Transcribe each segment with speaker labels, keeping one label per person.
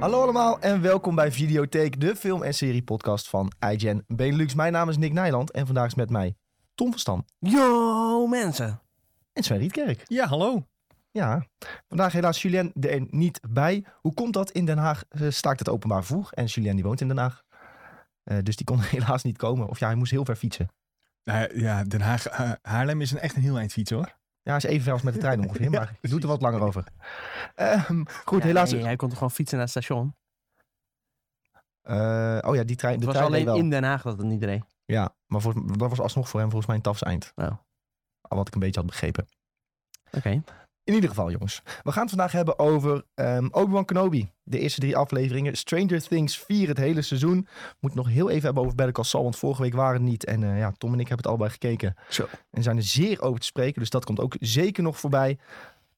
Speaker 1: Hallo allemaal en welkom bij Videotheek, de film- en serie-podcast van iGen Benelux. Mijn naam is Nick Nijland en vandaag is met mij Tom van Stam
Speaker 2: Yo, mensen.
Speaker 1: en Sven Rietkerk.
Speaker 3: Ja, hallo.
Speaker 1: Ja, vandaag helaas Julien er niet bij. Hoe komt dat? In Den Haag eh, staakt het openbaar vervoer en Julien die woont in Den Haag. Eh, dus die kon helaas niet komen. Of ja, hij moest heel ver fietsen.
Speaker 3: Nou ja, Den Haag, Ha- Haarlem is een echt een heel eind fietsen hoor.
Speaker 1: Ja, is even ver als met de trein ongeveer, maar het doet er wat langer over. Ehm, goed,
Speaker 2: Ja,
Speaker 1: helaas.
Speaker 2: nee, hij kon toch gewoon fietsen naar dus. het station?
Speaker 1: eh, oh ja, die trein.
Speaker 2: Het
Speaker 1: De
Speaker 2: was
Speaker 1: trein deed
Speaker 2: alleen
Speaker 1: wel.
Speaker 2: in Den Haag dat het niet deed.
Speaker 1: Ja, maar volgens- dat was alsnog voor hem volgens mij een tafseind.
Speaker 2: Nou.
Speaker 1: Wat ik een beetje had begrepen.
Speaker 2: Oké.
Speaker 1: In ieder geval, jongens. We gaan het vandaag hebben over ehm Obi-Wan Kenobi. De eerste drie afleveringen. Stranger Things 4, het hele seizoen. Moet nog heel even hebben over Better Call Saul, want vorige week waren het niet. En eh, ja, Tom en ik hebben het allebei gekeken.
Speaker 2: Zo.
Speaker 1: En zijn er zeer over te spreken, dus dat komt ook zeker nog voorbij.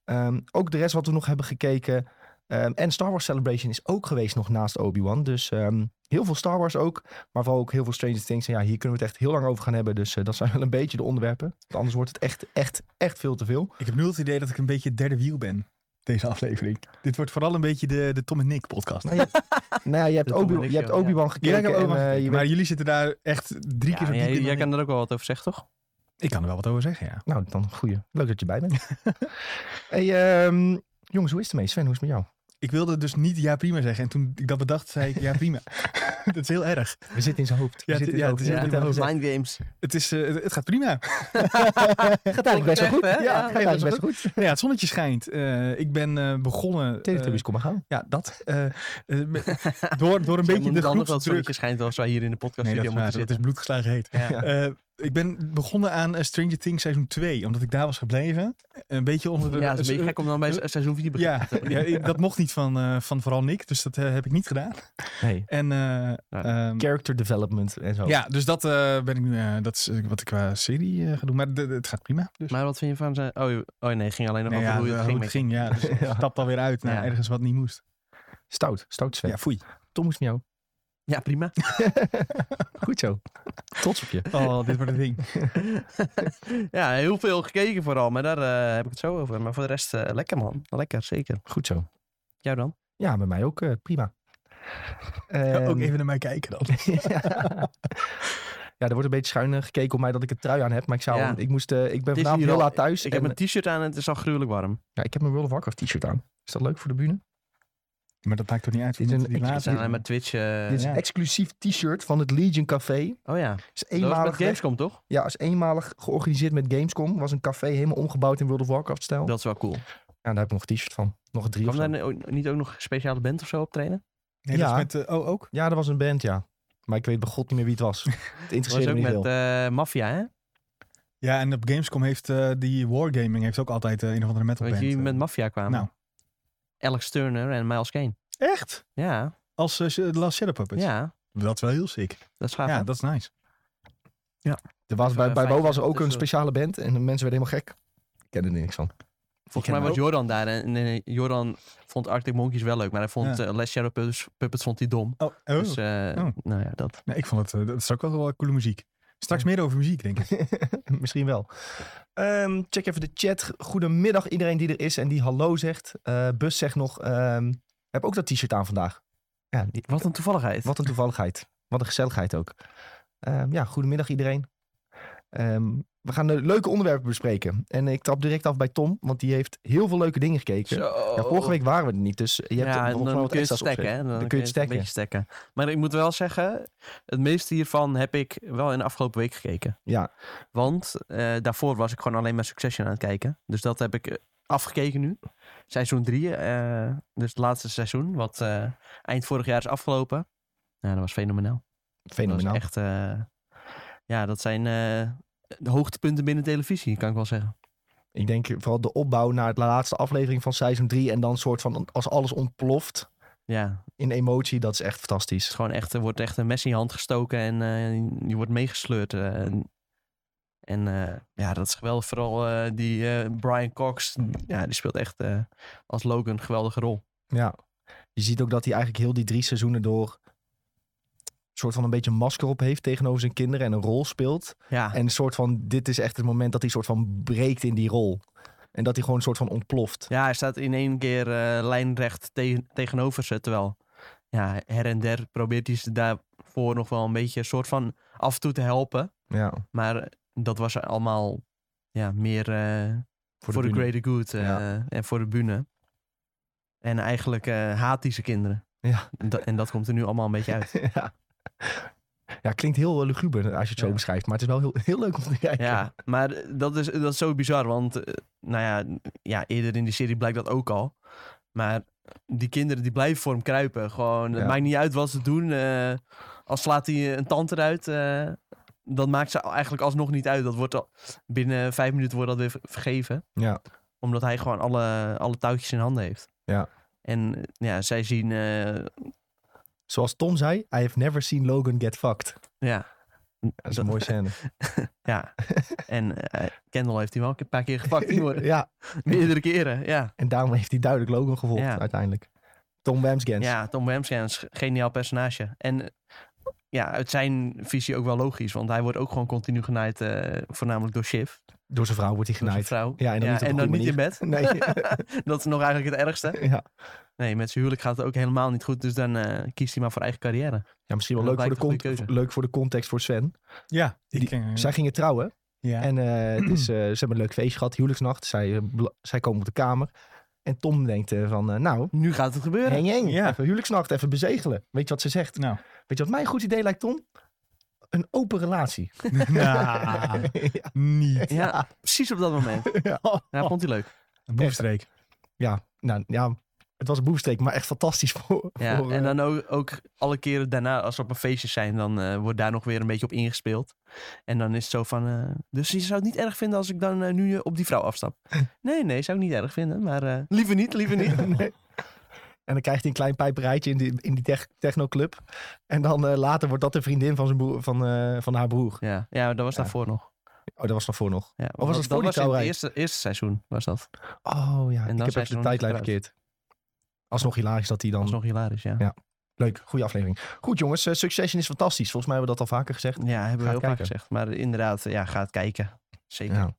Speaker 1: Ehm, ook de rest wat we nog hebben gekeken. Ehm, en Star Wars Celebration is ook geweest nog naast Obi-Wan. Dus ehm, heel veel Star Wars ook, maar vooral ook heel veel Stranger Things. En ja, hier kunnen we het echt heel lang over gaan hebben. Dus eh, dat zijn wel een beetje de onderwerpen. Want anders wordt het echt, echt, echt veel te veel.
Speaker 3: Ik heb nu het idee dat ik een beetje het derde wiel ben, deze aflevering. Dit wordt vooral een beetje de, de Tom en Nick podcast.
Speaker 1: Nou, je hebt, nou ja, je hebt,
Speaker 2: Dat
Speaker 1: Obi-
Speaker 2: kon ik,
Speaker 1: je hebt
Speaker 2: ja.
Speaker 1: Obi-Wan
Speaker 3: Jij
Speaker 1: gekeken.
Speaker 3: kan ook
Speaker 1: en,
Speaker 3: wel
Speaker 1: eh, je
Speaker 3: maar
Speaker 1: bent-
Speaker 3: jullie zitten daar echt drie
Speaker 2: Ja,
Speaker 3: keer zo diep
Speaker 2: jij
Speaker 3: in. dan
Speaker 2: jij
Speaker 3: ik.
Speaker 2: kan er ook wel wat over zeggen, toch?
Speaker 3: ik kan er wel wat over zeggen, ja.
Speaker 1: Nou, dan goeie. Leuk dat je bij bent. hey, ehm, jongens, hoe is het ermee? Sven, hoe is het met jou?
Speaker 3: Ik wilde dus niet ja prima zeggen. En toen ik dat bedacht, zei ik ja prima. dat is heel erg.
Speaker 1: We zitten in zijn hoofd. We
Speaker 3: Ja,
Speaker 1: zitten in
Speaker 3: het- ja,
Speaker 1: zijn hoofd.
Speaker 3: het is
Speaker 1: Ja,
Speaker 3: helemaal
Speaker 1: het
Speaker 2: Mind games.
Speaker 3: Het, is, eh, het gaat prima.
Speaker 1: gaat eigenlijk best wel goed.
Speaker 2: Echt, hè?
Speaker 1: Ja,
Speaker 2: Ja,
Speaker 1: het gaat eigenlijk best wel goed.
Speaker 3: Nou ja, het zonnetje schijnt. Eh, ik ben eh, begonnen... eh,
Speaker 1: Teletubbies, kom maar gaan.
Speaker 3: ja, dat. eh, eh, met- door, door een beetje de
Speaker 2: anders dat
Speaker 3: groepsdruk.
Speaker 2: zonnetje schijnt als wij hier in de podcast
Speaker 3: Nee, dat
Speaker 2: studio
Speaker 3: is, waar,
Speaker 2: moeten
Speaker 3: dat
Speaker 2: zitten.
Speaker 3: is bloedgeslagen heet.
Speaker 2: Ja.
Speaker 3: Eh, ik ben begonnen aan eh, Stranger Things seizoen 2, omdat ik daar was gebleven. Een beetje onder de...
Speaker 2: Ja, het is een beetje gek om dan bij
Speaker 3: eh,
Speaker 2: se- seizoen 4 te beginnen.
Speaker 3: Ja, ja, ik- dat mocht niet van, eh, van vooral Nick, dus dat eh, heb ik niet gedaan.
Speaker 1: Nee.
Speaker 3: En, eh, ehm,
Speaker 1: Character development en zo.
Speaker 3: ja, dus dat eh, ben ik nu, eh, dat is eh, wat ik qua serie eh, ga doen, maar de- de- het gaat prima. Dus.
Speaker 2: Maar wat vind je van zijn... Oh, je- oh nee, het ging alleen nog
Speaker 3: Nee,
Speaker 2: over
Speaker 3: ja,
Speaker 2: hoe je het ging. met-
Speaker 3: ja. Dus ik stap alweer uit naar
Speaker 2: Ja.
Speaker 3: ergens wat niet moest.
Speaker 1: Stout, stout Sven.
Speaker 3: Ja, foei.
Speaker 1: Tom, hoe is het met jou?
Speaker 2: Ja, prima.
Speaker 1: Goed zo. Trots op je.
Speaker 3: Oh, dit wordt het ding.
Speaker 2: Ja, heel veel gekeken vooral, maar daar eh, heb ik het zo over. Maar voor de rest, eh, lekker man. Lekker, zeker.
Speaker 1: Goed zo.
Speaker 2: Jou dan?
Speaker 1: Ja, bij mij ook eh, prima. Ehm,
Speaker 3: Ook even naar mij kijken dan.
Speaker 1: ja, er wordt een beetje schuin eh, gekeken op mij dat ik een trui aan heb. Maar ik, zou,
Speaker 2: Ja.
Speaker 1: ik, moest, eh, ik ben
Speaker 2: Het is
Speaker 1: vanavond
Speaker 2: hier
Speaker 1: heel
Speaker 2: al-
Speaker 1: laat thuis.
Speaker 2: Ik
Speaker 1: en-
Speaker 2: heb een t-shirt aan en het is al gruwelijk warm.
Speaker 1: Ja, ik heb mijn World of Warcraft t-shirt aan. Is dat leuk voor de bühne?
Speaker 3: Maar dat maakt toch niet uit.
Speaker 1: Dit is een-
Speaker 2: We zijn alleen maar Twitch... eh,
Speaker 1: Dit is een
Speaker 3: ja.
Speaker 1: exclusief t-shirt van het Legion Café.
Speaker 2: Oh ja,
Speaker 1: Is
Speaker 2: dat was met
Speaker 1: eenmalig,
Speaker 2: Gamescom toch?
Speaker 1: ja, is eenmalig georganiseerd met Gamescom. Was een café helemaal omgebouwd in World of Warcraft stijl.
Speaker 2: Dat is wel cool.
Speaker 1: Ja, daar heb ik nog een t-shirt van. Nog drie of
Speaker 2: Kwam
Speaker 1: zo.
Speaker 2: daar nu ook- niet ook nog een speciale band of zo optreden?
Speaker 3: Nee, dat is
Speaker 1: Ja.
Speaker 3: met, eh, oh, ook?
Speaker 1: Ja, er was een band, ja. Maar ik weet bij god niet meer wie het was. Het
Speaker 2: Dat was
Speaker 1: interesseerde me
Speaker 2: ook
Speaker 1: niet
Speaker 2: met
Speaker 1: veel.
Speaker 2: eh Mafia, hè?
Speaker 3: Ja, en op Gamescom heeft eh, die Wargaming heeft ook altijd eh, een of andere metal
Speaker 2: Weet
Speaker 3: band.
Speaker 2: je, wie
Speaker 3: eh.
Speaker 2: met Mafia kwamen.
Speaker 3: nou.
Speaker 2: Alex Turner en Miles Kane.
Speaker 3: Echt?
Speaker 2: Ja,
Speaker 3: Als eh, The Last Shadow Puppets?
Speaker 2: ja.
Speaker 3: Dat is wel heel sick.
Speaker 2: Dat is gaaf.
Speaker 3: ja,
Speaker 2: hè?
Speaker 3: dat is nice.
Speaker 1: Er was, bij, bij
Speaker 2: Vijf
Speaker 1: Bo was er
Speaker 2: jaar
Speaker 1: ook een
Speaker 2: tussen.
Speaker 1: speciale band en de mensen werden helemaal gek. Ik ken er niks van.
Speaker 2: Volgens mij
Speaker 3: hem
Speaker 2: was Jordan daar. En, en, eh, Jordan vond Arctic Monkeys wel leuk. Maar hij vond
Speaker 3: Ja.
Speaker 2: eh, Les Shadow Puppets, Puppets vond hij dom.
Speaker 3: Oh, oh.
Speaker 2: Dus, eh, nou ja, dat.
Speaker 3: Nee, ik vond het, eh, dat is ook wel wel coole muziek. Straks meer over muziek, denk ik.
Speaker 1: Misschien wel. Ehm, check even de chat. Goedemiddag iedereen die er is en die hallo zegt. Eh, Bus zegt nog, ehm, heb ook dat t-shirt aan vandaag. Ja, die-
Speaker 2: Wat een toevalligheid.
Speaker 1: wat een toevalligheid. Wat een gezelligheid ook. Ehm, ja, goedemiddag iedereen. Ehm, we gaan eh, leuke onderwerpen bespreken. En ik trap direct af bij Tom, want die heeft heel veel leuke dingen gekeken. Ja, vorige week waren we er niet, dus je hebt
Speaker 2: ja,
Speaker 1: er
Speaker 2: en
Speaker 1: volgens mij
Speaker 2: dan
Speaker 1: wat
Speaker 2: kun je het
Speaker 1: extra's op
Speaker 2: stekken.
Speaker 1: zitten.
Speaker 2: hè?
Speaker 1: Dan kun je het
Speaker 2: een beetje stekken. Maar ik moet wel zeggen, het meeste hiervan heb ik wel in de afgelopen week gekeken.
Speaker 1: Ja.
Speaker 2: Want eh, daarvoor was ik gewoon alleen maar Succession aan het kijken. Dus dat heb ik eh, afgekeken nu. Seizoen 3, dus het laatste seizoen, wat eh, eind vorig jaar is afgelopen. Ja, dat was fenomenaal.
Speaker 1: Fenomenaal.
Speaker 2: Dat was echt, eh, ja, dat zijn eh, de hoogtepunten binnen televisie, kan ik wel zeggen.
Speaker 1: Ik denk vooral de opbouw naar de laatste aflevering van seizoen 3 en dan soort van als alles ontploft
Speaker 2: Ja, het
Speaker 1: in emotie, dat is echt fantastisch.
Speaker 2: is gewoon echt, er wordt echt een mes in je hand gestoken en eh, je wordt meegesleurd. eh, en en, eh, ja, dat is geweldig. Vooral eh, die eh, Brian Cox, ja, die speelt echt eh, als Logan een geweldige rol.
Speaker 1: Ja. Je ziet ook dat hij eigenlijk heel die drie seizoenen door een soort van een beetje een masker op heeft tegenover zijn kinderen en een rol speelt.
Speaker 2: Ja,
Speaker 1: En een soort van, dit is echt het moment dat hij soort van breekt in die rol. En dat hij gewoon een soort van ontploft.
Speaker 2: ja hij staat in één keer eh, lijnrecht te- tegenover ze, terwijl... ja, her en der probeert hij ze daarvoor nog wel een beetje een soort van af en toe te helpen.
Speaker 1: Ja,
Speaker 2: Maar eh, dat was allemaal ja, meer eh, voor de
Speaker 1: bühne.
Speaker 2: greater good eh,
Speaker 1: Ja.
Speaker 2: en voor de bühne. En eigenlijk eh haat hij zijn kinderen.
Speaker 1: Ja.
Speaker 2: En, dat- en dat komt er nu allemaal een beetje uit.
Speaker 1: ja. ja, klinkt heel eh, luguber als je het zo
Speaker 2: Ja.
Speaker 1: beschrijft. Maar het is wel heel, heel leuk om te kijken.
Speaker 2: Ja, maar eh, dat is, dat is zo bizar. Want eh, nou ja, ja, eerder in die serie blijkt dat ook al. Maar die kinderen die blijven voor hem kruipen. Gewoon, het
Speaker 1: Ja.
Speaker 2: maakt niet uit wat ze doen. eh, als slaat hij een tand eruit, eh dat maakt ze eigenlijk alsnog niet uit. Dat wordt al, binnen vijf minuten wordt dat weer ver- vergeven.
Speaker 1: Ja.
Speaker 2: Omdat hij gewoon alle, alle touwtjes in handen heeft.
Speaker 1: Ja.
Speaker 2: En eh, ja, zij zien... eh,
Speaker 1: Zoals Tom zei, I have never seen Logan get fucked.
Speaker 2: ja,
Speaker 1: Dat is
Speaker 2: Dat-
Speaker 1: een mooie scène.
Speaker 2: ja. en eh, Kendall heeft hij wel een paar keer gepakt. die worden-
Speaker 1: ja,
Speaker 2: Meerdere keren, ja.
Speaker 1: en daarom heeft hij duidelijk Logan gevolgd
Speaker 2: Ja.
Speaker 1: uiteindelijk. Tom Wamsgans.
Speaker 2: Ja, Tom Ramsey is een geniaal personage. En eh, ja, uit zijn visie ook wel logisch. Want hij wordt ook gewoon continu genaaid, eh, voornamelijk door Shiv.
Speaker 1: Door zijn vrouw wordt hij
Speaker 2: Door zijn
Speaker 1: genaaid.
Speaker 2: vrouw.
Speaker 1: Ja, en dan niet op een
Speaker 2: dan
Speaker 1: goede
Speaker 2: niet in bed.
Speaker 1: Nee.
Speaker 2: Dat is nog eigenlijk het ergste.
Speaker 1: ja.
Speaker 2: Nee, met zijn huwelijk gaat het ook helemaal niet goed. Dus dan eh, kiest hij maar voor eigen carrière.
Speaker 1: ja, misschien wel
Speaker 2: Dat
Speaker 1: leuk voor, de
Speaker 2: lijkt een goede
Speaker 1: cont-
Speaker 2: keuze.
Speaker 1: leuk voor de context voor Sven.
Speaker 3: Ja, ik
Speaker 1: Die-
Speaker 3: ken-
Speaker 1: Zij gingen trouwen.
Speaker 3: ja.
Speaker 1: En eh, het is, eh, ze hebben een leuk feestje gehad, huwelijksnacht. Zij, eh, bla- zij komen op de kamer. En Tom denkt eh, van, eh, nou,
Speaker 2: Nu gaat het gebeuren.
Speaker 1: heng heng,
Speaker 3: Ja.
Speaker 1: even huwelijksnacht, even bezegelen. Weet je wat ze zegt?
Speaker 3: Nou.
Speaker 1: Weet je wat mij een goed idee lijkt, Tom? Een open relatie.
Speaker 3: Nou,
Speaker 1: ja.
Speaker 3: niet.
Speaker 2: ja, precies op dat moment. Ja, vond hij leuk.
Speaker 3: Een boefstreek.
Speaker 1: ja, nou ja, het was een boefsteek, maar echt fantastisch voor...
Speaker 2: Ja,
Speaker 1: voor,
Speaker 2: en
Speaker 1: eh,
Speaker 2: dan ook, ook alle keren daarna, als we op een feestje zijn, dan eh, wordt daar nog weer een beetje op ingespeeld. En dan is het zo van, eh, dus je zou het niet erg vinden als ik dan eh, nu eh, op die vrouw afstap. Nee, nee, zou ik niet erg vinden, maar eh, liever niet, liever niet.
Speaker 1: Nee. En dan krijgt hij een klein pijperijtje in die, in die tech- technoclub. En dan eh, later wordt dat de vriendin van, zijn broer, van, eh, van haar broer.
Speaker 2: Ja, ja dat was
Speaker 1: Ja.
Speaker 2: daarvoor nog.
Speaker 1: Oh, dat was daarvoor nog.
Speaker 2: Ja,
Speaker 1: was dat voor die
Speaker 2: was in het
Speaker 1: trouwerij?
Speaker 2: eerste, eerste seizoen, was dat.
Speaker 1: Oh ja,
Speaker 2: dan
Speaker 1: ik heb even
Speaker 2: zijn ze
Speaker 1: de
Speaker 2: nog
Speaker 1: tijdlijn
Speaker 2: niet
Speaker 1: verkeerd. Alsnog hilarisch dat hij dan...
Speaker 2: Dat was nog hilarisch, ja.
Speaker 1: Ja. Leuk, goede aflevering. Goed jongens, eh, Succession is fantastisch. Volgens mij hebben we dat al vaker gezegd.
Speaker 2: Ja, hebben we
Speaker 1: Ga
Speaker 2: heel
Speaker 1: het
Speaker 2: vaak
Speaker 1: kijken.
Speaker 2: gezegd. Maar inderdaad, ja, ga het kijken. Zeker.
Speaker 1: Ja.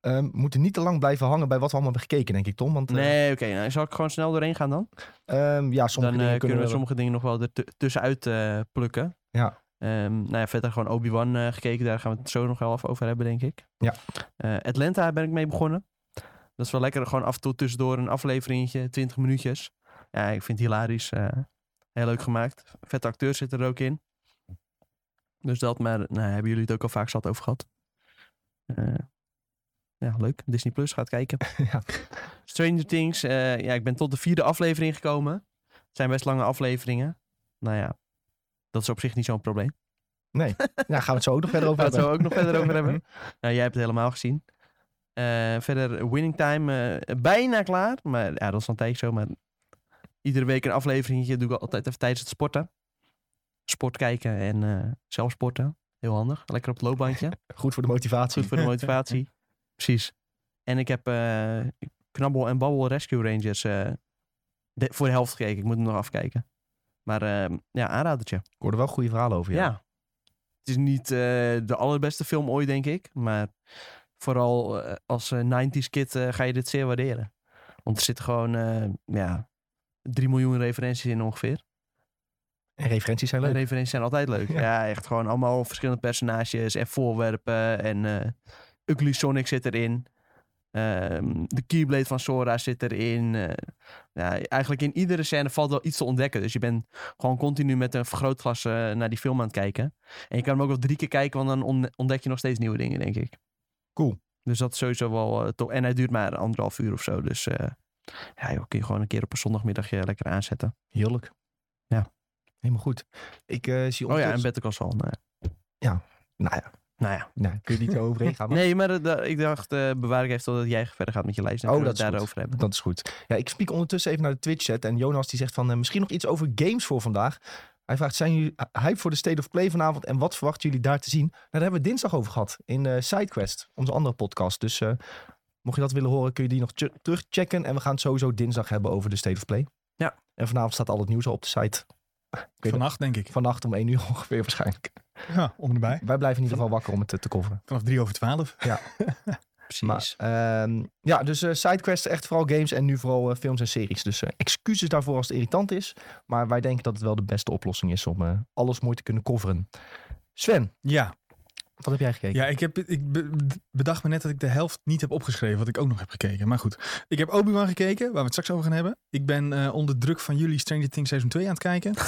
Speaker 1: Ehm, we moeten niet te lang blijven hangen bij wat we allemaal hebben gekeken, denk ik Tom. Want eh,
Speaker 2: Nee, oké. nou, zal ik gewoon snel doorheen gaan dan?
Speaker 1: ehm, ja, sommige
Speaker 2: dan eh,
Speaker 1: dingen
Speaker 2: kunnen we
Speaker 1: wel-
Speaker 2: sommige dingen nog wel er tu- tussenuit eh, plukken.
Speaker 1: Ja.
Speaker 2: Ehm, nou ja, verder gewoon Obi-Wan eh, gekeken. Daar gaan we het zo nog wel even over hebben, denk ik.
Speaker 1: Ja.
Speaker 2: Eh, Atlanta ben ik mee begonnen. Dat is wel lekker. Gewoon af en toe tussendoor een afleveringetje, 20 minuutjes. Ja, ik vind het hilarisch. eh, heel leuk gemaakt. Vette acteurs zitten er ook in. Dus dat, maar nou, hebben jullie het ook al vaak zat over gehad. Eh, ja, leuk. Disney Plus gaat kijken.
Speaker 1: Ja.
Speaker 2: Stranger Things. eh, ja, ik ben tot de vierde aflevering gekomen. Het zijn best lange afleveringen. Nou ja, dat is op zich niet zo'n probleem.
Speaker 1: Ja, gaan we het zo ook nog verder over
Speaker 2: Laten we
Speaker 1: hebben.
Speaker 2: het ook nog verder over hebben. Nou, jij hebt het helemaal gezien. Eh, verder, Winning Time eh, bijna klaar. Maar ja, dat is al een tijdje zo. Maar iedere week een afleveringetje doe ik altijd even tijdens het sporten. Sport kijken en eh, zelf sporten. Heel handig. Lekker op het loopbandje.
Speaker 1: Goed voor de motivatie.
Speaker 2: Goed voor de motivatie. Precies. En ik heb eh, Knabbel en Babbel Rescue Rangers eh, de- voor de helft gekeken. Ik moet hem nog afkijken. Maar eh, ja, aanradertje.
Speaker 1: Ik hoorde wel goede verhalen over
Speaker 2: Ja.
Speaker 1: ja.
Speaker 2: Het is niet eh, de allerbeste film ooit, denk ik. Maar vooral eh, als eh, 90s kid eh, ga je dit zeer waarderen. Want er zitten gewoon eh, ja, 3 miljoen referenties in ongeveer.
Speaker 1: En referenties zijn
Speaker 2: En
Speaker 1: leuk.
Speaker 2: referenties zijn altijd leuk.
Speaker 1: Ja.
Speaker 2: Ja. echt gewoon allemaal verschillende personages en voorwerpen. En eh Ugly Sonic zit erin. Ehm, de Keyblade van Sora zit erin. Eh, ja, eigenlijk in iedere scène valt wel iets te ontdekken. Dus je bent gewoon continu met een vergrootglas eh, naar die film aan het kijken. En je kan hem ook wel drie keer kijken, want dan on- ontdek je nog steeds nieuwe dingen, denk ik.
Speaker 1: Cool.
Speaker 2: Dus dat is sowieso wel eh, tof. En hij duurt maar anderhalf uur of zo. Dus eh ja, joh, kun je gewoon een keer op een zondagmiddagje lekker aanzetten.
Speaker 1: Heerlijk.
Speaker 2: Ja.
Speaker 1: Helemaal goed. Ik eh, zie
Speaker 2: Oh ja, en
Speaker 1: ondertussen-
Speaker 2: Better Call Saul. Nou, ja.
Speaker 1: Nou ja,
Speaker 2: nou ja.
Speaker 1: nou, kun je niet zo overheen gaan. maar-
Speaker 2: Nee, maar dat- dat- ik dacht, eh bewaar ik even totdat jij verder gaat met je lijst. Dan
Speaker 1: Oh,
Speaker 2: kunnen we
Speaker 1: dat
Speaker 2: het
Speaker 1: is
Speaker 2: daarover hebben.
Speaker 1: Dat is goed. Ja, ik spiek ondertussen even naar de Twitch-chat. En Jonas die zegt van, eh, misschien nog iets over games voor vandaag. Hij vraagt, zijn jullie eh, hype voor de State of Play vanavond? En wat verwachten jullie daar te zien? Nou, daar hebben we dinsdag over gehad in eh, SideQuest, onze andere podcast. Dus eh, mocht je dat willen horen, kun je die nog tje- terugchecken. En we gaan het sowieso dinsdag hebben over de State of Play.
Speaker 2: Ja.
Speaker 1: En vanavond staat al het nieuws al op de site. weet
Speaker 3: Vannacht, denk ik.
Speaker 1: Vannacht om 1 uur ongeveer waarschijnlijk.
Speaker 3: Ja, om erbij.
Speaker 1: Wij blijven in ieder geval wakker om het eh, te coveren.
Speaker 3: Vanaf drie over twaalf.
Speaker 1: Maar,
Speaker 2: precies.
Speaker 1: ehm, ja, dus eh, sidequests, echt vooral games en nu vooral eh, films en series. Dus eh, excuses daarvoor als het irritant is. Maar wij denken dat het wel de beste oplossing is om eh, alles mooi te kunnen coveren. Sven,
Speaker 3: Ja,
Speaker 1: wat heb jij gekeken?
Speaker 3: Ja, ik, heb, ik be- bedacht me net dat ik de helft niet heb opgeschreven, wat ik ook nog heb gekeken. Maar goed, ik heb Obi-Wan gekeken, waar we het straks over gaan hebben. Ik ben eh, onder druk van jullie Stranger Things seizoen 2 aan het kijken.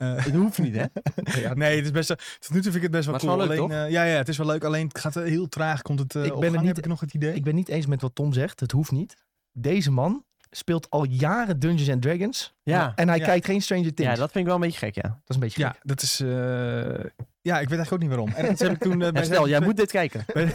Speaker 3: Eh,
Speaker 2: dat hoeft niet, hè?
Speaker 1: Ja,
Speaker 3: nee, het is best, wel- tot nu toe vind ik het best wel
Speaker 2: Maar het
Speaker 3: cool.
Speaker 2: is wel leuk,
Speaker 3: alleen, eh, ja, ja, het is wel leuk, alleen het gaat eh, heel traag. Komt het eh,
Speaker 1: Ik
Speaker 3: op
Speaker 1: ben er
Speaker 3: gang,
Speaker 1: niet-
Speaker 3: heb ik nog het idee.
Speaker 1: Ik ben niet eens met wat Tom zegt. Het hoeft niet. Deze man speelt al jaren Dungeons and Dragons.
Speaker 2: Ja.
Speaker 1: En hij
Speaker 3: Ja.
Speaker 1: kijkt geen Stranger Things.
Speaker 2: ja,
Speaker 1: dat...
Speaker 2: dat vind ik wel een beetje gek, ja.
Speaker 1: is een beetje
Speaker 3: ja,
Speaker 1: gek.
Speaker 3: dat is... eh, ja, ik weet eigenlijk ook niet waarom. En dat heb ik toen eh, bij
Speaker 2: En stel,
Speaker 3: seizoen
Speaker 2: jij
Speaker 3: twee-
Speaker 2: moet dit kijken.
Speaker 3: bij,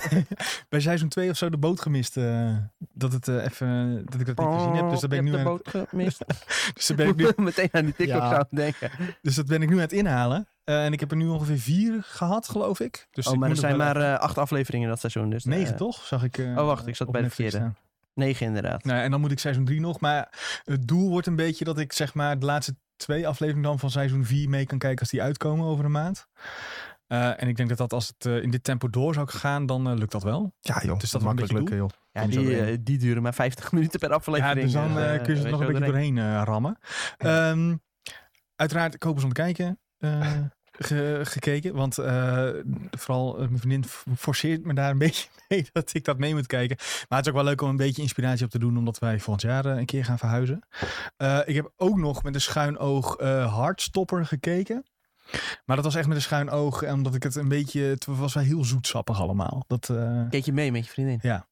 Speaker 3: bij seizoen 2 of zo de boot gemist. eh, dat, het, eh, even, dat ik dat niet gezien heb. Dus daar ben ik
Speaker 2: je
Speaker 3: nu aan
Speaker 2: hebt
Speaker 3: het-
Speaker 2: Oh, de boot gemist.
Speaker 3: dus daar ben ik nu
Speaker 2: meteen aan die TikTok
Speaker 1: Ja.
Speaker 2: zou denken.
Speaker 3: Dus dat ben ik nu aan het inhalen. Eh, en ik heb er nu ongeveer vier gehad, geloof ik. Dus
Speaker 2: oh,
Speaker 3: ik
Speaker 2: maar er
Speaker 3: moet nog
Speaker 2: zijn
Speaker 3: wel
Speaker 2: maar eh, acht afleveringen dat seizoen. Dus, eh,
Speaker 3: Negen, toch? Zag ik. eh,
Speaker 2: oh, wacht, ik zat
Speaker 3: op
Speaker 2: bij de
Speaker 3: Netflix
Speaker 2: verkeerde.
Speaker 3: staan.
Speaker 2: Negen inderdaad.
Speaker 3: Nou, en dan moet ik seizoen drie nog. Maar het doel wordt een beetje dat ik zeg maar de laatste twee afleveringen dan van seizoen vier mee kan kijken als die uitkomen over een maand. Eh, en ik denk dat dat als het eh, in dit tempo door zou gaan, dan eh, lukt dat wel.
Speaker 1: Ja, joh.
Speaker 3: Dus dat we een
Speaker 1: makkelijk
Speaker 3: beetje
Speaker 1: lukken, joh.
Speaker 2: Ja,
Speaker 3: kom zo
Speaker 2: die,
Speaker 3: weer.
Speaker 2: eh, die duren maar 50 minuten per
Speaker 3: Ja,
Speaker 2: aflevering.
Speaker 3: dus dan
Speaker 2: eh,
Speaker 3: eh, kun je ze
Speaker 2: weet
Speaker 3: nog een
Speaker 2: wel
Speaker 3: beetje
Speaker 2: doorheen.
Speaker 3: doorheen eh, rammen. Ehm, uiteraard kopers om te kijken eh, ge- gekeken. Want eh, vooral eh, mijn vriendin f- forceert me daar een beetje mee dat ik dat mee moet kijken. Maar het is ook wel leuk om een beetje inspiratie op te doen. Omdat wij volgend jaar eh, een keer gaan verhuizen. Eh, ik heb ook nog met een schuin oog eh Hardstopper gekeken. Maar dat was echt met een schuin oog. eh, Omdat ik het een beetje... Het was wel heel zoetsappig allemaal. Dat... eh,
Speaker 2: Keek je mee met je vriendin?
Speaker 3: Ja.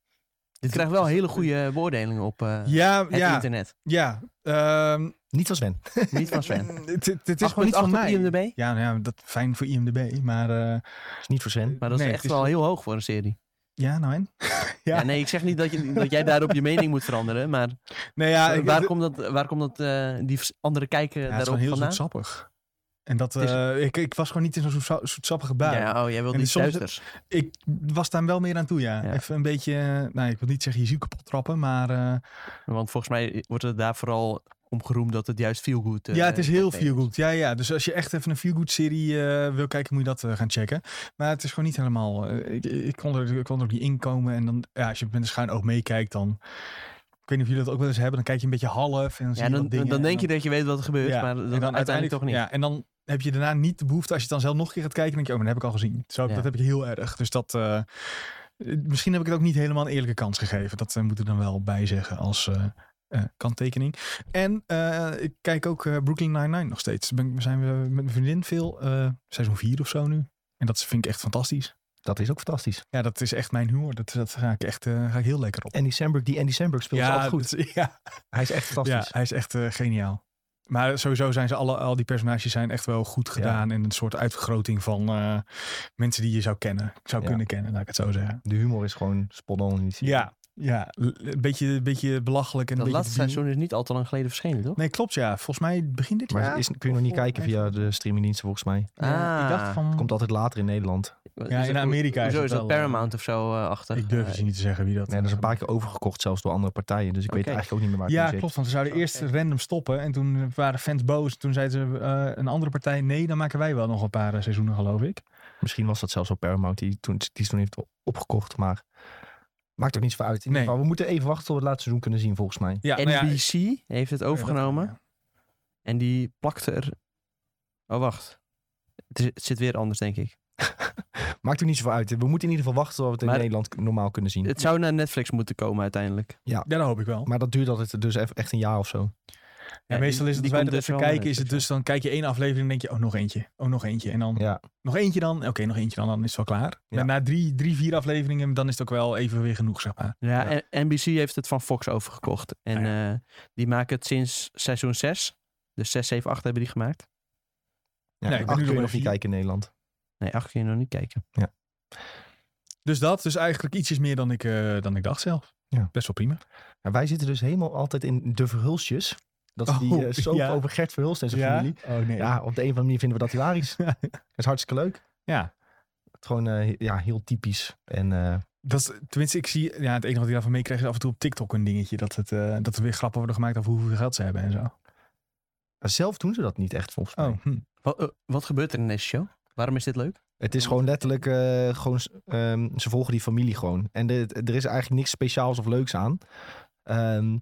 Speaker 2: Dit krijgt wel hele goede beoordelingen op eh,
Speaker 3: ja,
Speaker 2: het
Speaker 3: ja,
Speaker 2: internet.
Speaker 3: ja. Ehm,
Speaker 1: Niet van Sven.
Speaker 2: Niet van Sven.
Speaker 3: Mm, Het, het- het is
Speaker 2: Acht
Speaker 3: gewoon niet
Speaker 2: punt
Speaker 3: van
Speaker 2: acht op
Speaker 3: mij.
Speaker 2: IMDb?
Speaker 3: Ja, nou ja, dat fijn voor IMDb, maar eh,
Speaker 1: Is niet voor Sven.
Speaker 2: Maar dat
Speaker 3: Nee,
Speaker 2: is
Speaker 3: het
Speaker 2: echt
Speaker 3: is-
Speaker 2: wel heel hoog voor een serie.
Speaker 3: ja, nou en?
Speaker 2: Ja.
Speaker 3: Ja.
Speaker 2: nee, ik zeg niet dat, je, dat jij daarop je mening moet veranderen. Maar
Speaker 3: Nee, ja,
Speaker 2: eh,
Speaker 3: ik,
Speaker 2: waar,
Speaker 3: het-
Speaker 2: komt dat, waar komt dat eh, die vers- andere kijken
Speaker 3: ja, het is
Speaker 2: daarop
Speaker 3: gewoon heel
Speaker 2: vandaan?
Speaker 3: zoetsappig. En dat,
Speaker 2: Het is-
Speaker 3: eh, ik, ik was gewoon niet in zo'n zoetsa- zoetsappige bui.
Speaker 2: Ja, oh, jij wilt
Speaker 3: En
Speaker 2: niet
Speaker 3: soms-
Speaker 2: Duitsers.
Speaker 3: Ik was daar wel meer aan toe, ja.
Speaker 2: Ja.
Speaker 3: Even een beetje, eh, nou, ik wil niet zeggen je ziel kapot trappen, maar eh,
Speaker 2: Want volgens mij wordt het daar vooral om geroemd dat het juist feel good eh,
Speaker 3: ja, het is heel feelgood. Ja, ja, dus als je echt even een feelgood serie eh, wil kijken, moet je dat eh, gaan checken. Maar het is gewoon niet helemaal, eh, ik, ik, kon er, ik kon er ook niet inkomen. En dan, ja, als je met een schuin oog meekijkt, dan, ik weet niet of jullie dat ook wel eens hebben, dan kijk je een beetje half en dan zie
Speaker 2: Ja,
Speaker 3: je
Speaker 2: dan,
Speaker 3: wat dingen
Speaker 2: dan
Speaker 3: en
Speaker 2: denk je dat je weet wat er gebeurt, maar dat
Speaker 3: en
Speaker 2: uiteindelijk, toch niet.
Speaker 3: Ja, en dan heb je daarna niet de behoefte, als je het dan zelf nog een keer gaat kijken, dan denk je, oh, dat heb ik al gezien. Zo,
Speaker 2: Ja.
Speaker 3: Dat heb ik heel erg. Dus dat, eh, eh, misschien heb ik het ook niet helemaal een eerlijke kans gegeven. Dat eh, moet er dan wel bij zeggen als eh, eh, kanttekening. En eh, ik kijk ook eh, Brooklyn Nine-Nine nog steeds. Ben, ik- zijn we met mijn vriendin veel, eh, seizoen 4 of zo nu. En dat vind ik echt fantastisch.
Speaker 1: Dat is ook fantastisch.
Speaker 3: Ja, dat is echt mijn humor. Dat, dat ga ik echt eh, ga ik heel lekker op.
Speaker 1: Andy Samberg, die Andy Samberg speelt altijd goed.
Speaker 3: dat is- ja,
Speaker 1: Hij is echt fantastisch.
Speaker 3: ja, hij is echt eh, geniaal. Maar sowieso zijn ze alle, al die personages zijn echt wel goed gedaan. En een soort uitvergroting van eh, mensen die je zou kennen. Zou
Speaker 1: Ja.
Speaker 3: kunnen kennen, laat ik het zo zeggen.
Speaker 1: De humor is gewoon spot on. in die serie.
Speaker 3: Ja, ja. l- Een beetje, een beetje belachelijk. En
Speaker 2: Dat
Speaker 3: een beetje
Speaker 2: laatste
Speaker 3: debiel.
Speaker 2: seizoen is niet al te lang geleden verschenen, toch?
Speaker 3: Nee, klopt ja. Volgens mij begin dit
Speaker 1: Maar
Speaker 3: jaar.
Speaker 1: is, kun je nog niet kijken via de streamingdiensten volgens mij.
Speaker 3: Ja, ik dacht
Speaker 2: Ah.
Speaker 3: van...
Speaker 1: Komt altijd later in Nederland.
Speaker 2: Is
Speaker 3: Ja,
Speaker 2: Dus dat-
Speaker 3: in Amerika is
Speaker 2: Hoezo
Speaker 3: het
Speaker 2: is dat
Speaker 3: wel, eh,
Speaker 2: Paramount of zo eh, achter?
Speaker 3: ik durf
Speaker 2: Eh,
Speaker 3: het je niet te zeggen wie dat...
Speaker 1: Nee, dat is een paar keer overgekocht zelfs door andere partijen. Dus ik weet
Speaker 2: Oké.
Speaker 1: eigenlijk ook niet meer waar het
Speaker 3: Ja,
Speaker 1: in zit. Oh,
Speaker 3: klopt. Want ze zouden
Speaker 2: Oké.
Speaker 3: eerst random stoppen. En toen waren fans boos. Toen zeiden ze eh, een andere partij... Nee, dan maken wij wel nog een paar eh, seizoenen, geloof ik.
Speaker 1: Misschien was dat zelfs wel Paramount die toen, die toen heeft opgekocht. Maar maakt ook niet zoveel uit. In ieder
Speaker 3: Nee.
Speaker 1: geval, we moeten even wachten tot we het laatste seizoen kunnen zien volgens mij.
Speaker 3: Ja, nou ja,
Speaker 2: NBC heeft het overgenomen en die plakte er... Oh, wacht. Het, is- het zit weer anders, denk ik.
Speaker 1: Maakt ook niet zoveel uit. We moeten in ieder geval wachten tot we het in
Speaker 2: Maar-
Speaker 1: Nederland k- normaal kunnen zien.
Speaker 2: Het zou naar Netflix moeten komen uiteindelijk.
Speaker 3: Ja, dat hoop ik wel.
Speaker 1: Maar dat duurt altijd dus eff- echt een jaar of zo.
Speaker 3: Ja,
Speaker 2: Ja,
Speaker 3: meestal
Speaker 2: die-
Speaker 3: is het
Speaker 2: die
Speaker 3: als wij
Speaker 2: komt
Speaker 3: dat
Speaker 2: dus
Speaker 3: even
Speaker 2: wel
Speaker 3: kijken, is
Speaker 2: net,
Speaker 3: het dus dan kijk je één aflevering en denk je, oh nog eentje, oh nog eentje. En dan
Speaker 1: Ja.
Speaker 3: nog eentje dan, oké nog eentje dan, dan is het wel klaar.
Speaker 1: Ja.
Speaker 3: Maar na drie, drie, vier afleveringen, dan is het ook wel even weer genoeg, zeg maar.
Speaker 2: Ja,
Speaker 1: Ja.
Speaker 2: en NBC heeft het van Fox overgekocht. En
Speaker 3: dus- Ah,
Speaker 2: eh, die maken het sinds seizoen 6. Dus 6, 7, 8 hebben die gemaakt.
Speaker 1: Ja,
Speaker 3: Nee,
Speaker 1: nee,
Speaker 3: ik ben
Speaker 1: acht
Speaker 3: nu nog
Speaker 1: kun je
Speaker 3: bij
Speaker 1: nog niet
Speaker 3: vier.
Speaker 1: kijken in Nederland.
Speaker 2: Nee, 8 kun je nog niet kijken.
Speaker 3: Dus dat, dus eigenlijk ietsjes meer dan ik, eh, dan ik dacht zelf.
Speaker 1: Ja.
Speaker 3: Best wel prima.
Speaker 1: Ja, wij zitten dus helemaal altijd in de verhulsjes. Dat is die
Speaker 3: Oh,
Speaker 1: eh, soap
Speaker 3: ja.
Speaker 1: over Gert Verhulst en zijn familie.
Speaker 3: Oh nee.
Speaker 1: Ja, op de een of andere manier vinden we dat hilarisch. dat is hartstikke leuk.
Speaker 3: Ja.
Speaker 1: Het gewoon eh, ja, heel typisch. En eh,
Speaker 3: Dat is, tenminste, ik zie, ja, het enige wat ik daarvan meekrijg is af en toe op TikTok een dingetje. Dat, het, eh, dat er weer grappen worden gemaakt over hoeveel geld ze hebben en zo.
Speaker 1: zelf doen ze dat niet echt volgens mij.
Speaker 3: Oh, hm.
Speaker 2: Wat, eh, wat gebeurt er in deze show? Waarom is dit leuk?
Speaker 1: Het is gewoon letterlijk, eh, gewoon, s- ehm, ze volgen die familie gewoon. En de- er is eigenlijk niks speciaals of leuks aan. Ehm,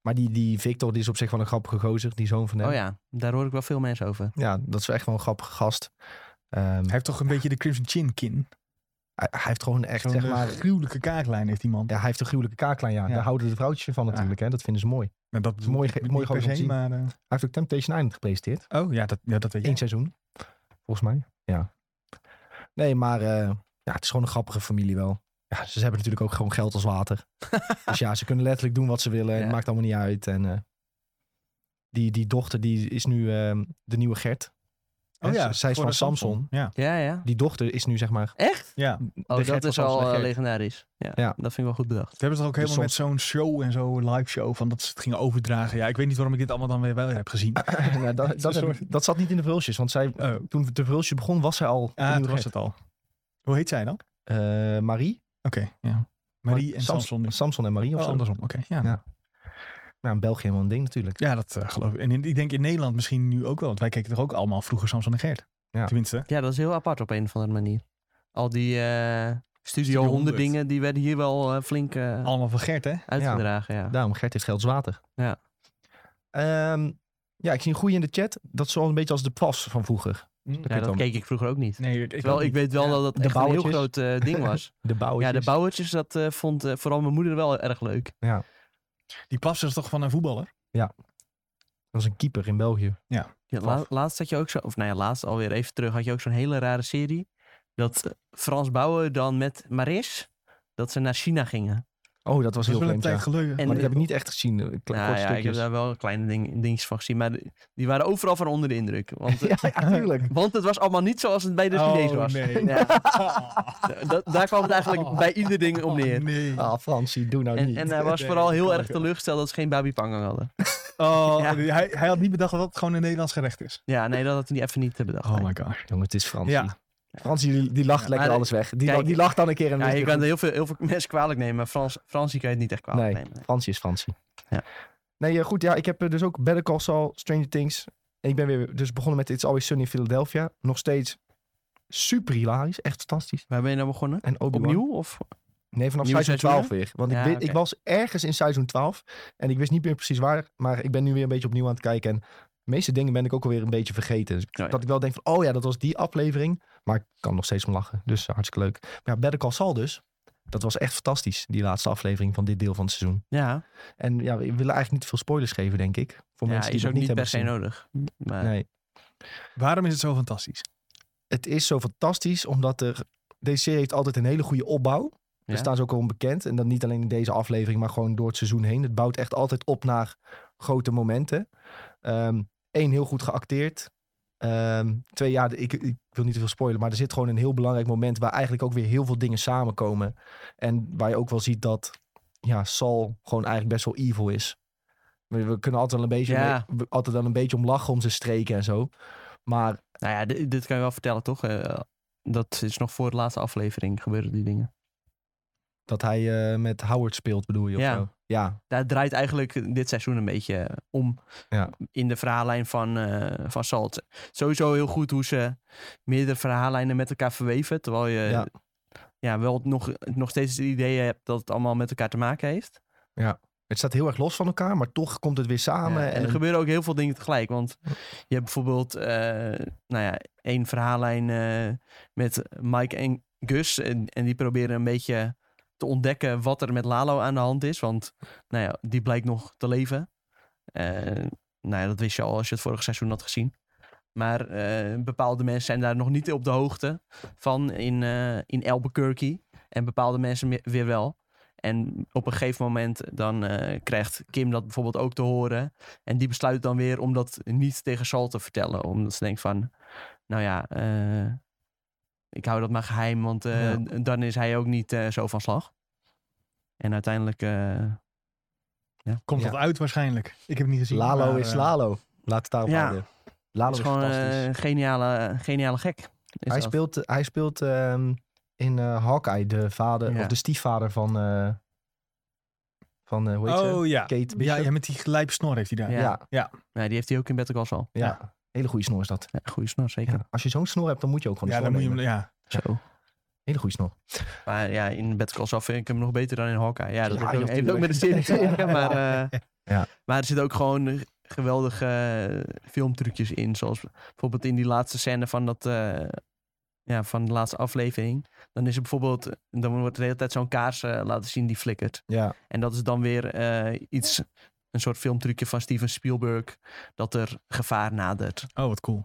Speaker 1: maar die, die Victor, die is op zich wel een grappige gozer, die zoon van hem.
Speaker 2: Oh ja, daar hoor ik wel veel mensen over.
Speaker 1: Ja, dat is echt wel een grappige gast. Ehm,
Speaker 3: Hij heeft toch een beetje de Crimson Chin kin.
Speaker 1: hij, hij heeft gewoon echt,
Speaker 3: Zo'n
Speaker 1: zeg
Speaker 3: eh,
Speaker 1: maar...
Speaker 3: gruwelijke kaaklijn heeft die man.
Speaker 1: Ja, hij heeft een gruwelijke kaaklijn, ja.
Speaker 3: Ja.
Speaker 1: Daar houden de vrouwtjes van natuurlijk, hè. Dat vinden ze mooi.
Speaker 3: Nou, dat
Speaker 1: is mooi ge-
Speaker 3: niet
Speaker 1: mooi
Speaker 3: per
Speaker 1: gewoon om te
Speaker 3: se,
Speaker 1: zien.
Speaker 3: maar... eh,
Speaker 1: Hij heeft ook Temptation Island gepresenteerd.
Speaker 3: oh, ja dat, ja, dat weet
Speaker 1: Eén
Speaker 3: je.
Speaker 1: seizoen, volgens mij. Ja. Nee, maar eh, ja, het is gewoon een grappige familie wel. Ja, ze hebben natuurlijk ook gewoon geld als water. dus ja, ze kunnen letterlijk doen wat ze willen. en
Speaker 2: Ja.
Speaker 1: Het maakt allemaal niet uit. En eh, die, die dochter, die is nu eh, de nieuwe Gert. Hè, ze- zij is
Speaker 3: Oh voor
Speaker 1: van
Speaker 3: de
Speaker 1: Samson.
Speaker 3: Ja,
Speaker 2: Ja, ja.
Speaker 1: Die dochter is nu zeg maar...
Speaker 2: Echt?
Speaker 3: ja. Ze
Speaker 2: Oh,
Speaker 1: de Gert
Speaker 2: dat
Speaker 1: van
Speaker 2: is
Speaker 1: Samson
Speaker 2: al
Speaker 1: en
Speaker 2: eh,
Speaker 1: Gert.
Speaker 2: legendarisch. Ja,
Speaker 1: Ja.
Speaker 2: dat vind ik wel goed bedacht.
Speaker 3: hebben het ook helemaal met
Speaker 1: soms-
Speaker 3: zo'n show en zo, live show, van dat ze het gingen overdragen. Ja, ik weet niet waarom ik dit allemaal dan weer wel heb gezien.
Speaker 1: Nou, dat, dat, heb ik- dat zat niet in de vulsjes. Want zij,
Speaker 3: Oh,
Speaker 1: toen de vulsjes begon, was zij al de
Speaker 3: ah,
Speaker 1: nieuwe
Speaker 3: toen was
Speaker 1: Gert.
Speaker 3: het al. Hoe heet zij dan?
Speaker 1: Eh, Marie?
Speaker 3: Oké, ja. Marie en
Speaker 1: Sam-
Speaker 3: Samson. is
Speaker 1: Samson en Marie of
Speaker 3: Oh,
Speaker 1: zo.
Speaker 3: andersom, oké. ja.
Speaker 1: Ja. Nou, in België helemaal een ding natuurlijk.
Speaker 3: Ja, dat eh, geloof ik. En in- ik denk in Nederland misschien nu ook wel. Want wij keken toch ook allemaal vroeger Samson en Gert.
Speaker 1: Ja.
Speaker 3: Tenminste.
Speaker 2: Ja, dat is heel apart op een of andere manier. Al die eh Studio
Speaker 3: 100.
Speaker 2: 100 dingen, die werden hier wel eh, flink eh,
Speaker 3: Allemaal van Gert, hè?
Speaker 2: uitgedragen. Ja.
Speaker 1: Daarom, Gert heeft geld zwater.
Speaker 2: Ja.
Speaker 1: Ehm, ja, ik zie een goeie in de chat. Dat is wel een beetje als de plas van vroeger.
Speaker 2: Mm, Ja,
Speaker 1: ik
Speaker 2: dat
Speaker 1: dan.
Speaker 2: keek ik vroeger ook niet.
Speaker 3: Nee, ik,
Speaker 2: Terwijl ik weet wel
Speaker 3: Ja,
Speaker 2: dat dat
Speaker 1: de
Speaker 2: echt een heel
Speaker 1: bouwertjes.
Speaker 2: groot eh, ding was.
Speaker 1: De dus- bouwers.
Speaker 2: ja, de bouwertjes, dat eh, vond eh, vooral mijn moeder wel erg leuk.
Speaker 3: Die plas is toch van een voetballer?
Speaker 1: Dat was een keeper in België.
Speaker 2: Ja, la- laatst had je ook zo, of nou ja, laatst alweer even terug, had je ook zo'n hele rare serie. Dat eh, Frans Bouwen dan met Maris, dat ze naar China gingen.
Speaker 1: Oh, dat was
Speaker 3: Dat is
Speaker 1: heel
Speaker 3: wel een
Speaker 1: vreemd, ja.
Speaker 3: tijd geleden.
Speaker 2: En-
Speaker 1: Maar die heb ik niet echt gezien. eh, kle-
Speaker 2: Nou
Speaker 1: korte
Speaker 2: ja, ik heb
Speaker 1: stukjes.
Speaker 2: daar wel kleine ding, dingetjes van gezien, maar die- die waren overal van onder de indruk. Want, eh,
Speaker 1: ja, ja, tuurlijk.
Speaker 2: want het was allemaal niet zoals het bij
Speaker 1: Oh,
Speaker 2: de Chinees was.
Speaker 3: Oh, nee.
Speaker 2: Ja, dat, daar kwam het eigenlijk bij ieder ding om neer.
Speaker 3: Oh, Nee.
Speaker 1: Ah, Fransie, doe nou
Speaker 2: En,
Speaker 1: Oh. niet.
Speaker 2: en hij was
Speaker 3: Nee,
Speaker 2: vooral
Speaker 3: dat
Speaker 2: heel
Speaker 3: kan
Speaker 2: erg
Speaker 3: ik wel.
Speaker 2: teleurgesteld dat ze geen Babi Pangang hadden.
Speaker 3: Oh,
Speaker 2: Ja.
Speaker 3: hij, hij had niet bedacht dat het gewoon een Nederlands gerecht is.
Speaker 2: Ja, nee, dat had hij even niet eh, bedacht. nee.
Speaker 3: Oh my god.
Speaker 1: Jongen, het is Fransie.
Speaker 3: Ja.
Speaker 1: Fransie, die, die lacht lekker
Speaker 2: maar-
Speaker 1: alles weg. Die,
Speaker 2: Kijk,
Speaker 1: la- die lacht dan een keer en
Speaker 2: Ja,
Speaker 1: dan is
Speaker 2: je
Speaker 1: het
Speaker 2: kan
Speaker 1: weer
Speaker 2: er heel veel, heel veel mensen kwalijk nemen, maar Frans, Fransie kan je het niet echt kwalijk
Speaker 1: Nee.
Speaker 2: nemen.
Speaker 1: goed. Fransie is Fransie.
Speaker 2: Ja.
Speaker 1: Nee, eh, goed. Ja, ik heb eh, dus ook Better Call Saul, Stranger Things. En ik ben weer dus begonnen met It's Always Sunny in Philadelphia. Nog steeds super hilarisch. Echt fantastisch.
Speaker 2: Waar ben je nou begonnen?
Speaker 1: En Obi-Wan.
Speaker 2: Opnieuw? Of?
Speaker 1: Nee, vanaf
Speaker 2: Nieuwe
Speaker 1: seizoen 12
Speaker 2: seizoenen?
Speaker 1: weer. Want
Speaker 2: Ja,
Speaker 1: ik, weet,
Speaker 2: oké.
Speaker 1: ik was ergens in seizoen 12 en ik wist niet meer precies waar. Maar ik ben nu weer een beetje opnieuw aan het kijken. En de meeste dingen ben ik ook alweer een beetje vergeten. Dus
Speaker 2: ja.
Speaker 1: Dat ik wel denk van, oh ja, dat was die aflevering. Maar ik kan er nog steeds om lachen. Dus hartstikke leuk. Maar ja, Better Call Saul dus. Dat was echt fantastisch, die laatste aflevering van dit deel van het seizoen.
Speaker 2: Ja,
Speaker 1: En ja, we willen eigenlijk niet te veel spoilers geven, denk ik. Voor
Speaker 2: ja
Speaker 1: mensen die
Speaker 2: is
Speaker 1: het
Speaker 2: ook
Speaker 1: nog
Speaker 2: niet
Speaker 1: niet
Speaker 2: per
Speaker 1: hebben
Speaker 2: se
Speaker 1: gezien.
Speaker 2: nodig. Maar
Speaker 1: Nee.
Speaker 3: Waarom is het zo fantastisch?
Speaker 1: het is zo fantastisch omdat er. Deze serie heeft altijd een hele goede opbouw.
Speaker 2: Ja.
Speaker 1: Daar staan ze ook al onbekend. En dan niet alleen in deze aflevering, maar gewoon door het seizoen heen. Het bouwt echt altijd op naar grote momenten. Eén, heel goed geacteerd. Ehm, twee, ja, ik, ik wil niet te veel spoilen, maar er zit gewoon een heel belangrijk moment waar eigenlijk ook weer heel veel dingen samenkomen. En waar je ook wel ziet dat ja, Sal gewoon eigenlijk best wel evil is. We, we kunnen altijd wel een beetje,
Speaker 2: Ja.
Speaker 1: we- altijd wel een beetje om lachen om zijn streken en zo. Maar
Speaker 2: Nou ja, dit, dit kan je wel vertellen, toch? Eh, dat is nog voor de laatste aflevering gebeuren die dingen.
Speaker 1: Dat hij eh, met Howard speelt, bedoel je?
Speaker 2: Ja.
Speaker 1: Of zo? ja.
Speaker 2: Daar draait eigenlijk dit seizoen een beetje eh, om.
Speaker 1: Ja.
Speaker 2: In de verhaallijn van, eh van Salt. Sowieso heel goed hoe ze meerdere verhaallijnen met elkaar verweven. Terwijl je ja.
Speaker 1: Ja.
Speaker 2: wel nog, nog steeds het idee hebt dat het allemaal met elkaar te maken heeft.
Speaker 1: Het staat heel erg los van elkaar, maar toch komt het weer samen.
Speaker 2: Ja, en er
Speaker 1: en
Speaker 2: gebeuren ook heel veel dingen tegelijk. Want je hebt bijvoorbeeld, eh, nou ja, één verhaallijn eh, met Mike en Gus. En, en die proberen een beetje te ontdekken wat er met Lalo aan de hand is. Want, nou ja, die blijkt nog te leven. Eh, nou ja, dat wist je al als je het vorige seizoen had gezien. Maar eh, bepaalde mensen zijn daar nog niet op de hoogte van in, eh, in Albuquerque. En bepaalde mensen me- weer wel. En op een gegeven moment dan eh, krijgt Kim dat bijvoorbeeld ook te horen. En die besluit dan weer om dat niet tegen Sal te vertellen. Omdat ze denkt van, nou ja, eh, ik hou dat maar geheim. Want eh,
Speaker 1: Ja.
Speaker 2: d- dan is hij ook niet eh, zo van slag. En uiteindelijk... eh,
Speaker 3: Komt
Speaker 1: Ja.
Speaker 3: dat uit waarschijnlijk? Ik heb het niet gezien.
Speaker 1: Lalo
Speaker 3: maar,
Speaker 1: is
Speaker 3: eh,
Speaker 1: Lalo. Laat het daarop
Speaker 2: Ja.
Speaker 1: houden. Lalo is,
Speaker 2: is gewoon
Speaker 1: fantastisch.
Speaker 2: een geniale, geniale gek. is
Speaker 1: hij,
Speaker 2: dat.
Speaker 1: speelt, eh, hij speelt ehm, in eh, Hawkeye, de vader
Speaker 2: Ja.
Speaker 1: of de stiefvader van, eh, van eh, hoe heet ze?
Speaker 3: Oh ja.
Speaker 1: Kate
Speaker 3: Ja,
Speaker 1: Bishop.
Speaker 3: ja, met die lijpsnor heeft hij daar.
Speaker 1: Ja,
Speaker 2: Ja.
Speaker 1: ja.
Speaker 2: Ja, die heeft hij ook in Better Call Saul.
Speaker 1: Hele goede snor is dat.
Speaker 2: Ja, goeie snor, zeker.
Speaker 1: Ja. Als je zo'n snor hebt, dan moet je ook gewoon
Speaker 3: Ja,
Speaker 1: een
Speaker 3: dan
Speaker 1: snor
Speaker 3: moet je hem.
Speaker 1: nemen.
Speaker 3: Ja.
Speaker 2: Zo.
Speaker 1: Hele goede snor.
Speaker 2: Maar ja, in Better Call Saul vind ik hem nog beter dan in Hawkeye. Ja, dat
Speaker 1: Ja,
Speaker 2: heeft ook-
Speaker 1: joh,
Speaker 2: heeft ook met de serie te
Speaker 1: tuurlijk.
Speaker 2: maken. Maar, eh,
Speaker 1: Ja.
Speaker 2: maar er zitten ook gewoon geweldige eh, filmtrucjes in. Zoals bijvoorbeeld in die laatste scène van, dat, eh, ja, van de laatste aflevering. Dan is er bijvoorbeeld, dan wordt de hele tijd zo'n kaars eh, laten zien die flikkert.
Speaker 1: Ja.
Speaker 2: En dat is dan weer eh, iets, een soort filmtrucje van Steven Spielberg. Dat er gevaar nadert.
Speaker 3: Oh, wat cool.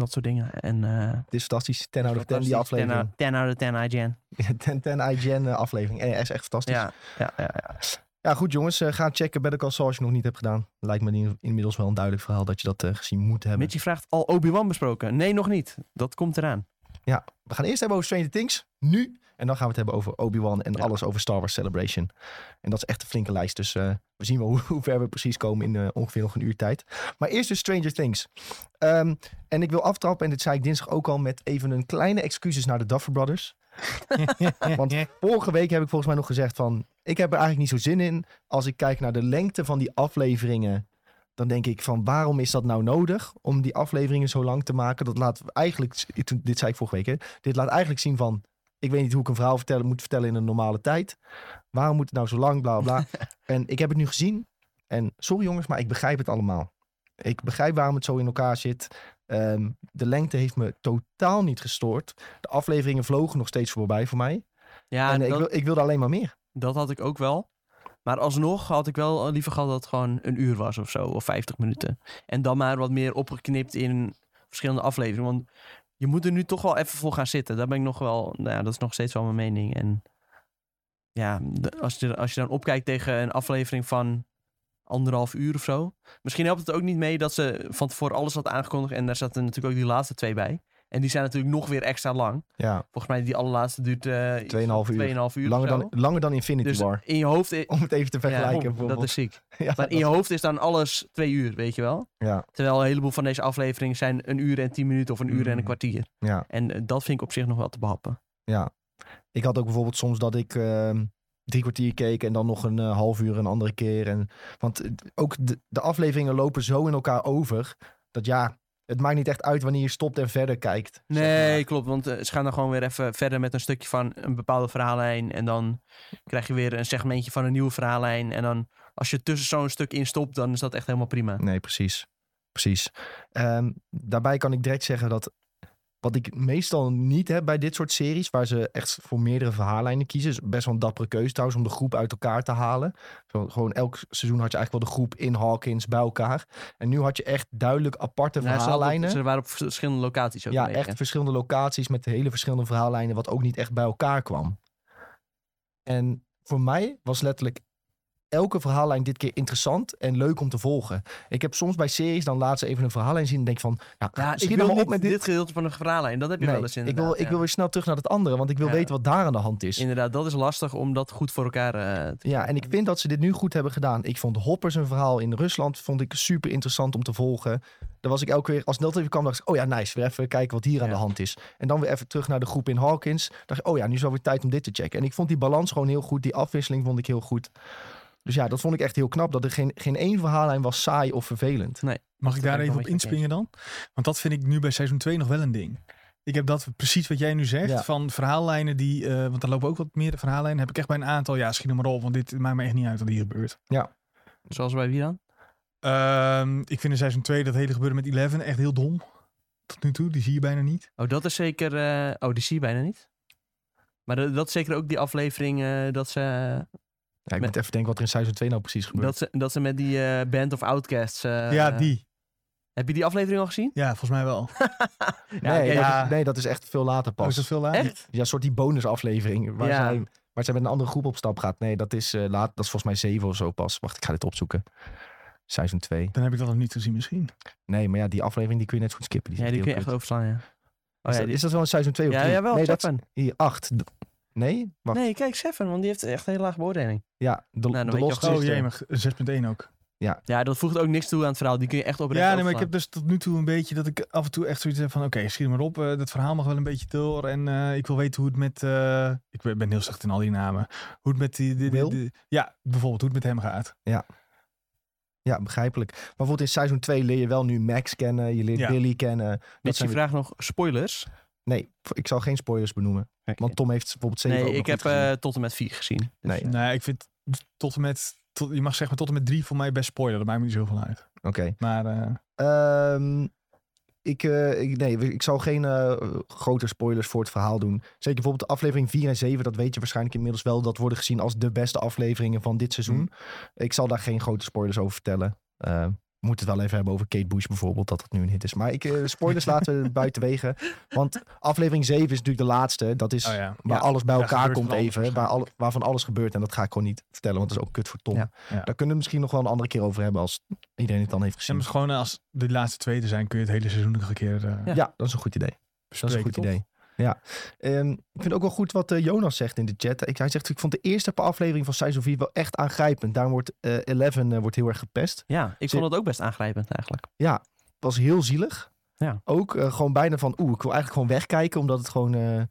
Speaker 2: Dat soort dingen. En, eh
Speaker 1: Het is fantastisch. 10 out of 10 die
Speaker 2: fantastisch. 10
Speaker 1: aflevering.
Speaker 2: out- 10 out of 10 IGN.
Speaker 1: 10 10 IGN eh, aflevering. Eh, hij is echt fantastisch. Ja,
Speaker 2: Ja, ja, ja, ja.
Speaker 1: goed jongens. eh, ga checken Better Call Saul als je het nog niet hebt gedaan. Lijkt me in- inmiddels wel een duidelijk verhaal dat je dat eh, gezien moet hebben.
Speaker 2: Mitchie vraagt, al Obi-Wan besproken? Nee, nog niet. Dat komt eraan.
Speaker 1: We gaan eerst hebben over Stranger Things. Nu. En dan gaan we het hebben over Obi-Wan en
Speaker 2: Ja.
Speaker 1: alles over Star Wars Celebration. En dat is echt een flinke lijst. Dus eh, we zien wel hoe, hoe ver we precies komen in eh, ongeveer nog een uur tijd. Maar eerst dus Stranger Things. Ehm, en ik wil aftrappen, en dit zei ik dinsdag ook al, met even een kleine excuses naar de Duffer Brothers. Want- Vorige week heb ik volgens mij nog gezegd van... ik heb er eigenlijk niet zo zin in. Als ik kijk naar de lengte van die afleveringen... dan denk ik van waarom is dat nou nodig? Om die afleveringen zo lang te maken. Dat laat eigenlijk... toen- Dit zei ik vorige week, hè? Dit laat eigenlijk zien van... ik weet niet hoe ik een verhaal vertellen, moet vertellen in een normale tijd. Waarom moet het nou zo lang, bla bla. bla. en ik heb het nu gezien. En sorry jongens, maar ik begrijp het allemaal. Ik begrijp waarom het zo in elkaar zit. Ehm, de lengte heeft me totaal niet gestoord. De afleveringen vlogen nog steeds voorbij voor mij.
Speaker 2: Ja,
Speaker 1: en eh,
Speaker 2: dat,
Speaker 1: ik, wil, ik wilde alleen maar meer.
Speaker 2: dat had ik ook wel. Maar alsnog had ik wel liever gehad dat het gewoon een uur was of zo. Of 50 minuten. En dan maar wat meer opgeknipt in verschillende afleveringen. Want je moet er nu toch wel even voor gaan zitten. Daar ben ik nog wel... Nou ja, dat is nog steeds wel mijn mening. En ja, de- als je, als je dan opkijkt tegen een aflevering van anderhalf uur of zo. Misschien helpt het ook niet mee dat ze van tevoren alles had aangekondigd. En daar zaten natuurlijk ook die laatste twee bij. En die zijn natuurlijk nog weer extra lang.
Speaker 1: Ja,
Speaker 2: Volgens mij die allerlaatste duurt... eh, iets van
Speaker 1: 2,5 uur.
Speaker 2: 2,5 uur.
Speaker 1: langer
Speaker 2: of zo.
Speaker 1: dan, langer dan Infinity
Speaker 2: Dus
Speaker 1: War.
Speaker 2: in je hoofd... i-
Speaker 1: Om het even te vergelijken.
Speaker 2: ja, oh, dat
Speaker 1: bijvoorbeeld.
Speaker 2: is ziek.
Speaker 1: ja,
Speaker 2: Maar in je hoofd is dan alles twee uur, weet je wel?
Speaker 1: ja,
Speaker 2: Terwijl een heleboel van deze afleveringen zijn een uur en tien minuten of een uur en
Speaker 3: Mm.
Speaker 2: een kwartier.
Speaker 1: ja,
Speaker 2: En eh, dat vind ik op zich nog wel te behappen.
Speaker 1: ja. Ik had ook bijvoorbeeld soms dat ik ehm, drie kwartier keek en dan nog een eh, half uur een andere keer. En, want eh, ook de, de afleveringen lopen zo in elkaar over. Dat ja, het maakt niet echt uit wanneer je stopt en verder kijkt. zeg
Speaker 2: Nee,
Speaker 1: maar.
Speaker 2: klopt. Want eh, ze gaan dan gewoon weer even verder met een stukje van een bepaalde verhaallijn. En dan krijg je weer een segmentje van een nieuwe verhaallijn. En dan als je tussen zo'n stuk in stopt, dan is dat echt helemaal prima.
Speaker 1: Nee, precies. Precies. Ehm, daarbij kan ik direct zeggen dat wat ik meestal niet heb bij dit soort series, waar ze echt voor meerdere verhaallijnen kiezen, is best wel een dappere keuze trouwens om de groep uit elkaar te halen. Zo, gewoon elk seizoen had je eigenlijk wel de groep in Hawkins bij elkaar. En nu had je echt duidelijk aparte
Speaker 2: Nou, ze, hadden-
Speaker 1: verhaallijnen.
Speaker 2: ze waren op verschillende locaties ook.
Speaker 1: Ja,
Speaker 2: gelegen.
Speaker 1: echt verschillende locaties met hele verschillende verhaallijnen, wat ook niet echt bij elkaar kwam. En voor mij was letterlijk elke verhaallijn dit keer interessant en leuk om te volgen. Ik heb soms bij series dan laat ze even een verhaallijn zien en denk van, nou,
Speaker 2: Ja, ik
Speaker 1: schiet
Speaker 2: wil
Speaker 1: er maar
Speaker 2: niet
Speaker 1: op met
Speaker 2: dit.
Speaker 1: dit.
Speaker 2: gedeelte van een verhaallijn. Dat heb je
Speaker 1: Nee,
Speaker 2: wel eens
Speaker 1: ik,
Speaker 2: inderdaad.
Speaker 1: wil, ik
Speaker 2: ja.
Speaker 1: wil weer snel terug naar het andere, want ik wil
Speaker 2: Ja.
Speaker 1: weten wat daar aan de hand is.
Speaker 2: Inderdaad, dat is lastig om dat goed voor elkaar eh, te
Speaker 1: Ja, en ik vind dat ze dit nu goed hebben gedaan. Ik vond Hoppers een verhaal in Rusland vond ik super interessant om te volgen. Daar was ik elke keer, als het net even kwam, dacht ik... oh ja, nice, weer even kijken wat hier aan
Speaker 2: Ja.
Speaker 1: de hand is. En dan weer even terug naar de groep in Hawkins. Dacht ik, oh ja, nu is wel weer tijd om dit te checken. En ik vond die balans gewoon heel goed. Die afwisseling vond ik heel goed. Dus ja, dat vond ik echt heel knap. Dat er geen, geen één verhaallijn was saai of vervelend.
Speaker 3: Mag ik
Speaker 2: ben ik
Speaker 3: daar
Speaker 2: wel
Speaker 3: even
Speaker 2: met
Speaker 3: op
Speaker 2: je eens.
Speaker 3: inspringen dan? Want dat vind ik nu bij seizoen 2 nog wel een ding. Ik heb dat precies wat jij nu zegt,
Speaker 1: Ja.
Speaker 3: van verhaallijnen die... eh, want daar lopen ook wat meer verhaallijnen. Heb ik echt bij een aantal, ja, schiet er maar op. Want dit maakt me echt niet uit wat hier gebeurt.
Speaker 2: Zoals bij wie dan?
Speaker 3: Ehm, ik vind in seizoen 2 dat hele gebeuren met Eleven echt heel dom. Tot nu toe, die zie je bijna niet.
Speaker 2: Oh, dat is zeker... eh, oh, die zie je bijna niet. Maar dat, dat is zeker ook die aflevering eh, dat, ze,
Speaker 1: Ja, ik
Speaker 2: Met-
Speaker 1: moet even denken wat er in seizoen 2 nou precies gebeurt.
Speaker 2: dat, ze, dat ze met die eh, Band of Outcasts... eh,
Speaker 3: ja,
Speaker 2: eh,
Speaker 3: die.
Speaker 2: heb je die aflevering al gezien?
Speaker 3: Ja, volgens mij wel.
Speaker 2: Ja,
Speaker 1: nee,
Speaker 2: oké,
Speaker 1: dat
Speaker 3: ja.
Speaker 1: is, nee, dat is echt veel later
Speaker 3: Oh,
Speaker 1: pas.
Speaker 3: is dat veel later?
Speaker 2: Echt?
Speaker 1: Ja, een soort die bonusaflevering waar,
Speaker 2: Ja.
Speaker 1: zij, waar zij met een andere groep op stap gaat. Nee, dat is, eh, laat, dat is volgens mij 7 of zo pas. Wacht, ik ga dit opzoeken. Seizoen 2.
Speaker 3: Dan heb ik dat nog niet gezien misschien.
Speaker 1: Nee, maar ja, die aflevering die kun je net zo goed skippen. Die
Speaker 2: Ja,
Speaker 1: is
Speaker 2: die kun je echt
Speaker 1: heel kut.
Speaker 2: overslaan, ja. Oh,
Speaker 1: is,
Speaker 2: ja,
Speaker 1: dat,
Speaker 2: die,
Speaker 1: is dat wel een seizoen 2 of
Speaker 2: ja,
Speaker 1: 3?
Speaker 2: jawel,
Speaker 1: nee, dat is
Speaker 2: Seven.
Speaker 1: hier 8. Nee, wacht.
Speaker 2: Nee, kijk, Seven, want die heeft echt een hele lage beoordeling.
Speaker 1: Ja, de,
Speaker 2: Nou, dan
Speaker 1: de
Speaker 2: weet je
Speaker 1: Lost
Speaker 2: al
Speaker 3: Oh
Speaker 2: Precies,
Speaker 1: Sister.
Speaker 3: jee, maar 6.1 ook.
Speaker 2: Ja, dat voegt ook niks toe aan het verhaal. Die kun je echt oprecht
Speaker 3: Ja, nee, maar ik heb
Speaker 2: overslaan.
Speaker 3: dus tot nu toe een beetje dat ik af en toe echt zoiets heb van... Oké, schiet er maar op. eh, dat verhaal mag wel een beetje door. En eh, ik wil weten hoe het met... eh, ik ben ben heel slecht in al die namen. Hoe het met die... die- die-
Speaker 1: Will?
Speaker 3: die- ja, bijvoorbeeld hoe het met hem gaat.
Speaker 1: Ja, begrijpelijk. Maar bijvoorbeeld in seizoen 2 leer je wel nu Max kennen, je leert
Speaker 3: Ja.
Speaker 1: Billy kennen.
Speaker 2: Dit
Speaker 1: zijn
Speaker 2: je
Speaker 1: weer-
Speaker 2: vraagt nog spoilers.
Speaker 1: Nee, ik zal geen spoilers benoemen. Want Tom heeft bijvoorbeeld zeven ook
Speaker 2: nee,
Speaker 1: nog
Speaker 2: ik heb
Speaker 1: niet gezien.
Speaker 2: eh, tot en met 4 gezien. Dus,
Speaker 1: Nee.
Speaker 2: eh,
Speaker 3: Nee, Nou, ik vind tot en met, tot, je mag zeggen tot en met drie voor mij best spoiler. Dat maakt me niet zoveel uit.
Speaker 1: Oké.
Speaker 3: Maar eh,
Speaker 1: Ehm, ik, eh, ik, nee, ik zal geen eh, grote spoilers voor het verhaal doen. Zeker bijvoorbeeld de aflevering 4 en 7, dat weet je waarschijnlijk inmiddels wel. Dat worden gezien als de beste afleveringen van dit
Speaker 3: Mhm.
Speaker 1: seizoen. Ik zal daar geen grote spoilers over vertellen. Eh, we moeten het wel even hebben over Kate Bush bijvoorbeeld, dat dat nu een hit is. Maar ik, eh, spoilers laten we buitenwege. Want aflevering 7 is natuurlijk de laatste. Dat is
Speaker 3: oh ja.
Speaker 1: waar
Speaker 2: Ja,
Speaker 1: alles bij
Speaker 3: daar
Speaker 1: elkaar
Speaker 3: gebeurt
Speaker 1: komt
Speaker 3: van alles
Speaker 1: even. Waar alle- waarvan alles gebeurt. En dat ga ik gewoon niet vertellen, want dat is ook kut voor Tom.
Speaker 2: Ja.
Speaker 3: Ja.
Speaker 1: Daar kunnen we misschien nog wel een andere keer over hebben als iedereen het dan heeft gezien.
Speaker 3: En gewoon als de laatste twee te zijn, kun je het hele seizoen nog een keer eh
Speaker 1: Ja, dat is een goed idee. Dat is
Speaker 3: bespreken,
Speaker 1: een goed
Speaker 3: toch?
Speaker 1: idee. Ja. Ehm, ik vind ook wel goed wat eh, Jonas zegt in de chat. Ik, hij zegt, ik vond de eerste paar afleveringen van seizoen 4 wel echt aangrijpend. Daar wordt eh, Eleven eh, wordt heel erg gepest.
Speaker 2: Ja, ik vond het ook best aangrijpend eigenlijk.
Speaker 1: was heel zielig.
Speaker 2: Ja.
Speaker 1: Ook eh, gewoon bijna van, oeh, ik wil eigenlijk gewoon wegkijken. Omdat het gewoon eh,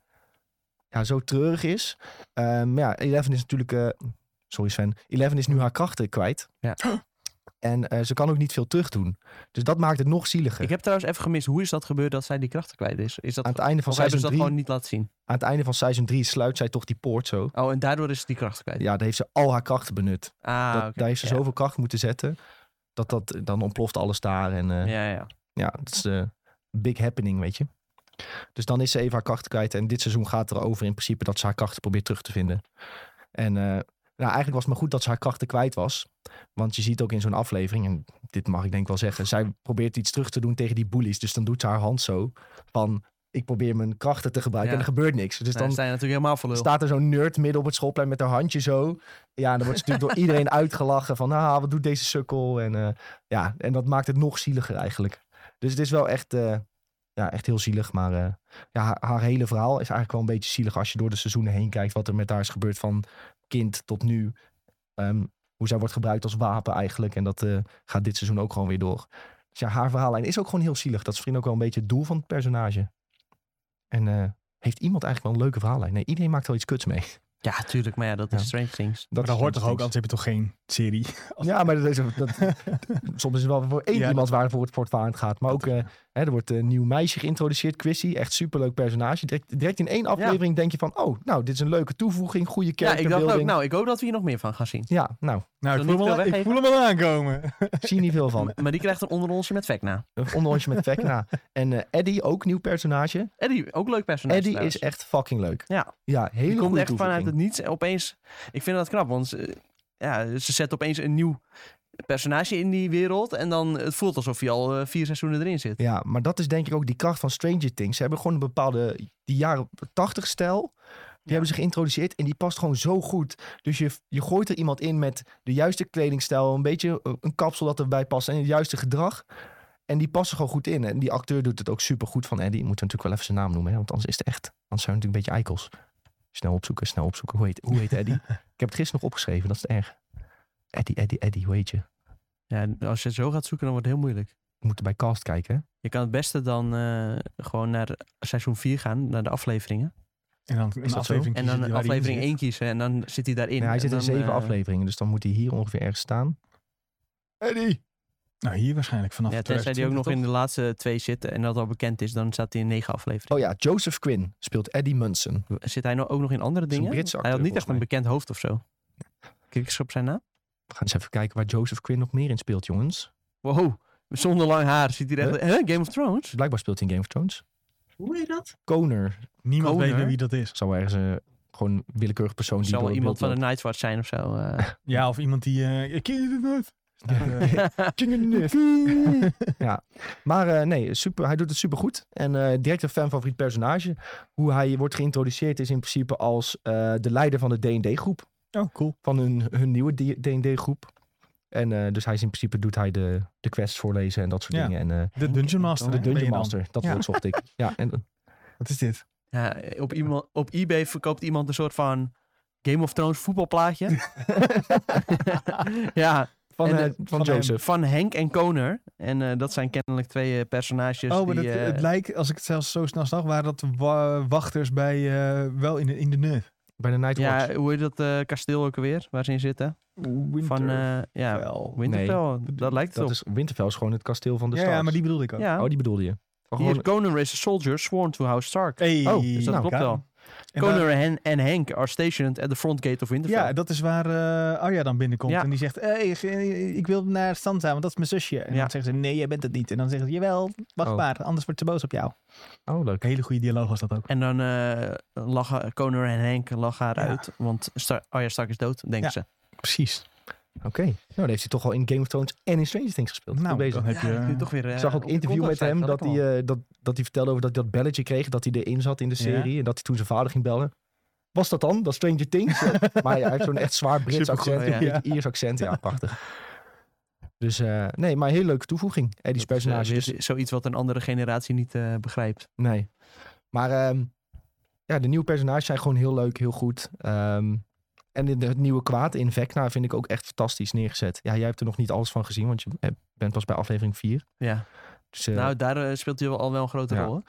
Speaker 1: ja, zo treurig is. Ehm, maar ja, Eleven is natuurlijk... eh, sorry Sven. Eleven is nu haar krachten kwijt.
Speaker 2: Ja.
Speaker 1: En eh, ze kan ook niet veel terug doen. Dus dat maakt het nog zieliger.
Speaker 2: Ik heb trouwens even gemist, hoe is dat gebeurd dat zij die krachten kwijt is? is dat,
Speaker 1: aan, het einde van
Speaker 2: of hebben
Speaker 1: seizoen
Speaker 2: ze dat
Speaker 1: 3,
Speaker 2: gewoon niet laten zien?
Speaker 1: aan het einde van seizoen 3 sluit zij toch die poort zo.
Speaker 2: Oh, en daardoor is ze die krachten kwijt.
Speaker 1: Ja, daar heeft ze al haar krachten benut.
Speaker 2: Ah,
Speaker 1: dat,
Speaker 2: oké.
Speaker 1: Daar heeft ze
Speaker 2: Ja.
Speaker 1: zoveel kracht moeten zetten. Dat, dat dan ontploft alles daar. En eh, ja.
Speaker 2: Ja, ja.
Speaker 1: dat is eh big happening, weet je. Dus dan is ze even haar krachten kwijt. En dit seizoen gaat erover in principe dat ze haar krachten probeert terug te vinden. En eh, nou, eigenlijk was het maar goed dat ze haar krachten kwijt was. Want je ziet ook in zo'n aflevering, en dit mag ik denk ik wel zeggen. Zij probeert iets terug te doen tegen die bullies. Dus dan doet ze haar hand zo van... Ik probeer mijn krachten te gebruiken
Speaker 2: Ja.
Speaker 1: en er gebeurt niks. Dus
Speaker 2: dan
Speaker 1: dan
Speaker 2: sta je natuurlijk helemaal voor lul.
Speaker 1: staat er zo'n nerd midden op het schoolplein met haar handje zo. Ja, en dan wordt ze natuurlijk door iedereen uitgelachen van, ah, wat doet deze sukkel? En, eh, ja, en dat maakt het nog zieliger eigenlijk. Dus het is wel echt, eh, ja, echt heel zielig. Maar eh, ja, haar, haar hele verhaal is eigenlijk wel een beetje zielig als je door de seizoenen heen kijkt. Wat er met haar is gebeurd van kind tot nu. Ehm, hoe zij wordt gebruikt als wapen eigenlijk. En dat eh, gaat dit seizoen ook gewoon weer door. Dus ja, haar verhaallijn is ook gewoon heel zielig. Dat is misschien ook wel een beetje het doel van het personage. En eh, heeft iemand eigenlijk wel een leuke verhaallijn? Nee, iedereen maakt wel iets kuts mee.
Speaker 2: Ja, tuurlijk, maar ja, dat is
Speaker 1: Ja.
Speaker 2: Strange Things.
Speaker 1: Dat
Speaker 3: Maar dat
Speaker 1: is
Speaker 3: hoort
Speaker 1: dan
Speaker 3: toch ook,
Speaker 1: steeds-
Speaker 3: anders heb je toch geen serie.
Speaker 1: Ja, maar dat is, dat, soms is het wel voor één
Speaker 3: Ja,
Speaker 1: iemand waar het voor het voortvarend gaat. Maar
Speaker 3: Dat
Speaker 1: ook, eh, hè, er wordt een nieuw meisje geïntroduceerd, Chrissy. Echt superleuk personage. Direct, direct in één aflevering denk je van, oh, nou, dit is een leuke toevoeging. Goede
Speaker 2: Ja, ik dacht ook,
Speaker 1: characterbuilding.
Speaker 2: nou, ik hoop dat we hier nog meer van gaan zien.
Speaker 1: Ja, nou,
Speaker 3: Nou,
Speaker 2: Zullen
Speaker 3: ik
Speaker 2: we
Speaker 3: voel,
Speaker 2: niet
Speaker 3: hem al,
Speaker 2: veel
Speaker 3: ik voel hem al aankomen.
Speaker 1: zie je niet veel van.
Speaker 2: Maar die krijgt een onderonsje met Vecna.
Speaker 1: Een onderhondje met Vecna. En eh Eddie, ook nieuw personage.
Speaker 2: Eddie, ook leuk personage
Speaker 1: Eddie
Speaker 2: trouwens.
Speaker 1: is echt fucking leuk.
Speaker 2: Ja.
Speaker 1: Ja,
Speaker 2: Die
Speaker 1: hele
Speaker 2: komt
Speaker 1: goede
Speaker 2: echt vanuit het
Speaker 1: toevoeging.
Speaker 2: niets. en Opeens, ik vind dat knap, want ze, ja, ze zet opeens een nieuw personage in die wereld. En dan het voelt alsof je al eh, vier seizoenen erin zit.
Speaker 1: Ja, maar dat is denk ik ook die kracht van Stranger Things. Ze hebben gewoon een bepaalde, die jaren 80 stijl. Die hebben ze geïntroduceerd en die past gewoon zo goed. Dus je, je gooit er iemand in met de juiste kledingstijl, een beetje eh, een kapsel dat erbij past en het juiste gedrag. En die passen gewoon goed in. En die acteur doet het ook super goed van Eddie. Moeten we natuurlijk wel even zijn naam noemen, hè? want anders is het echt. Anders zijn we natuurlijk een beetje eikels. Snel opzoeken, snel opzoeken. Hoe heet, hoe heet Eddie? Ik heb het gisteren nog opgeschreven, dat is het erg. Eddie, Eddie, Eddie, hoe heet je?
Speaker 2: Ja, als je zo gaat zoeken, dan wordt het heel moeilijk.
Speaker 1: We moeten bij cast kijken. hè?
Speaker 2: Je kan het beste dan eh, gewoon naar seizoen 4 gaan, naar de afleveringen.
Speaker 3: En dan
Speaker 1: Is
Speaker 3: een
Speaker 1: dat zo?
Speaker 3: aflevering
Speaker 2: En
Speaker 3: kiezen
Speaker 2: dan
Speaker 3: waar hij in
Speaker 2: aflevering
Speaker 3: zit.
Speaker 2: 1 kiezen en dan zit hij daarin.
Speaker 1: Nee, hij
Speaker 2: En
Speaker 1: zit in
Speaker 2: dan,
Speaker 1: zeven
Speaker 2: eh,
Speaker 1: afleveringen, dus dan moet hij hier ongeveer ergens staan. Eddie!
Speaker 3: Nou, hier waarschijnlijk vanaf
Speaker 2: Ja, tenzij die ook nog in de laatste twee zit en dat al bekend is, dan staat hij in negen afleveringen.
Speaker 1: Oh ja, Joseph Quinn speelt Eddie Munson.
Speaker 2: Zit hij nou ook nog in andere
Speaker 1: Oh, is een
Speaker 2: dingen?
Speaker 1: Britse
Speaker 2: hij had
Speaker 1: acteur,
Speaker 2: niet echt een
Speaker 1: volgens
Speaker 2: bekend hoofd of zo. Kijk eens op zijn naam.
Speaker 1: We gaan eens even kijken waar Joseph Quinn nog meer in speelt, jongens.
Speaker 2: Wow, zonder lang haar ziet hij er echt... Huh? Game of Thrones?
Speaker 1: Blijkbaar speelt hij in Game of Thrones.
Speaker 4: Hoe heet dat?
Speaker 1: Koner
Speaker 3: Niemand
Speaker 2: Koner.
Speaker 3: weet meer wie dat is.
Speaker 1: zou ergens eh, gewoon een willekeurig persoon die
Speaker 2: Zal
Speaker 1: door
Speaker 2: wel
Speaker 1: het
Speaker 2: iemand van
Speaker 1: beeld
Speaker 2: de Nightwatch zijn of zo. eh.
Speaker 3: Ja, of iemand die... eh ik ken je dit nooit. Eh,
Speaker 1: loopt. ja, maar eh, nee, super, hij doet het supergoed. En eh, direct een fanfavoriet personage. Hoe hij wordt geïntroduceerd is in principe als eh, de leider van de D&D-groep.
Speaker 3: Oh, cool.
Speaker 1: van hun, hun nieuwe D&D-groep. En eh, dus hij is in principe doet hij de, de quests voorlezen en dat soort
Speaker 3: Ja.
Speaker 1: dingen. En eh,
Speaker 3: De Dungeon Master.
Speaker 1: de
Speaker 3: hè, ben
Speaker 1: Dungeon
Speaker 3: je dan.
Speaker 1: Master, dat
Speaker 3: Ja.
Speaker 1: woord zocht ik. Ja, en, eh,
Speaker 3: Wat is dit?
Speaker 2: ja, op, iemand, op eBay verkoopt iemand een soort van Game of Thrones voetbalplaatje. ja,
Speaker 1: van,
Speaker 2: En,
Speaker 1: eh,
Speaker 2: eh,
Speaker 1: van,
Speaker 3: van hem.
Speaker 1: Joseph.
Speaker 2: van Henk en Koner. En eh, dat zijn kennelijk twee eh, personages
Speaker 3: oh, maar
Speaker 2: die...
Speaker 3: dat,
Speaker 2: eh,
Speaker 3: het lijkt, als ik het zelfs zo snel zag, waren dat wa- wachters bij eh, wel in de, in de nerd.
Speaker 1: Bij de Night Watch.
Speaker 2: Ja, hoe heet dat eh, kasteel ook alweer? Waar ze in zitten? Van, eh, ja,
Speaker 3: Wel.
Speaker 2: Winterfell. dat lijkt het
Speaker 1: dat
Speaker 2: op.
Speaker 1: is, Winterfell is gewoon het kasteel van de
Speaker 3: ja,
Speaker 1: Starks.
Speaker 3: ja, maar die bedoelde ik ook.
Speaker 2: ja.
Speaker 1: Oh, die bedoelde je. Oh,
Speaker 2: Hier,
Speaker 1: gewoon-
Speaker 2: Conan is a soldier sworn to House Stark.
Speaker 3: Hey,
Speaker 1: Oh,
Speaker 2: dus dat
Speaker 3: nou,
Speaker 2: klopt
Speaker 3: ja.
Speaker 2: wel.
Speaker 3: En
Speaker 2: Conan
Speaker 3: daar-
Speaker 2: en, en Hank are stationed at the front gate of Winterfell.
Speaker 3: ja, dat is waar eh Arya dan binnenkomt.
Speaker 2: Ja.
Speaker 3: En die zegt, hey, ik, eh, ik wil naar Sansa, want dat is mijn zusje. En
Speaker 2: Ja.
Speaker 3: dan zeggen ze, nee, jij bent het niet. En dan zeggen ze, jawel, wacht
Speaker 1: Oh.
Speaker 3: maar, anders wordt ze boos op jou.
Speaker 1: Oh, leuk.
Speaker 3: Een hele goede dialoog was dat ook.
Speaker 2: En dan eh lachen Conan en Henk lachen haar
Speaker 3: Ja.
Speaker 2: uit. Want Star Arya Stark is dood, denken
Speaker 3: Ja.
Speaker 2: ze.
Speaker 3: Precies.
Speaker 1: Oké. Nou, dan heeft hij toch al in Game of Thrones en in Stranger Things gespeeld.
Speaker 3: Nou,
Speaker 1: Goed bezig.
Speaker 3: dan heb je...
Speaker 2: Nu toch weer, eh,
Speaker 1: Ik zag ook
Speaker 2: op
Speaker 1: een
Speaker 2: de
Speaker 1: interview met
Speaker 2: contact
Speaker 1: hem
Speaker 2: site,
Speaker 1: dat hij,
Speaker 2: ik al.
Speaker 1: eh, dat, dat hij vertelde over dat hij dat belletje kreeg, dat hij erin zat in de
Speaker 3: Ja.
Speaker 1: serie. En dat hij toen zijn vader ging bellen. Was dat dan? Dat Stranger Things? Ja. maar ja, hij heeft zo'n echt zwaar Brits
Speaker 3: Supergoed,
Speaker 1: accent, een
Speaker 3: ja.
Speaker 1: beetje Iers accent. Ja, prachtig. Dus eh, nee, maar een hele leuke toevoeging. Eddie's
Speaker 2: Dat is, eh,
Speaker 1: personage.
Speaker 2: weer
Speaker 1: dus-
Speaker 2: zoiets wat een andere generatie niet eh, begrijpt.
Speaker 1: nee. Maar ehm, ja, de nieuwe personages zijn gewoon heel leuk, heel goed. Ehm, en de- het nieuwe kwaad in Vecna vind ik ook echt fantastisch neergezet. Ja, jij hebt er nog niet alles van gezien, want je eh, bent pas bij aflevering 4.
Speaker 2: Ja.
Speaker 1: Dus, eh,
Speaker 2: Nou, daar eh, speelt hij wel- al wel een grote
Speaker 1: Ja.
Speaker 2: rol. hè?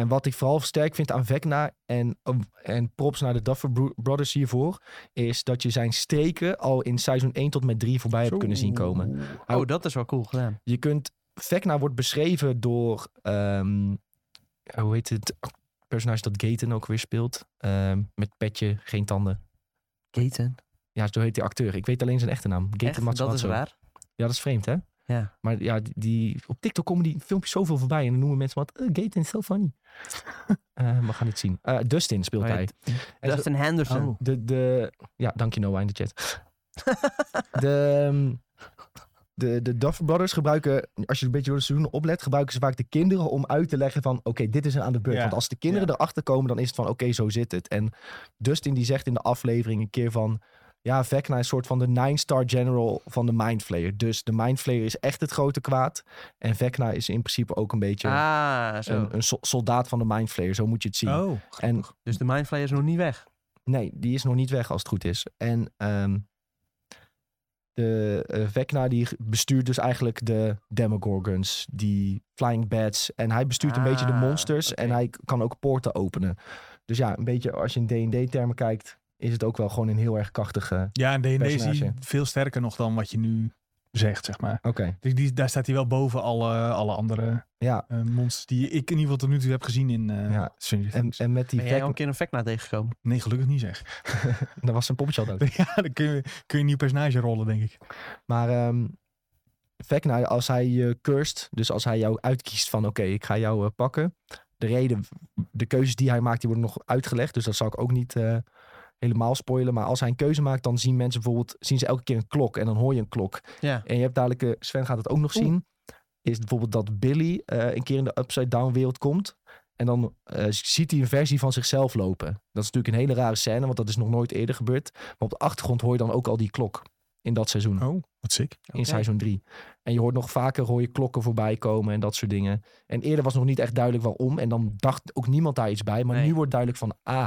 Speaker 1: En wat ik vooral sterk vind aan Vecna en, oh, en props naar de Duffer Bro- Brothers hiervoor, is dat je zijn streken al in seizoen 1 tot en met 3 voorbij hebt kunnen zien komen.
Speaker 2: Oh,
Speaker 1: Oh.
Speaker 2: dat is wel cool gedaan.
Speaker 1: Je kunt, Vecna wordt beschreven door, ehm, hoe heet het personage dat Gaten ook weer speelt? Ehm, met petje, geen tanden.
Speaker 2: Gaten.
Speaker 1: Ja, zo heet die acteur. Ik weet alleen zijn echte naam. Gaten
Speaker 2: Echt, dat is
Speaker 1: Matsumatsu.
Speaker 2: waar.
Speaker 1: Ja, dat is vreemd, hè?
Speaker 2: Ja.
Speaker 1: Maar ja, die, die- op TikTok komen die filmpjes zoveel voorbij en dan noemen mensen wat, eh, Gaten is so funny. Eh, we gaan het zien. Eh, Dustin speelt
Speaker 2: Oh ja,
Speaker 1: hij. En zo- Oh,
Speaker 2: Dustin Henderson.
Speaker 3: Oh.
Speaker 1: De, de, ja, dank je Noah in de chat. de, ehm, de, de Duff Brothers gebruiken, als je een beetje door de seizoenen oplet, gebruiken ze vaak de kinderen om uit te leggen van, oké, dit is een aan de beurt.
Speaker 3: Ja,
Speaker 1: Want als de kinderen erachter komen, dan is het van, oké, zo zit het. En Dustin die zegt in de aflevering een keer van, ja, Vecna is een soort van de nine-star general van de Mindflayer. Dus de Mindflayer is echt het grote kwaad. En Vecna is in principe ook een beetje
Speaker 2: Ah, zo.
Speaker 1: een, een so- soldaat van de Mindflayer. Zo moet je het zien.
Speaker 3: Oh,
Speaker 1: En
Speaker 2: Dus de Mindflayer is nog niet weg.
Speaker 1: Nee, die is nog niet weg als het goed is. En ehm, de eh, Vecna die bestuurt dus eigenlijk de Demogorgons, die Flying Bats. En hij bestuurt een beetje de
Speaker 2: Ah,
Speaker 1: monsters en
Speaker 2: oké.
Speaker 1: hij k- kan ook poorten openen. Dus ja, een beetje als je in D&D-termen kijkt, is het ook wel gewoon een heel erg krachtige... Oké.
Speaker 3: ja, en D&D is die
Speaker 1: Personage.
Speaker 3: veel sterker nog dan wat je nu zegt, zeg maar. Dus die, daar staat hij wel boven alle, alle andere
Speaker 1: Ja,
Speaker 3: eh, monsters die ik in ieder geval tot nu toe heb gezien in eh
Speaker 1: Ja.
Speaker 3: Stranger
Speaker 1: en,
Speaker 3: Things.
Speaker 1: en met die
Speaker 2: Ben jij
Speaker 1: Vecna...
Speaker 2: al een keer een Vecna tegengekomen?
Speaker 3: Nee, gelukkig niet zeg.
Speaker 1: Daar was zijn poppetje al dood.
Speaker 3: Ja, dan kun je, kun je een nieuw personage rollen, denk ik.
Speaker 1: Maar ehm Vecna, als hij je curst, dus als hij jou uitkiest van oké, ik ga jou eh, pakken. De reden, de keuzes die hij maakt, die worden nog uitgelegd. Dus dat zal ik ook niet eh, helemaal spoilen. Maar als hij een keuze maakt, dan zien mensen bijvoorbeeld, zien ze elke keer een klok en dan hoor je een klok.
Speaker 2: Ja.
Speaker 1: En je hebt dadelijk, eh, Sven gaat het ook nog
Speaker 2: Oeh.
Speaker 1: zien, is bijvoorbeeld dat Billy eh, een keer in de upside down wereld komt. En dan eh, ziet hij een versie van zichzelf lopen. Dat is natuurlijk een hele rare scène, want dat is nog nooit eerder gebeurd. Maar op de achtergrond hoor je dan ook al die klok in dat seizoen
Speaker 3: Oh, wat sick.
Speaker 1: in seizoen 3. En je hoort nog vaker rode klokken voorbij komen en dat soort dingen. En eerder was nog niet echt duidelijk waarom. En dan dacht ook niemand daar iets bij. Maar
Speaker 2: Nee.
Speaker 1: nu wordt duidelijk van, ah,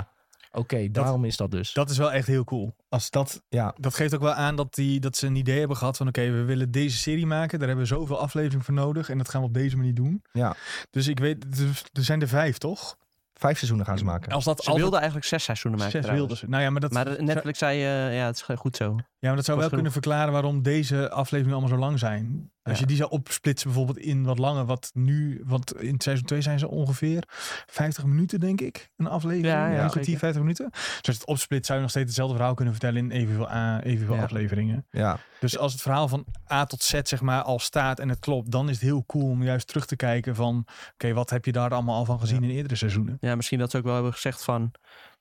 Speaker 1: oké, daarom is dat dus.
Speaker 3: Dat is wel echt heel cool. Als dat,
Speaker 1: Ja.
Speaker 3: dat geeft ook wel aan dat, die, dat ze een idee hebben gehad van... oké, we willen deze serie maken. Daar hebben we zoveel afleveringen voor nodig. En dat gaan we op deze manier doen.
Speaker 1: Ja.
Speaker 3: Dus ik weet, er- er zijn er vijf, toch?
Speaker 1: Vijf seizoenen gaan ze maken.
Speaker 3: Als dat
Speaker 2: Ze wilden eigenlijk zes seizoenen maken
Speaker 3: zes
Speaker 2: trouwens.
Speaker 3: wilden ze. Nou ja, maar dat,
Speaker 2: Maar
Speaker 3: zou-
Speaker 2: eh, Netflix zei, eh, ja, het is goed zo.
Speaker 3: ja, maar dat zou
Speaker 2: was
Speaker 3: wel
Speaker 2: genoeg.
Speaker 3: kunnen verklaren waarom deze afleveringen allemaal zo lang zijn. Als
Speaker 1: Ja.
Speaker 3: je die zou opsplitsen bijvoorbeeld in wat langer, wat nu, want in seizoen 2 zijn ze ongeveer 50 minuten, denk ik, een aflevering.
Speaker 2: Ja,
Speaker 3: Ja,
Speaker 1: ja,
Speaker 3: een kwartier,
Speaker 2: zeker.
Speaker 3: 50 minuten. Dus als je het opsplit, zou je nog steeds hetzelfde verhaal kunnen vertellen in evenveel, a, evenveel
Speaker 1: Ja.
Speaker 3: afleveringen.
Speaker 1: Ja.
Speaker 3: Dus als het verhaal van A tot Z zeg maar al staat en het klopt, dan is het heel cool om juist terug te kijken van, oké, wat heb je daar allemaal al van gezien in eerdere seizoenen?
Speaker 2: Ja, misschien dat ze ook wel hebben gezegd van...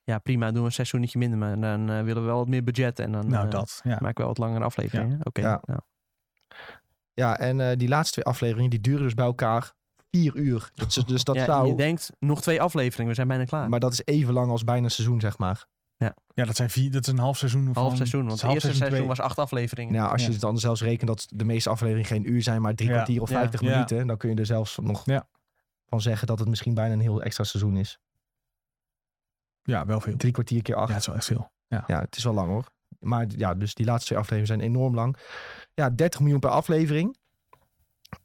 Speaker 2: Ja, prima, doen we een seizoentje minder. Maar dan eh, willen we wel wat meer budget. En dan
Speaker 3: Nou,
Speaker 2: eh,
Speaker 3: dat, ja.
Speaker 2: maken we wel wat langere afleveringen. Oké,
Speaker 1: Ja.
Speaker 2: nou.
Speaker 1: ja, en eh, die laatste twee afleveringen, die duren dus bij elkaar vier uur. Dat is, dus dat
Speaker 2: Ja, en
Speaker 1: zou...
Speaker 2: Je denkt, nog twee afleveringen, we zijn bijna klaar.
Speaker 1: Maar dat is even lang als bijna een seizoen, zeg maar.
Speaker 3: Ja, dat zijn vier, dat is een half seizoen.
Speaker 2: half
Speaker 3: van-
Speaker 2: seizoen, want
Speaker 3: het is
Speaker 2: het
Speaker 3: half
Speaker 2: eerste seizoen,
Speaker 3: twee.
Speaker 2: was acht afleveringen.
Speaker 1: Nou, als je
Speaker 3: Ja.
Speaker 1: het dan zelfs rekent dat de meeste afleveringen geen uur zijn, maar drie
Speaker 3: Ja.
Speaker 1: kwartier of
Speaker 2: Ja.
Speaker 1: vijftig
Speaker 3: Ja.
Speaker 1: minuten, dan kun je er zelfs nog
Speaker 3: Ja.
Speaker 1: van zeggen dat het misschien bijna een heel extra seizoen is.
Speaker 3: Ja, wel veel.
Speaker 1: Drie kwartier keer acht.
Speaker 3: Ja, het is wel echt veel.
Speaker 1: Ja, het is wel lang hoor. Maar ja, dus die laatste twee afleveringen zijn enorm lang. Ja, 30 miljoen per aflevering.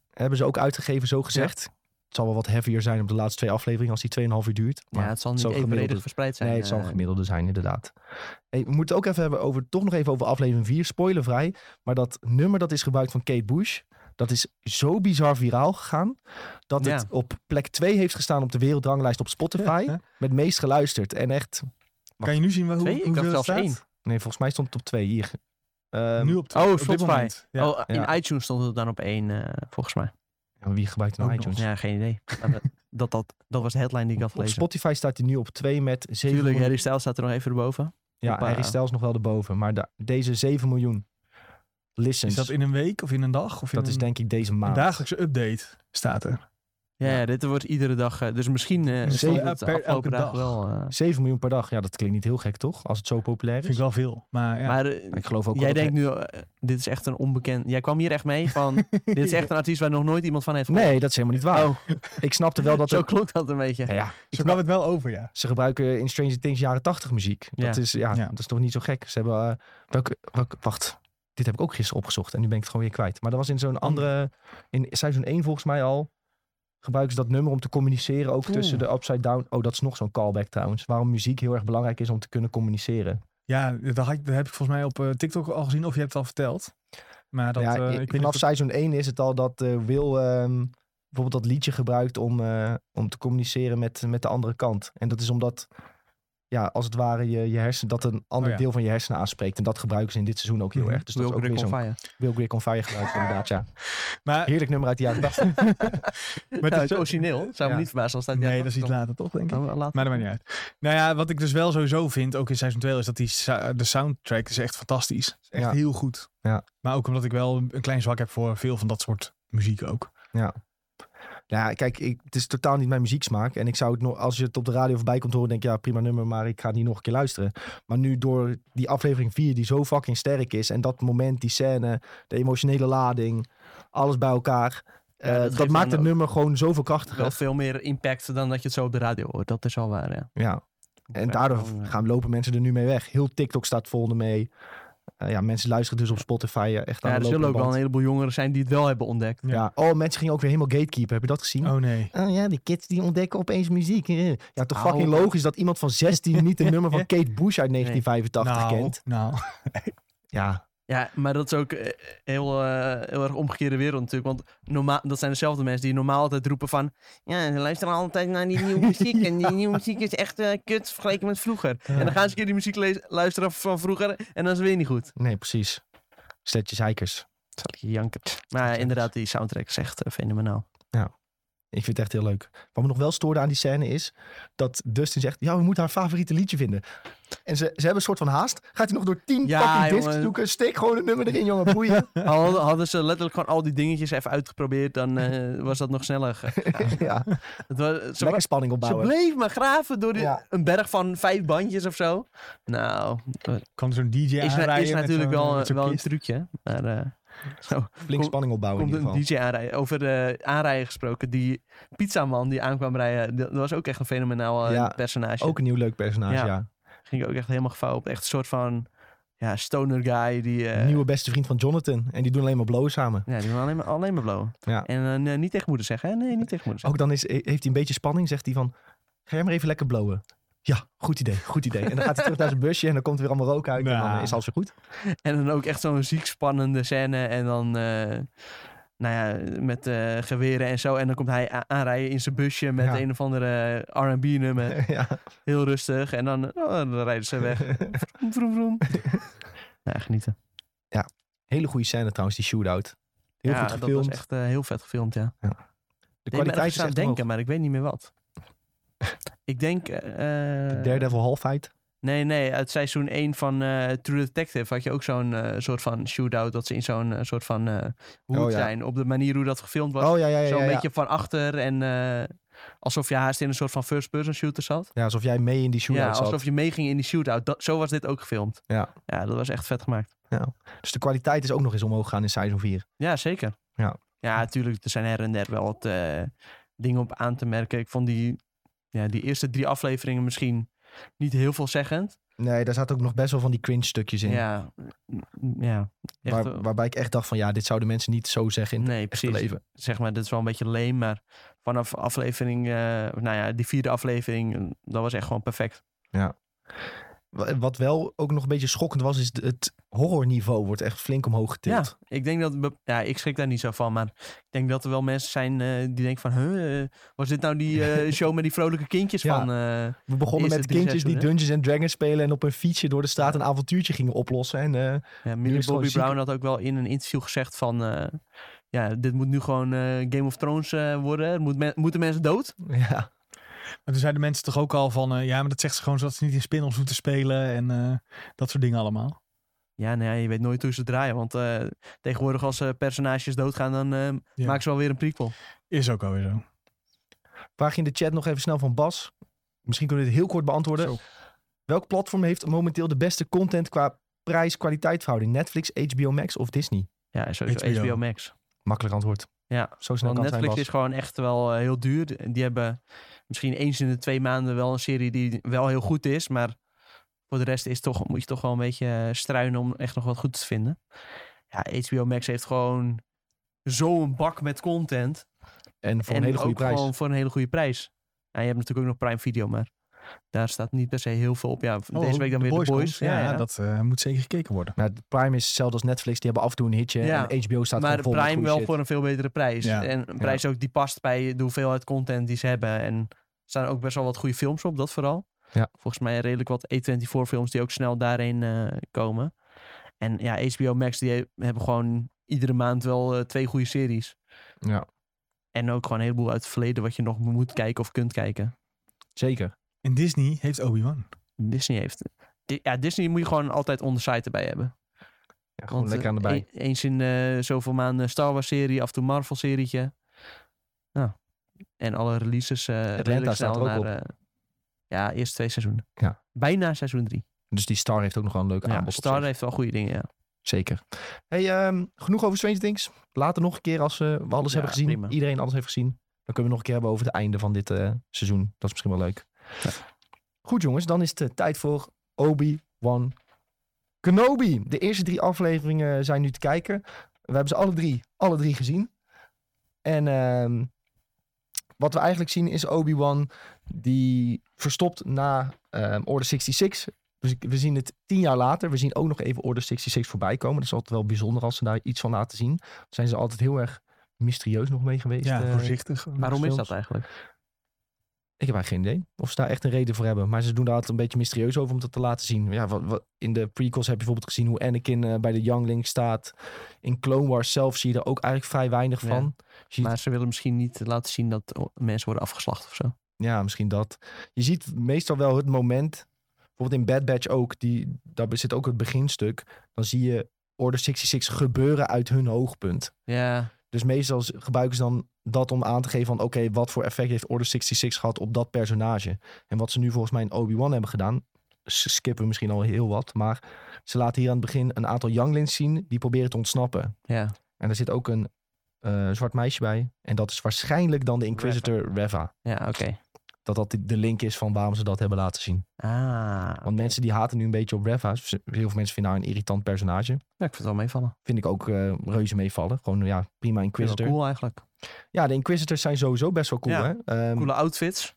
Speaker 1: Hebben ze ook uitgegeven, zo gezegd. Het zal wel wat heavier zijn op de laatste twee afleveringen als die 2,5 uur duurt. Maar
Speaker 2: ja, het zal niet
Speaker 1: zo
Speaker 2: even
Speaker 1: gemiddeld-
Speaker 2: breder verspreid zijn.
Speaker 1: nee, het zal een
Speaker 2: eh,
Speaker 1: gemiddelde zijn, inderdaad. Hey, we moeten het ook even hebben over, toch nog even over aflevering 4, spoilervrij. Maar dat nummer dat is gebruikt van Kate Bush, dat is zo bizar viraal gegaan. Dat
Speaker 2: Ja.
Speaker 1: het op plek 2 heeft gestaan op de wereldranglijst op Spotify.
Speaker 3: Ja, hè?
Speaker 1: Met meest geluisterd. En echt,
Speaker 3: Kan je nu zien waar, hoe,
Speaker 2: Twee? Ik
Speaker 3: hoeveel
Speaker 2: dacht
Speaker 3: het
Speaker 2: zelfs
Speaker 3: staat?
Speaker 2: één.
Speaker 1: nee, volgens mij stond het op 2 hier. Ehm,
Speaker 3: nu op
Speaker 2: Oh,
Speaker 3: op dit
Speaker 2: Spotify.
Speaker 3: moment. Ja.
Speaker 2: Oh, in
Speaker 1: Ja.
Speaker 2: iTunes stond het dan op één, eh, volgens mij.
Speaker 1: wie gebruikt nou
Speaker 3: Ook nog.
Speaker 1: iTunes?
Speaker 2: Ja, geen idee. Maar dat- dat, dat, dat was de headline die ik had
Speaker 1: Op
Speaker 2: gelezen.
Speaker 1: Spotify staat hij nu op 2 met 7
Speaker 2: Tuurlijk,
Speaker 1: miljoen.
Speaker 2: Harry Styles staat er nog even erboven.
Speaker 1: Ja,
Speaker 2: op, eh,
Speaker 1: Harry Styles nog wel erboven. Maar da- deze 7 miljoen listens,
Speaker 3: Is dat
Speaker 1: dat,
Speaker 3: in een week of in een dag? Of in
Speaker 1: is
Speaker 3: een,
Speaker 1: denk ik deze
Speaker 3: een
Speaker 1: maand.
Speaker 3: dagelijkse update staat er.
Speaker 2: Ja, ja, dit wordt iedere dag. eh, dus misschien eh
Speaker 3: Dus
Speaker 2: stond
Speaker 3: elke-
Speaker 2: het de
Speaker 3: per-
Speaker 2: afgelopen
Speaker 3: elke
Speaker 2: dag
Speaker 3: dag.
Speaker 2: wel. eh,
Speaker 1: 7 miljoen per dag. Ja, dat klinkt niet heel gek, toch? Als het zo populair
Speaker 3: Vind ik
Speaker 1: is.
Speaker 3: wel veel. Maar ja.
Speaker 2: Maar eh,
Speaker 1: Ik geloof ook
Speaker 2: jij
Speaker 1: wel dat
Speaker 2: denkt nu, eh, dit is echt een onbekend. Jij kwam hier echt mee van, dit is echt een artiest waar nog nooit iemand van heeft
Speaker 1: hij- Nee, dat is helemaal niet waar.
Speaker 2: Oh.
Speaker 1: Ik snapte wel dat...
Speaker 2: Zo
Speaker 1: het-
Speaker 2: klonk dat een beetje.
Speaker 1: Ja, dus ja,
Speaker 3: Zo kwam het wel over, ja.
Speaker 1: ze gebruiken in Stranger Things jaren 80 muziek. Dat,
Speaker 2: Ja.
Speaker 1: is, ja,
Speaker 3: Ja.
Speaker 1: dat is toch niet zo gek. Ze hebben... eh, welke, welke- wacht, dit heb ik ook gisteren opgezocht. En nu ben ik het gewoon weer kwijt. Maar dat was in
Speaker 2: Oh.
Speaker 1: zo'n andere... In seizoen 1 volgens mij al... Gebruiken ze dat nummer om te communiceren ook
Speaker 2: Oeh.
Speaker 1: tussen de upside down. Oh, dat is nog zo'n callback trouwens. Waarom muziek heel erg belangrijk is om te kunnen communiceren.
Speaker 3: Ja, dat, had ik- dat heb ik volgens mij op eh, TikTok al gezien. Of je hebt het al verteld. Maar dat,
Speaker 1: ja,
Speaker 3: eh,
Speaker 1: i-
Speaker 3: ik weet niet
Speaker 1: vanaf
Speaker 3: of-
Speaker 1: seizoen 1 is het al dat eh, Will ehm, bijvoorbeeld dat liedje gebruikt om, eh, om te communiceren met, met de andere kant. En dat is omdat, ja, als het ware, je, je hersen, dat een ander
Speaker 3: Oh ja.
Speaker 1: deel van je hersenen aanspreekt. En dat gebruiken ze in dit seizoen ook heel
Speaker 3: Mhm.
Speaker 1: erg. Dus dat
Speaker 2: Will
Speaker 1: is ook
Speaker 2: Brick
Speaker 1: weer
Speaker 2: on
Speaker 1: zo'n
Speaker 2: Fire.
Speaker 1: Will Grip on Fire gebruikt, inderdaad, ja.
Speaker 3: maar,
Speaker 1: Heerlijk nummer uit de jaren 80.
Speaker 3: maar
Speaker 2: Nou,
Speaker 3: is-
Speaker 2: het is origineel. Zou me
Speaker 3: Ja.
Speaker 2: niet verbazen als dat.
Speaker 3: Nee, dat is iets later toch, denk ik.
Speaker 2: Oh, laat.
Speaker 3: Maar dat maakt niet uit. Nou ja, wat ik dus wel sowieso vind, ook in seizoen 2, is dat die sa- de soundtrack is echt fantastisch. Is echt
Speaker 1: Ja.
Speaker 3: heel goed.
Speaker 1: Ja.
Speaker 3: Maar ook omdat ik wel een klein zwak heb voor veel van dat soort muziek ook.
Speaker 1: Ja, kijk, ik, het is totaal niet mijn muzieksmaak. En ik zou het nog, als je het op de radio voorbij komt horen, denk ik, ja, prima nummer, maar ik ga het niet nog een keer luisteren. Maar nu door die aflevering 4, die zo fucking sterk is, en dat moment, die scène, de emotionele lading, alles bij elkaar. eh,
Speaker 2: dat
Speaker 1: dat
Speaker 2: geeft
Speaker 1: maakt
Speaker 2: dan
Speaker 1: het nummer gewoon zoveel krachtiger.
Speaker 2: Wel veel meer impact dan dat je het zo op de radio hoort. Dat is al waar, ja.
Speaker 1: Ja. En daardoor gaan lopen mensen er nu mee weg. Heel TikTok staat vol ermee. Eh, ja, mensen luisteren dus op Spotify eh, echt aan
Speaker 2: Ja,
Speaker 1: de
Speaker 2: er zullen
Speaker 1: lopende
Speaker 2: ook wel een
Speaker 1: band.
Speaker 2: heleboel jongeren zijn die het wel hebben ontdekt.
Speaker 3: heel-
Speaker 1: Ja. Oh, mensen gingen ook weer helemaal gatekeeper. Heb je dat gezien?
Speaker 3: Oh nee.
Speaker 1: Oh ja, die kids die ontdekken opeens muziek. Eh. Ja, toch
Speaker 2: Nou.
Speaker 1: fucking logisch dat iemand van 16 niet het nummer van Kate Bush uit 1985
Speaker 3: nou,
Speaker 1: kent.
Speaker 3: nou.
Speaker 1: Ja,
Speaker 2: Ja, maar dat is ook eh, heel, eh, heel erg omgekeerde wereld natuurlijk. Want normaal, dat zijn dezelfde mensen die normaal altijd roepen van... Ja, ze luisteren altijd naar die nieuwe muziek. En die nieuwe muziek is echt eh, kut vergeleken met vroeger. En dan gaan ze een keer die muziek lees- luisteren van vroeger. En dan is het weer niet goed.
Speaker 1: nee, precies. Steltje zeikers.
Speaker 2: Zal ik je janken. Maar ja, inderdaad, die soundtrack is echt eh, fenomenaal.
Speaker 1: Ik vind het echt heel leuk. Wat me nog wel stoorde aan die scène is dat Dustin zegt: Ja, we moeten haar favoriete liedje vinden. En ze, ze hebben een soort van haast. Gaat hij nog door 10
Speaker 2: Ja,
Speaker 1: fucking discs
Speaker 2: jongen.
Speaker 1: zoeken? Steek gewoon het nummer erin, jongen. Boeien.
Speaker 2: Al hadden ze letterlijk gewoon al die dingetjes even uitgeprobeerd... dan eh, was dat nog sneller. ge-
Speaker 1: ja,
Speaker 2: Het was, ze,
Speaker 1: lekker spanning
Speaker 2: ze
Speaker 1: opbouwen.
Speaker 2: bleef maar graven door die-
Speaker 1: Ja.
Speaker 2: een berg van vijf bandjes of zo. Nou,
Speaker 3: Kwam zo'n DJ
Speaker 2: is, na-
Speaker 3: aanrijden
Speaker 2: is
Speaker 3: met eh,
Speaker 2: natuurlijk
Speaker 3: zo'n-
Speaker 2: wel,
Speaker 3: met zo'n
Speaker 2: wel een
Speaker 3: kist.
Speaker 2: trucje. Maar eh, zo
Speaker 1: Flink
Speaker 2: Kom-
Speaker 1: spanning opbouwen in
Speaker 2: komt
Speaker 1: Oh, ieder
Speaker 2: een
Speaker 1: geval.
Speaker 2: DJ aanrijden. Over de aanrijden gesproken, die pizzaman die aankwam rijden, dat dat was ook echt een fenomenaal eh,
Speaker 1: Ja,
Speaker 2: personage.
Speaker 1: Ook een nieuw leuk personage,
Speaker 2: Ja.
Speaker 1: ja.
Speaker 2: Ging ook echt helemaal gevaar op. Echt een soort van ja, stoner guy die... eh,
Speaker 1: Nieuwe beste vriend van Jonathan. En die doen alleen maar blow samen.
Speaker 2: Ja, die wil alleen maar, alleen maar blowen.
Speaker 1: Ja.
Speaker 2: En eh, niet tegen moeder zeggen, hè? Nee, niet tegen moeder zeggen.
Speaker 1: Ook dan is, heeft hij een beetje spanning, zegt hij van... Ga jij maar even lekker blowen. Ja, goed idee, goed idee. En dan gaat hij terug naar zijn busje en dan komt er weer allemaal rook uit. En dan
Speaker 3: Nou.
Speaker 1: eh, is alles weer goed.
Speaker 2: En dan ook echt zo'n ziek spannende scène. En dan, eh, nou ja, met eh, geweren en zo. En dan komt hij a- aanrijden in zijn busje met
Speaker 1: Ja.
Speaker 2: een of andere eh, R&B-nummer.
Speaker 1: ja.
Speaker 2: Heel rustig. En dan, oh, dan rijden ze weg. Vroom, vroom, vroom. ja, genieten.
Speaker 1: Hele goede scène trouwens, die shootout. Heel
Speaker 2: ja,
Speaker 1: goed
Speaker 2: dat was
Speaker 1: gefilmd.
Speaker 2: echt eh, heel vet gefilmd, ja.
Speaker 1: De
Speaker 2: ik ben
Speaker 1: kwaliteit
Speaker 2: ergens
Speaker 1: is
Speaker 2: aan
Speaker 1: echt
Speaker 2: het denken,
Speaker 1: omhoog.
Speaker 2: maar ik weet niet meer wat. ik denk... eh,
Speaker 1: De Daredevil halfheid.
Speaker 2: Nee, nee, uit seizoen 1 van eh, True Detective had je ook zo'n eh, soort van shootout. Dat ze in zo'n eh, soort van eh hoed
Speaker 1: Oh, ja.
Speaker 2: zijn. Op de manier hoe dat gefilmd was.
Speaker 1: Oh ja, ja, ja.
Speaker 2: zo'n
Speaker 1: ja, ja.
Speaker 2: beetje van achter en eh, alsof je haast in een soort van first-person shooter zat.
Speaker 1: Ja, alsof jij mee in die
Speaker 2: Ja,
Speaker 1: shootout
Speaker 2: alsof
Speaker 1: zat.
Speaker 2: je meeging in die shootout. Dat, zo was dit ook gefilmd.
Speaker 1: Ja.
Speaker 2: ja, dat was echt vet gemaakt.
Speaker 1: Dus de kwaliteit is ook nog eens omhoog gegaan in seizoen 4.
Speaker 2: Ja, zeker.
Speaker 1: Ja.
Speaker 2: ja, natuurlijk. Er zijn her en der wel wat eh, dingen op aan te merken. Ik vond die, ja, die eerste drie afleveringen misschien niet heel veelzeggend.
Speaker 1: Nee, daar zaten ook nog best wel van die cringe stukjes in.
Speaker 2: mm, Ja, m- ja. Echt,
Speaker 1: Waar-
Speaker 2: eh,
Speaker 1: waarbij ik echt dacht van ja, dit zouden mensen niet zo zeggen in het
Speaker 2: nee,
Speaker 1: echte
Speaker 2: precies.
Speaker 1: leven.
Speaker 2: Zeg maar, dit is wel een beetje leem, maar vanaf aflevering, eh, nou ja, die vierde aflevering, eh, dat was echt gewoon perfect.
Speaker 1: Wa- Wat wel ook nog een beetje schokkend was, is de- het horrorniveau wordt echt flink omhoog getild.
Speaker 2: Ja, ik denk dat, be- ja, ik schrik daar niet zo van, maar ik denk dat er wel mensen zijn eh, die denken van, huh, eh, was dit nou die eh, show met die vrolijke kindjes
Speaker 1: Ja.
Speaker 2: van? eh,
Speaker 1: We begonnen
Speaker 2: Eerste
Speaker 1: met
Speaker 2: drie
Speaker 1: kindjes die
Speaker 2: seizoenen.
Speaker 1: Dungeons and Dragons spelen en op een fietsje door de straat een avontuurtje gingen oplossen. En eh,
Speaker 2: ja,
Speaker 1: is
Speaker 2: Millie
Speaker 1: het gewoon
Speaker 2: Bobby
Speaker 1: ziek.
Speaker 2: Brown had ook wel in een interview gezegd van, eh, ja, dit moet nu gewoon eh, Game of Thrones eh, worden. Er Moet men- moeten mensen dood?
Speaker 1: ja,
Speaker 3: Maar toen zeiden mensen toch ook al van, eh, ja, maar dat zegt ze gewoon zodat ze niet in spin-offs hoeven te spelen en eh, dat soort dingen allemaal.
Speaker 2: Ja, nee, je weet nooit hoe ze draaien, want eh, tegenwoordig als eh, personages doodgaan, dan eh,
Speaker 3: Ja.
Speaker 2: maken ze wel weer een prequel.
Speaker 3: Is ook alweer zo.
Speaker 1: vraag in de chat nog even snel van Bas. Misschien kunnen we dit heel kort beantwoorden.
Speaker 3: Zo.
Speaker 1: Welk platform heeft momenteel de beste content qua prijs-kwaliteit verhouding? Netflix, HBO Max of Disney?
Speaker 2: Ja, sowieso
Speaker 3: HBO.
Speaker 2: HBO, Max.
Speaker 1: Makkelijk antwoord.
Speaker 2: Ja,
Speaker 1: Zo snel
Speaker 2: want
Speaker 1: kan het
Speaker 2: Netflix
Speaker 1: zijn,
Speaker 2: is gewoon echt wel eh, heel duur. Die hebben misschien eens in de twee maanden wel een serie die wel heel goed is, maar voor de rest is toch, moet je toch wel een beetje eh, struinen om echt nog wat goed te vinden. Ja, HBO Max heeft gewoon zo'n bak met content.
Speaker 1: Bas. En voor
Speaker 2: en
Speaker 1: een hele
Speaker 2: ook
Speaker 1: goede prijs.
Speaker 2: gewoon voor een hele goede prijs. En je hebt natuurlijk ook nog Prime Video, maar daar staat niet per se heel veel op. Ja,
Speaker 1: Oh,
Speaker 2: deze week dan
Speaker 3: Oh, de
Speaker 2: weer de Boys.
Speaker 3: komt. Ja, dat eh, moet zeker gekeken worden.
Speaker 1: Maar Nou, Prime is hetzelfde als Netflix. Die hebben af en toe een hitje.
Speaker 2: Ja.
Speaker 1: En HBO staat
Speaker 2: maar
Speaker 1: gewoon vol met
Speaker 2: Prime
Speaker 1: goede
Speaker 2: wel
Speaker 1: shit.
Speaker 2: voor een veel betere prijs.
Speaker 3: Ja.
Speaker 2: En een prijs ook die past bij de hoeveelheid content die ze hebben. En er staan ook best wel wat goede films op, dat vooral.
Speaker 1: Ja.
Speaker 2: Volgens mij redelijk wat E24 films die ook snel daarin eh, komen. En ja, HBO Max die he- hebben gewoon iedere maand wel eh, twee goede series.
Speaker 1: Ja.
Speaker 2: En ook gewoon een heleboel uit het verleden wat je nog moet kijken of kunt kijken.
Speaker 1: Zeker.
Speaker 3: En Disney heeft Obi-Wan.
Speaker 1: Hm.
Speaker 2: Disney heeft... Di- Ja, Disney moet je gewoon altijd on the side erbij hebben.
Speaker 1: Ja, gewoon
Speaker 2: Want,
Speaker 1: lekker aan de
Speaker 2: eh,
Speaker 1: bij.
Speaker 2: e- eens in eh, zoveel maanden Star Wars serie, af en toe Marvel serietje. Nou, en alle releases eh redelijk
Speaker 1: staat
Speaker 2: snel
Speaker 1: er ook
Speaker 2: naar, eh, ja, eerst twee seizoenen.
Speaker 1: Ja.
Speaker 2: Bijna seizoen drie.
Speaker 1: Dus die Star heeft ook nog wel een leuke
Speaker 2: Ja,
Speaker 1: aanbod. op
Speaker 2: Star
Speaker 1: zich.
Speaker 2: heeft wel goede dingen, ja.
Speaker 1: Zeker. Hey, ehm, genoeg over Stranger Things. Later nog een keer als eh, we alles
Speaker 2: Ja,
Speaker 1: hebben gezien.
Speaker 2: prima.
Speaker 1: Iedereen alles heeft gezien. Dan kunnen we nog een keer hebben over het einde van dit eh, seizoen. Dat is misschien wel leuk. Goed jongens, dan is het eh, tijd voor Obi-Wan Kenobi. De eerste drie afleveringen eh, zijn nu te kijken. We hebben ze alle drie, alle drie gezien. En ehm, wat we eigenlijk zien is Obi-Wan die verstopt na ehm, Order 66. Dus we zien het tien jaar later. We zien ook nog even Order 66 voorbij komen. Dat is altijd wel bijzonder als ze daar iets van laten zien. Daar zijn ze altijd heel erg mysterieus nog mee geweest.
Speaker 3: Ja,
Speaker 1: eh,
Speaker 3: voorzichtig.
Speaker 2: Waarom is
Speaker 1: films.
Speaker 2: dat eigenlijk?
Speaker 1: ik heb eigenlijk geen idee of ze daar echt een reden voor hebben. Maar ze doen daar altijd een beetje mysterieus over om dat te laten zien. Ja, wat, wat, in de prequels heb je bijvoorbeeld gezien hoe Anakin eh, bij de Youngling staat. In Clone Wars zelf zie je er ook eigenlijk vrij weinig
Speaker 2: Ja.
Speaker 1: van. Je ziet
Speaker 2: Maar ze willen misschien niet laten zien dat o- mensen worden afgeslacht of zo.
Speaker 1: Ja, misschien dat. Je ziet meestal wel het moment. Bijvoorbeeld in Bad Batch ook, die, daar zit ook het beginstuk. Dan zie je Order 66 gebeuren uit hun hoogpunt.
Speaker 2: Ja,
Speaker 1: Dus meestal z- gebruiken ze dan dat om aan te geven van... oké, wat voor effect heeft Order 66 gehad op dat personage? En wat ze nu volgens mij in Obi-Wan hebben gedaan... ze skippen misschien al heel wat, maar... ze laten hier aan het begin een aantal younglings zien... die proberen te ontsnappen.
Speaker 2: ja.
Speaker 1: En er zit ook een eh, zwart meisje bij. En dat is waarschijnlijk dan de Inquisitor Reva
Speaker 2: Ja, oké.
Speaker 1: dat dat de link is van waarom ze dat hebben laten zien.
Speaker 2: Ah.
Speaker 1: Want mensen die haten nu een beetje op Reva. Ze- Heel veel mensen vinden haar een irritant personage.
Speaker 2: Ja, ik vind het wel meevallen.
Speaker 1: Vind ik ook eh, reuze meevallen. Gewoon ja, prima
Speaker 2: Ik vind het
Speaker 1: Inquisitor.
Speaker 2: wel cool eigenlijk.
Speaker 1: Ja, de Inquisitors zijn sowieso best wel cool.
Speaker 2: Ja.
Speaker 1: Hè? Ehm,
Speaker 2: Coole outfits.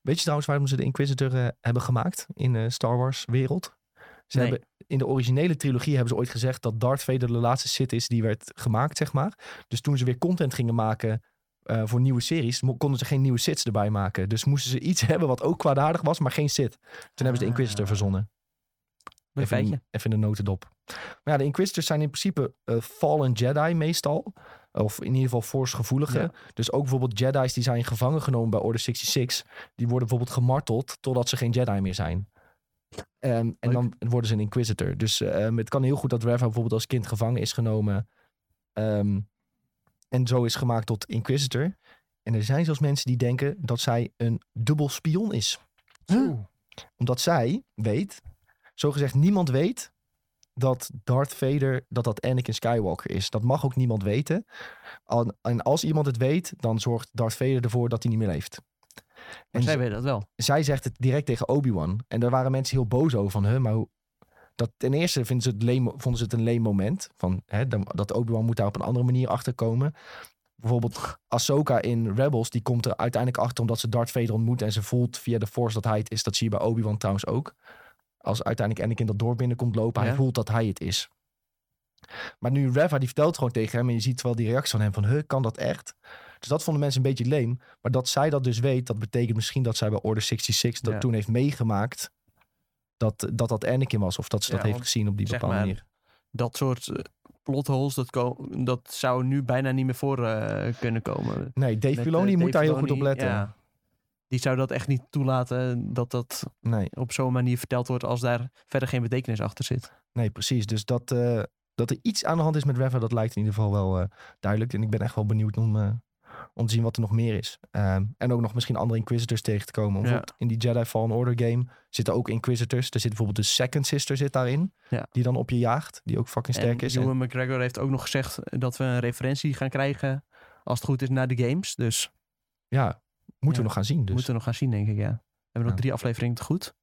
Speaker 1: Weet je trouwens waarom ze de Inquisitor eh, hebben gemaakt in eh Star Wars wereld? Ze
Speaker 2: Nee.
Speaker 1: hebben, in de originele trilogie hebben ze ooit gezegd dat Darth Vader de laatste Sith is die werd gemaakt, zeg maar. Dus toen ze weer content gingen maken eh, voor nieuwe series, mo- konden ze geen nieuwe Siths erbij maken. Dus moesten ze iets hebben wat ook kwaadaardig was, maar geen Sith. Toen hebben ze de Inquisitor
Speaker 2: Ah.
Speaker 1: verzonnen.
Speaker 2: Leuk
Speaker 1: Even,
Speaker 2: feitje.
Speaker 1: in- even in de notendop. Maar ja, de Inquisitors zijn in principe eh, Fallen Jedi meestal. Of in ieder geval Force-gevoelige.
Speaker 2: Ja.
Speaker 1: Dus ook bijvoorbeeld Jedi's die zijn gevangen genomen bij Order 66. Die worden bijvoorbeeld gemarteld totdat ze geen Jedi meer zijn. Ehm, en
Speaker 2: Leuk.
Speaker 1: dan worden ze een Inquisitor. Dus ehm, het kan heel goed dat Reva bijvoorbeeld als kind gevangen is genomen. ehm, en zo is gemaakt tot Inquisitor. En er zijn zelfs mensen die denken dat zij een dubbel spion is
Speaker 3: Oeh.
Speaker 1: omdat zij weet, zogezegd niemand weet, dat Darth Vader, dat dat Anakin Skywalker is. Dat mag ook niemand weten. Al- En als iemand het weet, dan zorgt Darth Vader ervoor dat hij niet meer leeft.
Speaker 2: Maar
Speaker 1: En
Speaker 2: zij
Speaker 1: z-
Speaker 2: weten dat wel.
Speaker 1: zij zegt het direct tegen Obi-Wan. En daar waren mensen heel boos over van, huh, maar hoe- Dat ten eerste vinden ze het leem, vonden ze het een leem moment. Van, hè, dan- dat Obi-Wan moet daar op een andere manier achter komen. Bijvoorbeeld Ahsoka in Rebels, die komt er uiteindelijk achter omdat ze Darth Vader ontmoet. En ze voelt via de Force dat hij het is. Dat zie je bij Obi-Wan trouwens ook. Als uiteindelijk Anakin dat door binnenkomt lopen,
Speaker 2: Ja.
Speaker 1: hij voelt dat hij het is. Maar nu Reva, die vertelt gewoon tegen hem. En je ziet wel die reactie van hem van, huh, kan dat echt? Dus dat vonden mensen een beetje leem. Maar dat zij dat dus weet, dat betekent misschien dat zij bij Order 66 dat
Speaker 2: Ja.
Speaker 1: toen heeft meegemaakt. Dat, dat dat Anakin was. Of dat ze
Speaker 2: Ja,
Speaker 1: dat heeft
Speaker 2: want,
Speaker 1: gezien op die
Speaker 2: zeg
Speaker 1: bepaalde
Speaker 2: maar,
Speaker 1: manier.
Speaker 2: Dat soort eh, plotholes, dat, ko- dat zou nu bijna niet meer voor eh, kunnen komen.
Speaker 1: Nee, Dave
Speaker 2: Met,
Speaker 1: Filoni
Speaker 2: eh,
Speaker 1: moet daar
Speaker 2: Dave
Speaker 1: heel goed op
Speaker 2: Filoni,
Speaker 1: letten.
Speaker 2: ja. Die zou dat echt niet toelaten dat dat
Speaker 1: Nee,
Speaker 2: op zo'n manier verteld wordt als daar verder geen betekenis achter zit.
Speaker 1: nee, precies. Dus dat, eh, dat er iets aan de hand is met Reva, dat lijkt in ieder geval wel eh, duidelijk. En ik ben echt wel benieuwd om, eh, om te zien wat er nog meer is. Ehm, en ook nog misschien andere Inquisitors tegen te komen. Bijvoorbeeld In die Jedi Fallen Order game zitten ook Inquisitors. Er zit bijvoorbeeld de Second Sister zit daarin.
Speaker 2: Ja.
Speaker 1: Die dan op je jaagt. Die ook fucking sterk
Speaker 2: en
Speaker 1: is. En-
Speaker 2: Ewan McGregor heeft ook nog gezegd eh, dat we een referentie gaan krijgen, als het goed is, naar de games. Dus,
Speaker 1: ja, moeten we nog
Speaker 2: Ja.
Speaker 1: gaan zien. Dus.
Speaker 2: moeten we nog gaan zien, denk ik, ja. We hebben nog
Speaker 1: Ja.
Speaker 2: drie afleveringen te goed.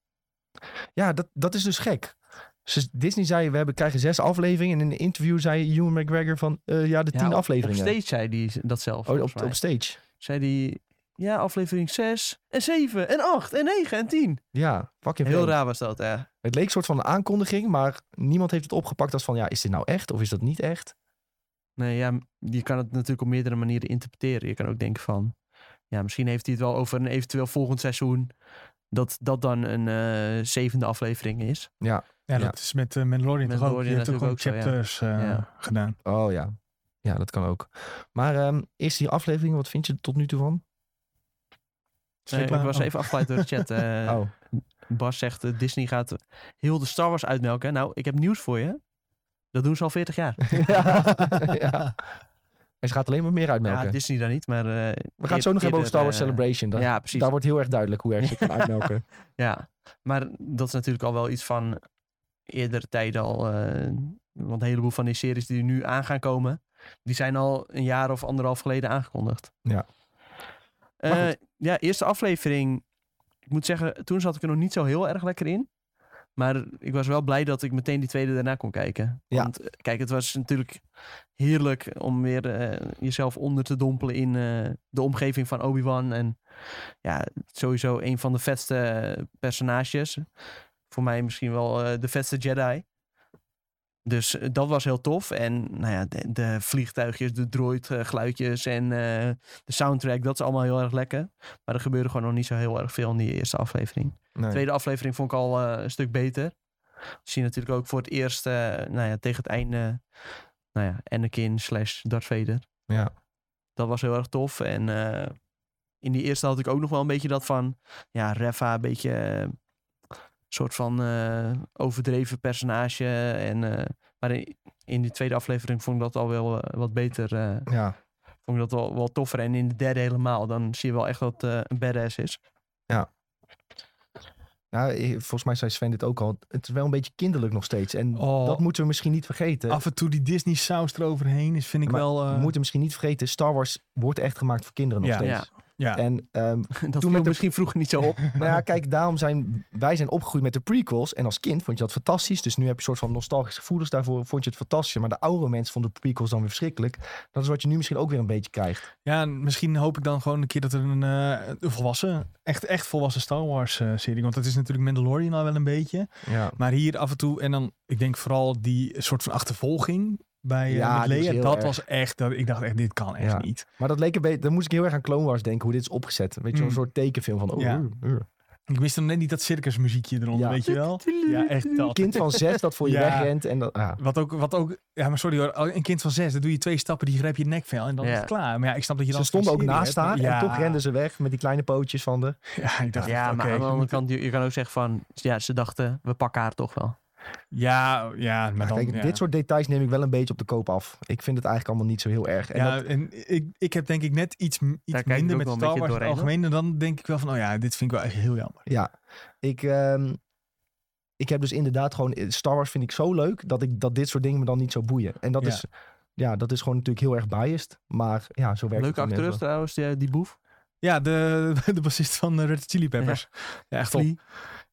Speaker 1: Ja, dat, dat is dus gek. Dus Disney zei, we hebben, krijgen zes afleveringen. En in een interview zei Ewan McGregor van, eh, ja, de
Speaker 2: Ja,
Speaker 1: tien
Speaker 2: op-
Speaker 1: afleveringen.
Speaker 2: Op stage zei die dat zelf.
Speaker 1: Oh,
Speaker 2: volgens
Speaker 1: op,
Speaker 2: mij.
Speaker 1: op stage.
Speaker 2: Zei die, ja, aflevering 6 en 7 en 8 en 9 en 10.
Speaker 1: Ja, fucking
Speaker 2: Heel
Speaker 1: vreemd.
Speaker 2: raar was dat, ja.
Speaker 1: Het leek een soort van een aankondiging, maar niemand heeft het opgepakt als van, ja, is dit nou echt of is dat niet echt?
Speaker 2: Nee, ja, m- je kan het natuurlijk op meerdere manieren interpreteren. Je kan ook denken van, ja, misschien heeft hij het wel over een eventueel volgend seizoen. Dat dat dan een eh, zevende aflevering is.
Speaker 3: Ja,
Speaker 1: Ja.
Speaker 3: dat is met eh, Mandalorian toch ook.
Speaker 2: Mandalorian
Speaker 3: Die heeft ook gewoon
Speaker 2: natuurlijk ook zo, ja.
Speaker 3: chapters eh,
Speaker 2: Ja.
Speaker 3: gedaan.
Speaker 1: Oh ja, ja, dat kan ook. Maar ehm eerst die aflevering, wat vind je er tot nu toe van?
Speaker 2: Nee, Eh, ik
Speaker 3: Schrikla-
Speaker 2: was
Speaker 3: oh.
Speaker 2: even afgeleid door de chat. eh.
Speaker 1: oh,
Speaker 2: Bas zegt, eh, Disney gaat heel de Star Wars uitmelken. Nou, ik heb nieuws voor je. Dat doen ze al 40 jaar.
Speaker 1: ja. ja. En ze gaat alleen maar meer uitmelken.
Speaker 2: Ja, Disney dan niet, maar... eh,
Speaker 1: Nou, we gaan het zo nog hebben over Star Wars
Speaker 2: eerder, eh,
Speaker 1: Celebration. Daar,
Speaker 2: Ja, precies.
Speaker 1: daar wordt heel erg duidelijk hoe erg ze het kan uitmelken.
Speaker 2: Ja, maar dat is natuurlijk al wel iets van eerdere tijden al. eh, want een heleboel van die series die nu aan gaan komen, die zijn al een jaar of anderhalf geleden aangekondigd.
Speaker 1: Ja.
Speaker 2: Eh,
Speaker 1: Maar goed.
Speaker 2: ja, eerste aflevering. Ik moet zeggen, toen zat ik er nog niet zo heel erg lekker in. Maar ik was wel blij dat ik meteen die tweede daarna kon kijken.
Speaker 1: Ja.
Speaker 2: Want eh, kijk, het was natuurlijk heerlijk om weer eh, jezelf onder te dompelen in eh, de omgeving van Obi-Wan. En ja, sowieso een van de vetste eh, personages. Voor mij misschien wel eh, de vetste Jedi. Dus eh, dat was heel tof. En nou ja, de, de vliegtuigjes, de droid eh, geluidjes en eh, de soundtrack, dat is allemaal heel erg lekker. Maar er gebeurde gewoon nog niet zo heel erg veel in die eerste aflevering.
Speaker 1: Nee.
Speaker 2: Tweede aflevering vond ik al eh, een stuk beter. We zien natuurlijk ook voor het eerst, eh, nou ja, tegen het einde, nou ja, Anakin slash Darth Vader.
Speaker 1: Ja.
Speaker 2: Dat was heel erg tof. En eh, in die eerste had ik ook nog wel een beetje dat van, ja, Reva, een beetje eh, soort van eh, overdreven personage. En, eh, maar in, in die tweede aflevering vond ik dat al wel eh, wat beter. eh,
Speaker 1: Ja.
Speaker 2: vond ik dat wel, wel toffer. En in de derde helemaal, dan zie je wel echt dat eh, een badass is.
Speaker 1: Nou, eh, volgens mij zei Sven dit ook al. Het is wel een beetje kinderlijk nog steeds. En
Speaker 3: Oh.
Speaker 1: dat moeten we misschien niet vergeten.
Speaker 3: Af en toe die Disney saus eroverheen is vind ik
Speaker 1: Maar
Speaker 3: wel... eh,
Speaker 1: We moeten misschien niet vergeten, Star Wars wordt echt gemaakt voor kinderen nog
Speaker 3: Ja.
Speaker 1: steeds.
Speaker 3: ja.
Speaker 1: En ehm,
Speaker 2: Dat
Speaker 1: Toen
Speaker 2: viel
Speaker 1: met de-
Speaker 2: misschien vroeger niet zo op.
Speaker 1: nou ja, kijk, daarom zijn wij zijn opgegroeid met de prequels. En als kind vond je dat fantastisch. Dus nu heb je een soort van nostalgische gevoelens daarvoor. Vond je het fantastisch. Maar de oudere mensen vonden de prequels dan weer verschrikkelijk. Dat is wat je nu misschien ook weer een beetje krijgt.
Speaker 3: Ja, en misschien hoop ik dan gewoon een keer dat er een, eh, een volwassen, echt, echt volwassen Star Wars eh, serie. Want dat is natuurlijk Mandalorian al wel een beetje.
Speaker 1: Ja.
Speaker 3: Maar hier af en toe, en dan, ik denk vooral die soort van achtervolging bij eh,
Speaker 1: Ja,
Speaker 3: met
Speaker 1: die was
Speaker 3: Leia.
Speaker 1: heel
Speaker 3: dat
Speaker 1: erg.
Speaker 3: was echt, dat, ik dacht echt, dit kan echt
Speaker 1: Ja.
Speaker 3: niet.
Speaker 1: Maar dat leek een beetje, daar moest ik heel erg aan Clone Wars denken. Hoe dit is opgezet. Weet je,
Speaker 3: Mm.
Speaker 1: een soort tekenfilm van. Oh,
Speaker 3: Ja.
Speaker 1: uh, uh.
Speaker 3: Ik miste dan net niet dat circusmuziekje eronder,
Speaker 1: Ja.
Speaker 3: weet je wel? Ja, echt dat.
Speaker 1: Kind van zes dat voor je
Speaker 3: Ja.
Speaker 1: wegrent. En dat, ah.
Speaker 3: Wat ook, wat ook, ja, maar sorry hoor, oh, een kind van zes, dan doe je twee stappen, die grijp je nekvel en dan
Speaker 2: Ja.
Speaker 3: is het klaar. Maar ja, ik snap dat je
Speaker 1: Ze
Speaker 3: dan...
Speaker 1: stonden ook
Speaker 3: geen serie
Speaker 1: naast haar.
Speaker 3: hebt.
Speaker 1: En toch renden ze weg met die kleine pootjes van de.
Speaker 3: Ja, ik dacht,
Speaker 2: Ja,
Speaker 3: echt,
Speaker 2: maar
Speaker 3: oké.
Speaker 2: aan de andere kant, je, je kan ook zeggen van... Ja, ze dachten, we pakken haar toch wel.
Speaker 3: Ja, ja, maar dan...
Speaker 1: Kijk,
Speaker 3: ja.
Speaker 1: dit soort details neem ik wel een beetje op de koop af. Ik vind het eigenlijk allemaal niet zo heel erg. En
Speaker 3: ja,
Speaker 1: dat-
Speaker 3: en ik, ik heb denk ik net iets, m- iets
Speaker 2: kijk ik
Speaker 3: minder
Speaker 2: ook
Speaker 3: met
Speaker 2: wel een
Speaker 3: Star
Speaker 2: beetje
Speaker 3: Wars in het
Speaker 2: doorheen,
Speaker 3: algemeen. En dan denk ik wel van, oh ja, dit vind ik wel echt heel jammer.
Speaker 1: Ja, ik, ehm, ik heb dus inderdaad gewoon... Star Wars vind ik zo leuk dat, ik, dat dit soort dingen me dan niet zo boeien. En dat,
Speaker 3: Ja.
Speaker 1: is, ja, dat is gewoon natuurlijk heel erg biased. Maar ja, zo werkt
Speaker 2: Leuke
Speaker 1: het.
Speaker 2: acteur
Speaker 1: gewoon net
Speaker 2: trouwens, die, die boef.
Speaker 3: Ja, de, de bassist van eh, Red Hot Chili Peppers. Ja, echt top.
Speaker 2: Flea.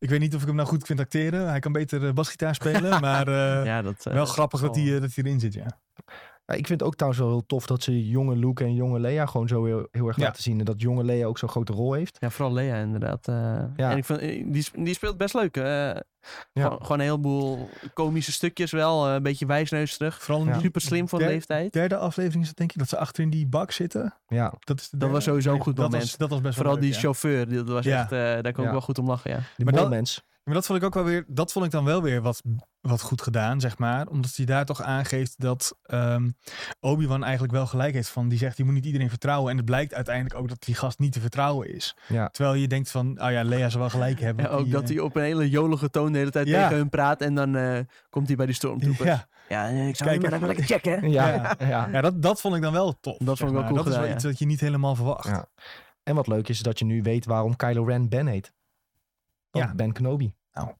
Speaker 3: Ik weet niet of ik hem nou goed vind acteren. Hij kan beter eh, basgitaar spelen, maar eh,
Speaker 2: Ja, dat, eh,
Speaker 3: wel grappig dat
Speaker 2: zal-
Speaker 3: hij, eh, dat hij erin zit, ja.
Speaker 1: Ja, ik vind het ook trouwens wel heel tof dat ze jonge Luke en jonge Lea gewoon zo heel, heel erg
Speaker 3: Ja.
Speaker 1: laten zien. En dat jonge Lea ook zo'n grote rol heeft.
Speaker 2: Ja, vooral Lea inderdaad. eh. En ik vind, eh, die, sp- die speelt best leuk. eh. gewoon, gewoon een heleboel komische stukjes wel. eh, een beetje wijsneus terug.
Speaker 3: Vooral in
Speaker 1: Ja.
Speaker 3: die
Speaker 2: Super slim voor de
Speaker 3: Ja.
Speaker 2: leeftijd.
Speaker 3: derde aflevering is dat denk ik dat ze achter in die bak zitten.
Speaker 1: Ja,
Speaker 3: Dat, is de
Speaker 2: Dat was
Speaker 3: derde.
Speaker 2: sowieso een goed
Speaker 3: dat
Speaker 2: moment.
Speaker 3: Was, dat was best wel
Speaker 2: Vooral
Speaker 3: leuk,
Speaker 2: die
Speaker 3: ja.
Speaker 2: chauffeur. die- Dat was
Speaker 3: Ja.
Speaker 2: echt, eh, daar kon
Speaker 1: Ja.
Speaker 2: ik wel goed om lachen, ja.
Speaker 1: die
Speaker 3: Maar dat-
Speaker 1: molmens.
Speaker 3: Maar dat vond ik ook wel weer. Dat vond ik dan wel weer wat, wat goed gedaan, zeg maar. Omdat hij daar toch aangeeft dat ehm, Obi-Wan eigenlijk wel gelijk heeft. Van die zegt: je moet niet iedereen vertrouwen. En het blijkt uiteindelijk ook dat die gast niet te vertrouwen is.
Speaker 1: Ja.
Speaker 3: Terwijl je denkt van: oh ja, Lea zal wel gelijk hebben.
Speaker 2: Ja,
Speaker 3: want
Speaker 2: ook
Speaker 3: die,
Speaker 2: dat
Speaker 3: eh,
Speaker 2: hij op een hele jolige toon de hele tijd
Speaker 3: Ja.
Speaker 2: tegen hun praat. En dan eh, komt hij bij die stormtroepers. Ja,
Speaker 3: Ja,
Speaker 2: ik zou hem
Speaker 3: Kijk
Speaker 2: maar
Speaker 3: even-
Speaker 2: even lekker checken. hè.
Speaker 1: Ja,
Speaker 3: Ja.
Speaker 1: ja.
Speaker 3: ja dat, dat vond ik dan wel tof.
Speaker 2: Dat vond
Speaker 3: zeg
Speaker 2: ik wel
Speaker 3: maar.
Speaker 2: cool
Speaker 3: Dat is wel
Speaker 2: gedaan,
Speaker 3: iets
Speaker 2: ja.
Speaker 3: wat je niet helemaal verwacht.
Speaker 1: Ja. En wat leuk is, is dat je nu weet waarom Kylo Ren Ben heet. Want
Speaker 3: Ja.
Speaker 1: Ben Kenobi.
Speaker 3: Nou.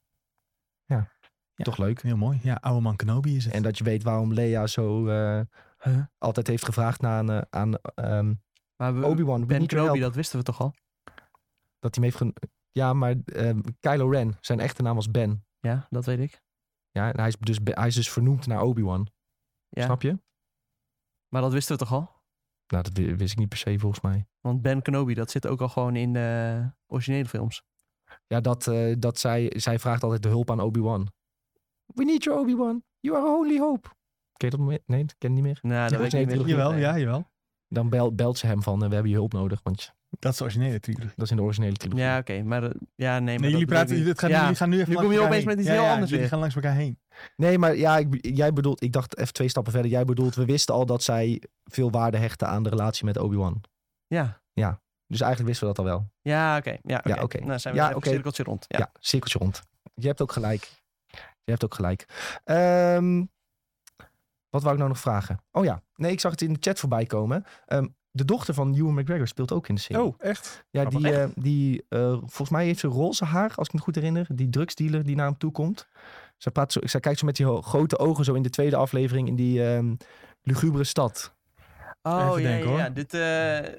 Speaker 1: Ja.
Speaker 3: Ja.
Speaker 1: toch leuk.
Speaker 3: Heel mooi. Ja, oude man Kenobi is het.
Speaker 1: En dat je weet waarom Lea zo eh,
Speaker 2: Huh?
Speaker 1: altijd heeft gevraagd naar een, eh, aan ehm,
Speaker 2: Maar we,
Speaker 1: Obi-Wan.
Speaker 2: Ben
Speaker 1: Niet help,
Speaker 2: Kenobi, dat wisten we toch al?
Speaker 1: Dat hij hem heeft gen- Ja, maar ehm, Kylo Ren, zijn echte naam was Ben.
Speaker 2: Ja, dat weet ik.
Speaker 1: Ja, en hij is dus, hij is dus vernoemd naar Obi-Wan.
Speaker 2: Ja.
Speaker 1: Snap je?
Speaker 2: Maar dat wisten we toch al?
Speaker 1: Nou, dat wi- wist ik niet per se volgens mij.
Speaker 2: Want Ben Kenobi, dat zit ook al gewoon in de originele films.
Speaker 1: Ja, dat, eh, dat zij, zij vraagt altijd de hulp aan Obi-Wan. We need your Obi-Wan. You are our only hope. Ken je dat? moment? Nee, dat ken je niet meer.
Speaker 2: Nou, dat
Speaker 1: Ja,
Speaker 2: weet ik niet meer.
Speaker 1: originele
Speaker 3: jawel,
Speaker 2: Nee.
Speaker 3: ja, jawel.
Speaker 1: Dan bel, belt ze hem van, eh, we hebben je hulp nodig. Want je-
Speaker 3: Dat is de originele trilogie.
Speaker 1: dat is in de originele trilogie.
Speaker 2: Ja, oké. maar eh, ja, nee, maar
Speaker 3: Nee,
Speaker 2: dat
Speaker 3: jullie,
Speaker 2: bedoel
Speaker 3: praten,
Speaker 2: ik
Speaker 3: jullie,
Speaker 2: niet.
Speaker 3: het gaat,
Speaker 2: ja.
Speaker 3: jullie gaan nu even
Speaker 2: Nu
Speaker 3: langs
Speaker 2: kom je
Speaker 3: elkaar
Speaker 2: opeens
Speaker 3: heen.
Speaker 2: met iets
Speaker 3: Ja,
Speaker 2: heel
Speaker 3: ja,
Speaker 2: anders
Speaker 3: Jullie
Speaker 2: weer.
Speaker 3: gaan langs elkaar heen.
Speaker 1: Nee, maar ja, ik, jij bedoelt, ik dacht even twee stappen verder. Jij bedoelt, we wisten al dat zij veel waarde hechten aan de relatie met Obi-Wan.
Speaker 2: Ja,
Speaker 1: Dus eigenlijk wisten we dat al wel.
Speaker 2: ja oké. Ja, oké.
Speaker 1: Ja, oké.
Speaker 2: Nou, zijn we
Speaker 1: Ja,
Speaker 2: even een
Speaker 1: oké.
Speaker 2: cirkeltje rond. Ja.
Speaker 1: Ja, cirkeltje rond. Je hebt ook gelijk. Je hebt ook gelijk. Ehm, wat wou ik nou nog vragen? Oh ja, nee, ik zag het in de chat voorbij komen. Ehm, de dochter van Ewan McGregor speelt ook in de serie.
Speaker 3: Oh, echt?
Speaker 1: ja,
Speaker 2: grappig.
Speaker 1: die, eh, die eh, volgens mij heeft ze roze haar, als ik me goed herinner. Die drugsdealer die naar hem toe komt. Zij, praat zo, zij kijkt zo met die ho- grote ogen zo in de tweede aflevering in die ehm, lugubere stad.
Speaker 2: Oh,
Speaker 3: Even
Speaker 2: ja,
Speaker 3: denken,
Speaker 2: ja,
Speaker 3: hoor.
Speaker 2: ja. Dit, eh, eh,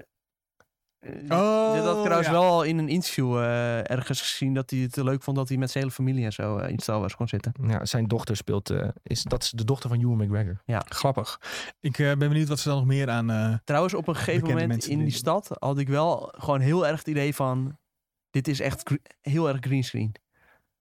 Speaker 3: Oh,
Speaker 2: dit had ik trouwens
Speaker 3: ja.
Speaker 2: wel al in een interview eh, ergens gezien dat hij het leuk vond dat hij met zijn hele familie en zo eh, in Star Wars kon zitten.
Speaker 1: Ja, zijn dochter speelt, eh, is, dat is de dochter van Ewan McGregor.
Speaker 3: Grappig. Ik eh, ben benieuwd wat ze dan nog meer aan... eh,
Speaker 2: Trouwens, op een gegeven
Speaker 3: Bekende
Speaker 2: moment
Speaker 3: mensen
Speaker 2: in
Speaker 3: die-
Speaker 2: die stad had ik wel gewoon heel erg het idee van dit is echt gre- heel erg greenscreen.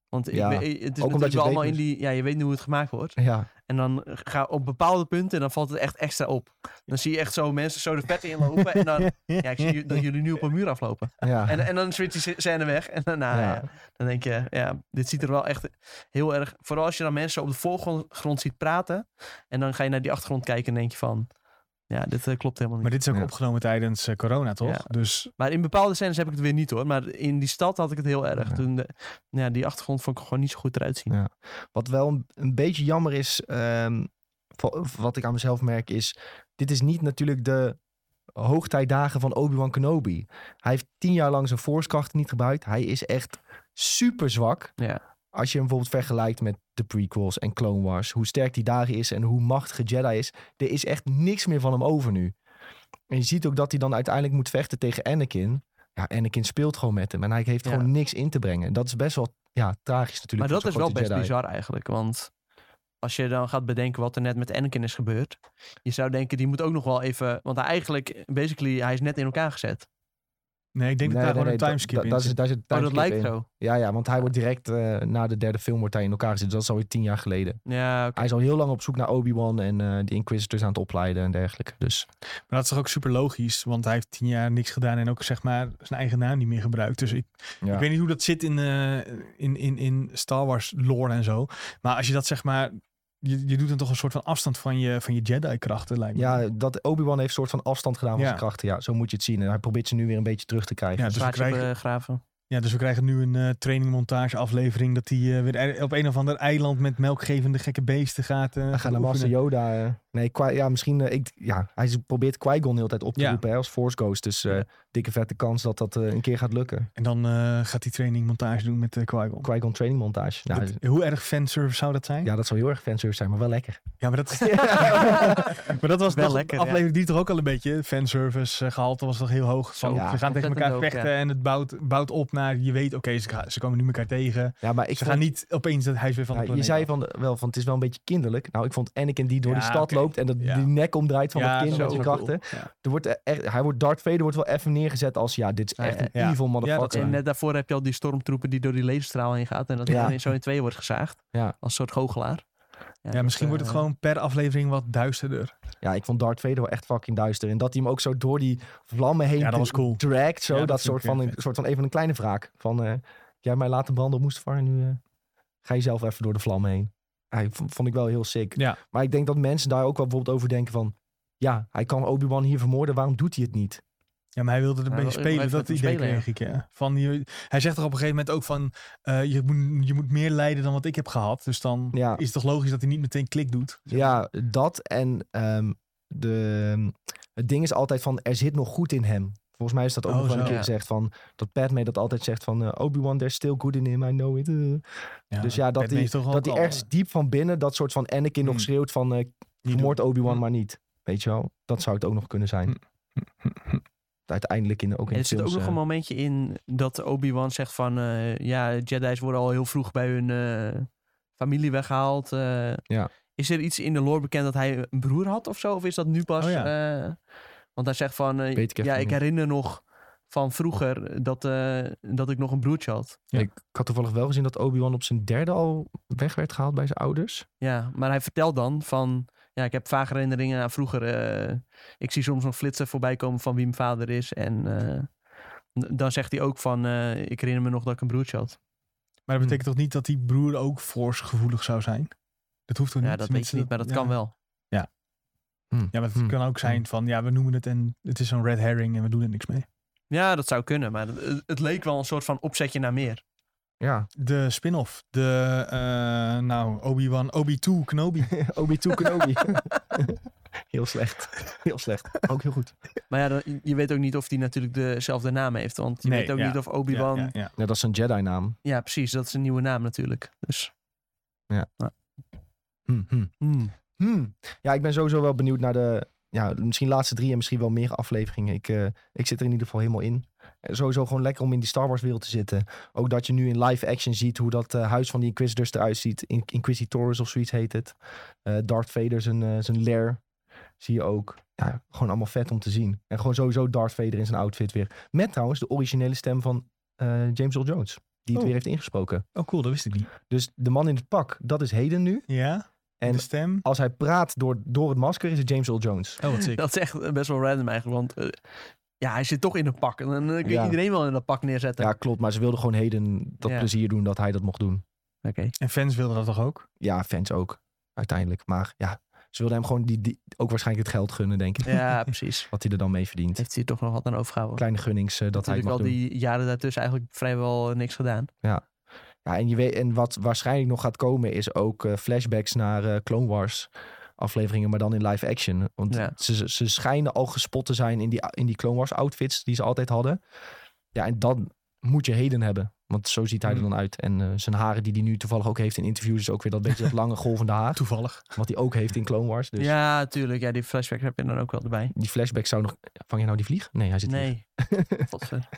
Speaker 2: Want
Speaker 1: Ja,
Speaker 2: ik, ben- het is
Speaker 1: omdat je
Speaker 2: natuurlijk
Speaker 1: het weet
Speaker 2: wel allemaal in
Speaker 1: dus.
Speaker 2: die, ja, je weet nu hoe het gemaakt wordt.
Speaker 1: Ja,
Speaker 2: En dan ga op bepaalde punten, dan valt het echt extra op. Dan zie je echt zo mensen zo de pet inlopen. En dan, ja, ik zie ju- dat jullie nu op een muur aflopen.
Speaker 1: ja.
Speaker 2: En, en dan switcht die sc- scène weg. En daarna,
Speaker 1: Ja.
Speaker 2: ja, dan denk je, ja, dit ziet er wel echt heel erg... Vooral als je dan mensen op de voorgrond ziet praten. En dan ga je naar die achtergrond kijken en denk je van... Ja, dit eh, klopt helemaal
Speaker 3: Maar
Speaker 2: niet.
Speaker 3: dit is ook
Speaker 1: Ja.
Speaker 3: opgenomen tijdens eh, corona, toch?
Speaker 2: Ja.
Speaker 3: Dus
Speaker 2: Maar in bepaalde scènes heb ik het weer niet hoor. Maar in die stad had ik het heel erg.
Speaker 1: Ja.
Speaker 2: Toen de, ja, die achtergrond vond ik gewoon niet zo goed eruit zien.
Speaker 1: Ja. Wat wel een, een beetje jammer is, ehm, va- wat ik aan mezelf merk, is... Dit is niet natuurlijk de hoogtijdagen van Obi-Wan Kenobi. Hij heeft tien jaar lang zijn forcekrachten niet gebruikt. Hij is echt super zwak.
Speaker 2: Ja.
Speaker 1: Als je hem bijvoorbeeld vergelijkt met de prequels en Clone Wars. Hoe sterk die daar is en hoe machtige Jedi is. Er is echt niks meer van hem over nu. En je ziet ook dat hij dan uiteindelijk moet vechten tegen Anakin. Ja, Anakin speelt gewoon met hem. En hij heeft
Speaker 2: Ja.
Speaker 1: gewoon niks in te brengen. Dat is best wel ja, tragisch natuurlijk.
Speaker 2: Maar
Speaker 1: voor zo'n
Speaker 2: dat is wel
Speaker 1: grote
Speaker 2: best
Speaker 1: Jedi.
Speaker 2: bizar eigenlijk. Want als je dan gaat bedenken wat er net met Anakin is gebeurd. Je zou denken, die moet ook nog wel even... Want hij eigenlijk, basically, hij is net in elkaar gezet. Oh,
Speaker 3: nee, ik denk dat daar gewoon een timeskip
Speaker 1: da-
Speaker 3: in
Speaker 1: daar
Speaker 3: zit.
Speaker 1: zit- daar zit een
Speaker 2: Maar Oh, dat
Speaker 1: timeskip
Speaker 2: lijkt
Speaker 1: in.
Speaker 2: zo.
Speaker 1: Ja, ja, want hij wordt direct eh, na de derde film wordt hij in elkaar gezet. Dat is alweer tien jaar geleden.
Speaker 2: Ja, oké.
Speaker 1: Hij is al heel lang op zoek naar Obi-Wan en eh, de Inquisitors aan het opleiden en dergelijke. Dus
Speaker 3: Maar dat is toch ook super logisch, want hij heeft tien jaar niks gedaan en ook zeg maar zijn eigen naam niet meer gebruikt. Dus ik,
Speaker 1: ja.
Speaker 3: ik weet niet hoe dat zit in, eh, in, in, in Star Wars lore en zo. Maar als je dat zeg maar, je, je doet dan toch een soort van afstand van je, van je Jedi-krachten, lijkt me.
Speaker 1: ja, dat Obi-Wan heeft een soort van afstand gedaan van
Speaker 3: Ja.
Speaker 1: zijn krachten. Ja, zo moet je het zien. En hij probeert ze nu weer een beetje terug te krijgen.
Speaker 3: Ja, dus we
Speaker 2: Zwaardje
Speaker 3: krijgen,
Speaker 2: begraven.
Speaker 3: Ja, dus we krijgen nu een eh trainingmontage aflevering dat hij eh, weer ei- op een of ander eiland met melkgevende gekke beesten gaat. eh
Speaker 1: Hij gaat naar Master
Speaker 3: oefenen.
Speaker 1: Yoda. eh. nee, Qui- ja, misschien. eh, ik, ja, hij z- probeert Qui-Gon de hele tijd op te
Speaker 3: Ja.
Speaker 1: roepen hè, als Force Ghost. Dus eh, dikke vette kans dat dat eh, een keer gaat lukken.
Speaker 3: En dan eh, gaat hij trainingmontage doen met eh Qui-Gon.
Speaker 1: Qui-Gon training montage. Nou,
Speaker 3: Dat- hoe erg fanservice zou dat zijn?
Speaker 1: ja, dat zou heel erg fanservice zijn, maar wel lekker.
Speaker 3: Ja, maar dat, maar dat was
Speaker 2: Wel
Speaker 3: toch-
Speaker 2: lekker, ja.
Speaker 3: aflevering die toch ook al een beetje fanservice eh, gehalte was toch heel hoog. Van,
Speaker 1: ja.
Speaker 3: Ze gaan tegen
Speaker 2: Ontzettend
Speaker 3: elkaar
Speaker 2: hoog, ja.
Speaker 3: vechten en het bouwt, bouwt op naar je weet, oké, ze, gaan- ze komen nu elkaar tegen.
Speaker 1: Ja, maar ik
Speaker 3: ze
Speaker 1: vond-
Speaker 3: gaan niet opeens dat huis weer van
Speaker 1: Ja,
Speaker 3: de
Speaker 1: je
Speaker 3: planeet
Speaker 1: zei
Speaker 3: af.
Speaker 1: van, de- wel van het is wel een beetje kinderlijk. Nou, ik vond Anakin die door
Speaker 3: Ja,
Speaker 1: die stad
Speaker 3: oké.
Speaker 1: loopt en dat
Speaker 3: Ja.
Speaker 1: die nek omdraait van
Speaker 3: Ja,
Speaker 1: dat kind
Speaker 3: dat
Speaker 1: met
Speaker 3: was
Speaker 1: zijn
Speaker 3: wel
Speaker 1: krachten.
Speaker 3: cool. Ja.
Speaker 1: Er wordt er echt, hij wordt Darth Vader wordt wel even neergezet als ja, dit is
Speaker 2: Ja,
Speaker 1: echt een
Speaker 3: ja.
Speaker 1: evil
Speaker 3: Ja, dat
Speaker 1: motherfucker.
Speaker 3: is
Speaker 2: En net daarvoor heb je al die stormtroepen die door die laserstraal heen gaat. En dat
Speaker 1: Ja.
Speaker 2: iedereen zo in tweeën wordt gezaagd.
Speaker 1: Ja.
Speaker 2: Als soort goochelaar. eh,
Speaker 3: Ja, misschien wordt het gewoon per aflevering wat duisterder.
Speaker 1: ja, ik vond Darth Vader wel echt fucking duister. En dat hij hem ook zo door die vlammen heen
Speaker 3: Ja, dat was cool.
Speaker 1: dragt. Zo,
Speaker 3: Ja,
Speaker 1: dat,
Speaker 3: dat vind
Speaker 1: soort,
Speaker 3: ik
Speaker 1: van
Speaker 3: heel
Speaker 1: een, soort van even een kleine wraak. Van, eh jij hebt mij laten branden op Mustafar en nu eh, ga je zelf even door de vlammen heen. Hij vond, vond ik wel heel sick.
Speaker 3: Ja.
Speaker 1: Maar ik denk dat mensen daar ook wel bijvoorbeeld over denken van... Ja, hij kan Obi-Wan hier vermoorden, waarom doet hij het niet?
Speaker 3: Ja, maar hij wilde
Speaker 2: Ja,
Speaker 3: ermee
Speaker 2: wel- wel
Speaker 3: spelen.
Speaker 2: even
Speaker 3: Dat
Speaker 2: met
Speaker 3: idee
Speaker 2: hem spelen,
Speaker 3: kreeg ik, ja. Van, je, hij zegt toch op een gegeven moment ook van... eh, je, moet, je moet meer lijden dan wat ik heb gehad. Dus dan
Speaker 1: Ja.
Speaker 3: is het toch logisch dat hij niet meteen klik doet.
Speaker 1: Ja, dat en ehm, de, het ding is altijd van er zit nog goed in hem. Volgens mij is dat ook
Speaker 3: Oh,
Speaker 1: nog wel een
Speaker 3: zo.
Speaker 1: keer
Speaker 2: Ja.
Speaker 1: gezegd van dat Padme dat altijd zegt van eh, Obi-Wan there's still good in him, I know it. eh. dus ja, dat
Speaker 3: Padme
Speaker 1: hij
Speaker 3: is toch
Speaker 1: dat
Speaker 3: ook
Speaker 1: die
Speaker 3: al,
Speaker 1: ergens
Speaker 3: eh,
Speaker 1: diep van binnen dat soort van Anakin nog
Speaker 3: Hmm.
Speaker 1: schreeuwt van eh
Speaker 3: niet
Speaker 1: vermoord Obi-Wan
Speaker 3: Hmm.
Speaker 1: maar niet. Weet je wel, dat zou het ook nog kunnen
Speaker 3: Hm,
Speaker 1: zijn. Uiteindelijk in, ook in
Speaker 2: En
Speaker 1: de
Speaker 2: er zit ook
Speaker 1: films,
Speaker 2: nog
Speaker 1: eh,
Speaker 2: een momentje in dat Obi-Wan zegt van... eh, ja, Jedi's worden al heel vroeg bij hun eh, familie weggehaald. eh.
Speaker 1: Ja.
Speaker 2: Is er iets in de lore bekend dat hij een broer had of zo? Of is dat nu pas...
Speaker 3: Oh
Speaker 2: eh, want hij zegt van... eh,
Speaker 1: Weet ik even
Speaker 2: ja, ik
Speaker 1: niet.
Speaker 2: herinner nog van vroeger dat, eh, dat ik nog een broertje had.
Speaker 3: Ja.
Speaker 1: Ik, ik had toevallig wel gezien dat Obi-Wan op zijn derde al weg werd gehaald bij zijn ouders.
Speaker 2: Ja, maar hij vertelt dan van... Ja, ik heb vage herinneringen aan vroeger. eh, ik zie soms nog flitsen voorbij komen van wie mijn vader is. En eh, d- dan zegt hij ook van... eh, ik herinner me nog dat ik een broertje had.
Speaker 3: Maar
Speaker 1: Hmm.
Speaker 3: dat betekent toch niet dat die broer ook force gevoelig zou zijn? Dat hoeft toch niet?
Speaker 2: Ja, dat weet
Speaker 3: Tenminste,
Speaker 2: je niet, maar dat
Speaker 3: ja.
Speaker 2: kan wel.
Speaker 3: Hm. Ja, maar het
Speaker 1: Hmm.
Speaker 3: kan ook zijn van... Ja, we noemen het en het is zo'n red herring en we doen er niks mee.
Speaker 2: Ja, dat zou kunnen. Maar het, het leek wel een soort van opzetje naar meer.
Speaker 1: Ja,
Speaker 3: De spin-off. De, eh, nou, Obi-Wan, Obi-2, Kenobi.
Speaker 1: Obi-Wan Kenobi. heel slecht, heel slecht. Ook heel goed.
Speaker 2: Maar ja, dan- je weet ook niet of die natuurlijk dezelfde naam heeft. Want je
Speaker 3: Nee,
Speaker 2: weet ook
Speaker 3: ja.
Speaker 2: niet of Obi-Wan... Ja,
Speaker 3: Ja, ja, ja.
Speaker 1: Ja, dat is een Jedi-naam.
Speaker 2: precies. Dat is een nieuwe naam natuurlijk. Dus,
Speaker 1: Hmm, hmm,
Speaker 2: hmm.
Speaker 1: hmm. Ja, ik ben sowieso wel benieuwd naar de ja, misschien laatste drie en misschien wel meer afleveringen. Ik, eh, ik zit er in ieder geval helemaal in. Eh, Sowieso gewoon lekker om in die Star Wars wereld te zitten. Ook dat je nu in live action ziet hoe dat eh, huis van die Inquisitors eruit ziet. In Inquisitors of zoiets heet het. Eh Darth Vader zijn, eh, zijn lair zie je ook. Ja, gewoon allemaal vet om te zien. En gewoon sowieso Darth Vader in zijn outfit weer. Met trouwens de originele stem van eh, James Earl Jones. Die het
Speaker 3: Oh.
Speaker 1: weer heeft ingesproken.
Speaker 3: Oh, cool, dat wist ik niet.
Speaker 1: Dus de man in het pak, dat is Heden nu.
Speaker 3: Ja? En
Speaker 1: En
Speaker 3: de stem?
Speaker 1: als hij praat door, door het masker, is het James Earl Jones.
Speaker 3: Oh, wat ziek.
Speaker 2: Dat is echt best wel random eigenlijk. Want eh, ja, hij zit toch in een pak. En dan eh, kun je
Speaker 1: Ja.
Speaker 2: iedereen wel in dat pak neerzetten.
Speaker 1: Ja, klopt. Maar ze wilden gewoon Heden dat
Speaker 2: Ja.
Speaker 1: plezier doen dat hij dat mocht doen.
Speaker 2: Oké.
Speaker 3: En fans wilden dat toch ook?
Speaker 1: Ja, fans ook, uiteindelijk. Maar ja, ze wilden hem gewoon die, die, ook waarschijnlijk het geld gunnen, denk ik.
Speaker 2: Ja, precies.
Speaker 1: Wat hij er dan mee verdient.
Speaker 2: Heeft hij toch nog wat aan overgehouden?
Speaker 1: Kleine gunnings eh, dat hij het
Speaker 2: natuurlijk
Speaker 1: mag
Speaker 2: al
Speaker 1: doen.
Speaker 2: die jaren daartussen eigenlijk vrijwel eh, niks gedaan.
Speaker 1: Ja, en, je weet, en wat waarschijnlijk nog gaat komen is ook eh, flashbacks naar eh, Clone Wars afleveringen, maar dan in live action. Want
Speaker 2: Ja.
Speaker 1: ze, ze- ze schijnen al gespot te zijn in die, in die Clone Wars outfits die ze altijd hadden. Ja, en dan moet je heden hebben. Want zo ziet hij er
Speaker 2: Mm.
Speaker 3: Hmm.
Speaker 1: dan uit. En eh, zijn haren die hij nu toevallig ook heeft in interviews... is ook weer dat beetje dat lange golvende haar.
Speaker 3: Toevallig.
Speaker 1: Wat hij ook heeft in Clone Wars. Dus
Speaker 2: Ja, tuurlijk. Ja, die flashbacks heb je dan ook wel erbij.
Speaker 1: die flashback zou nog... Vang je nou die vlieg? Nee, hij zit vlieg.
Speaker 2: Nee. eh. Godver.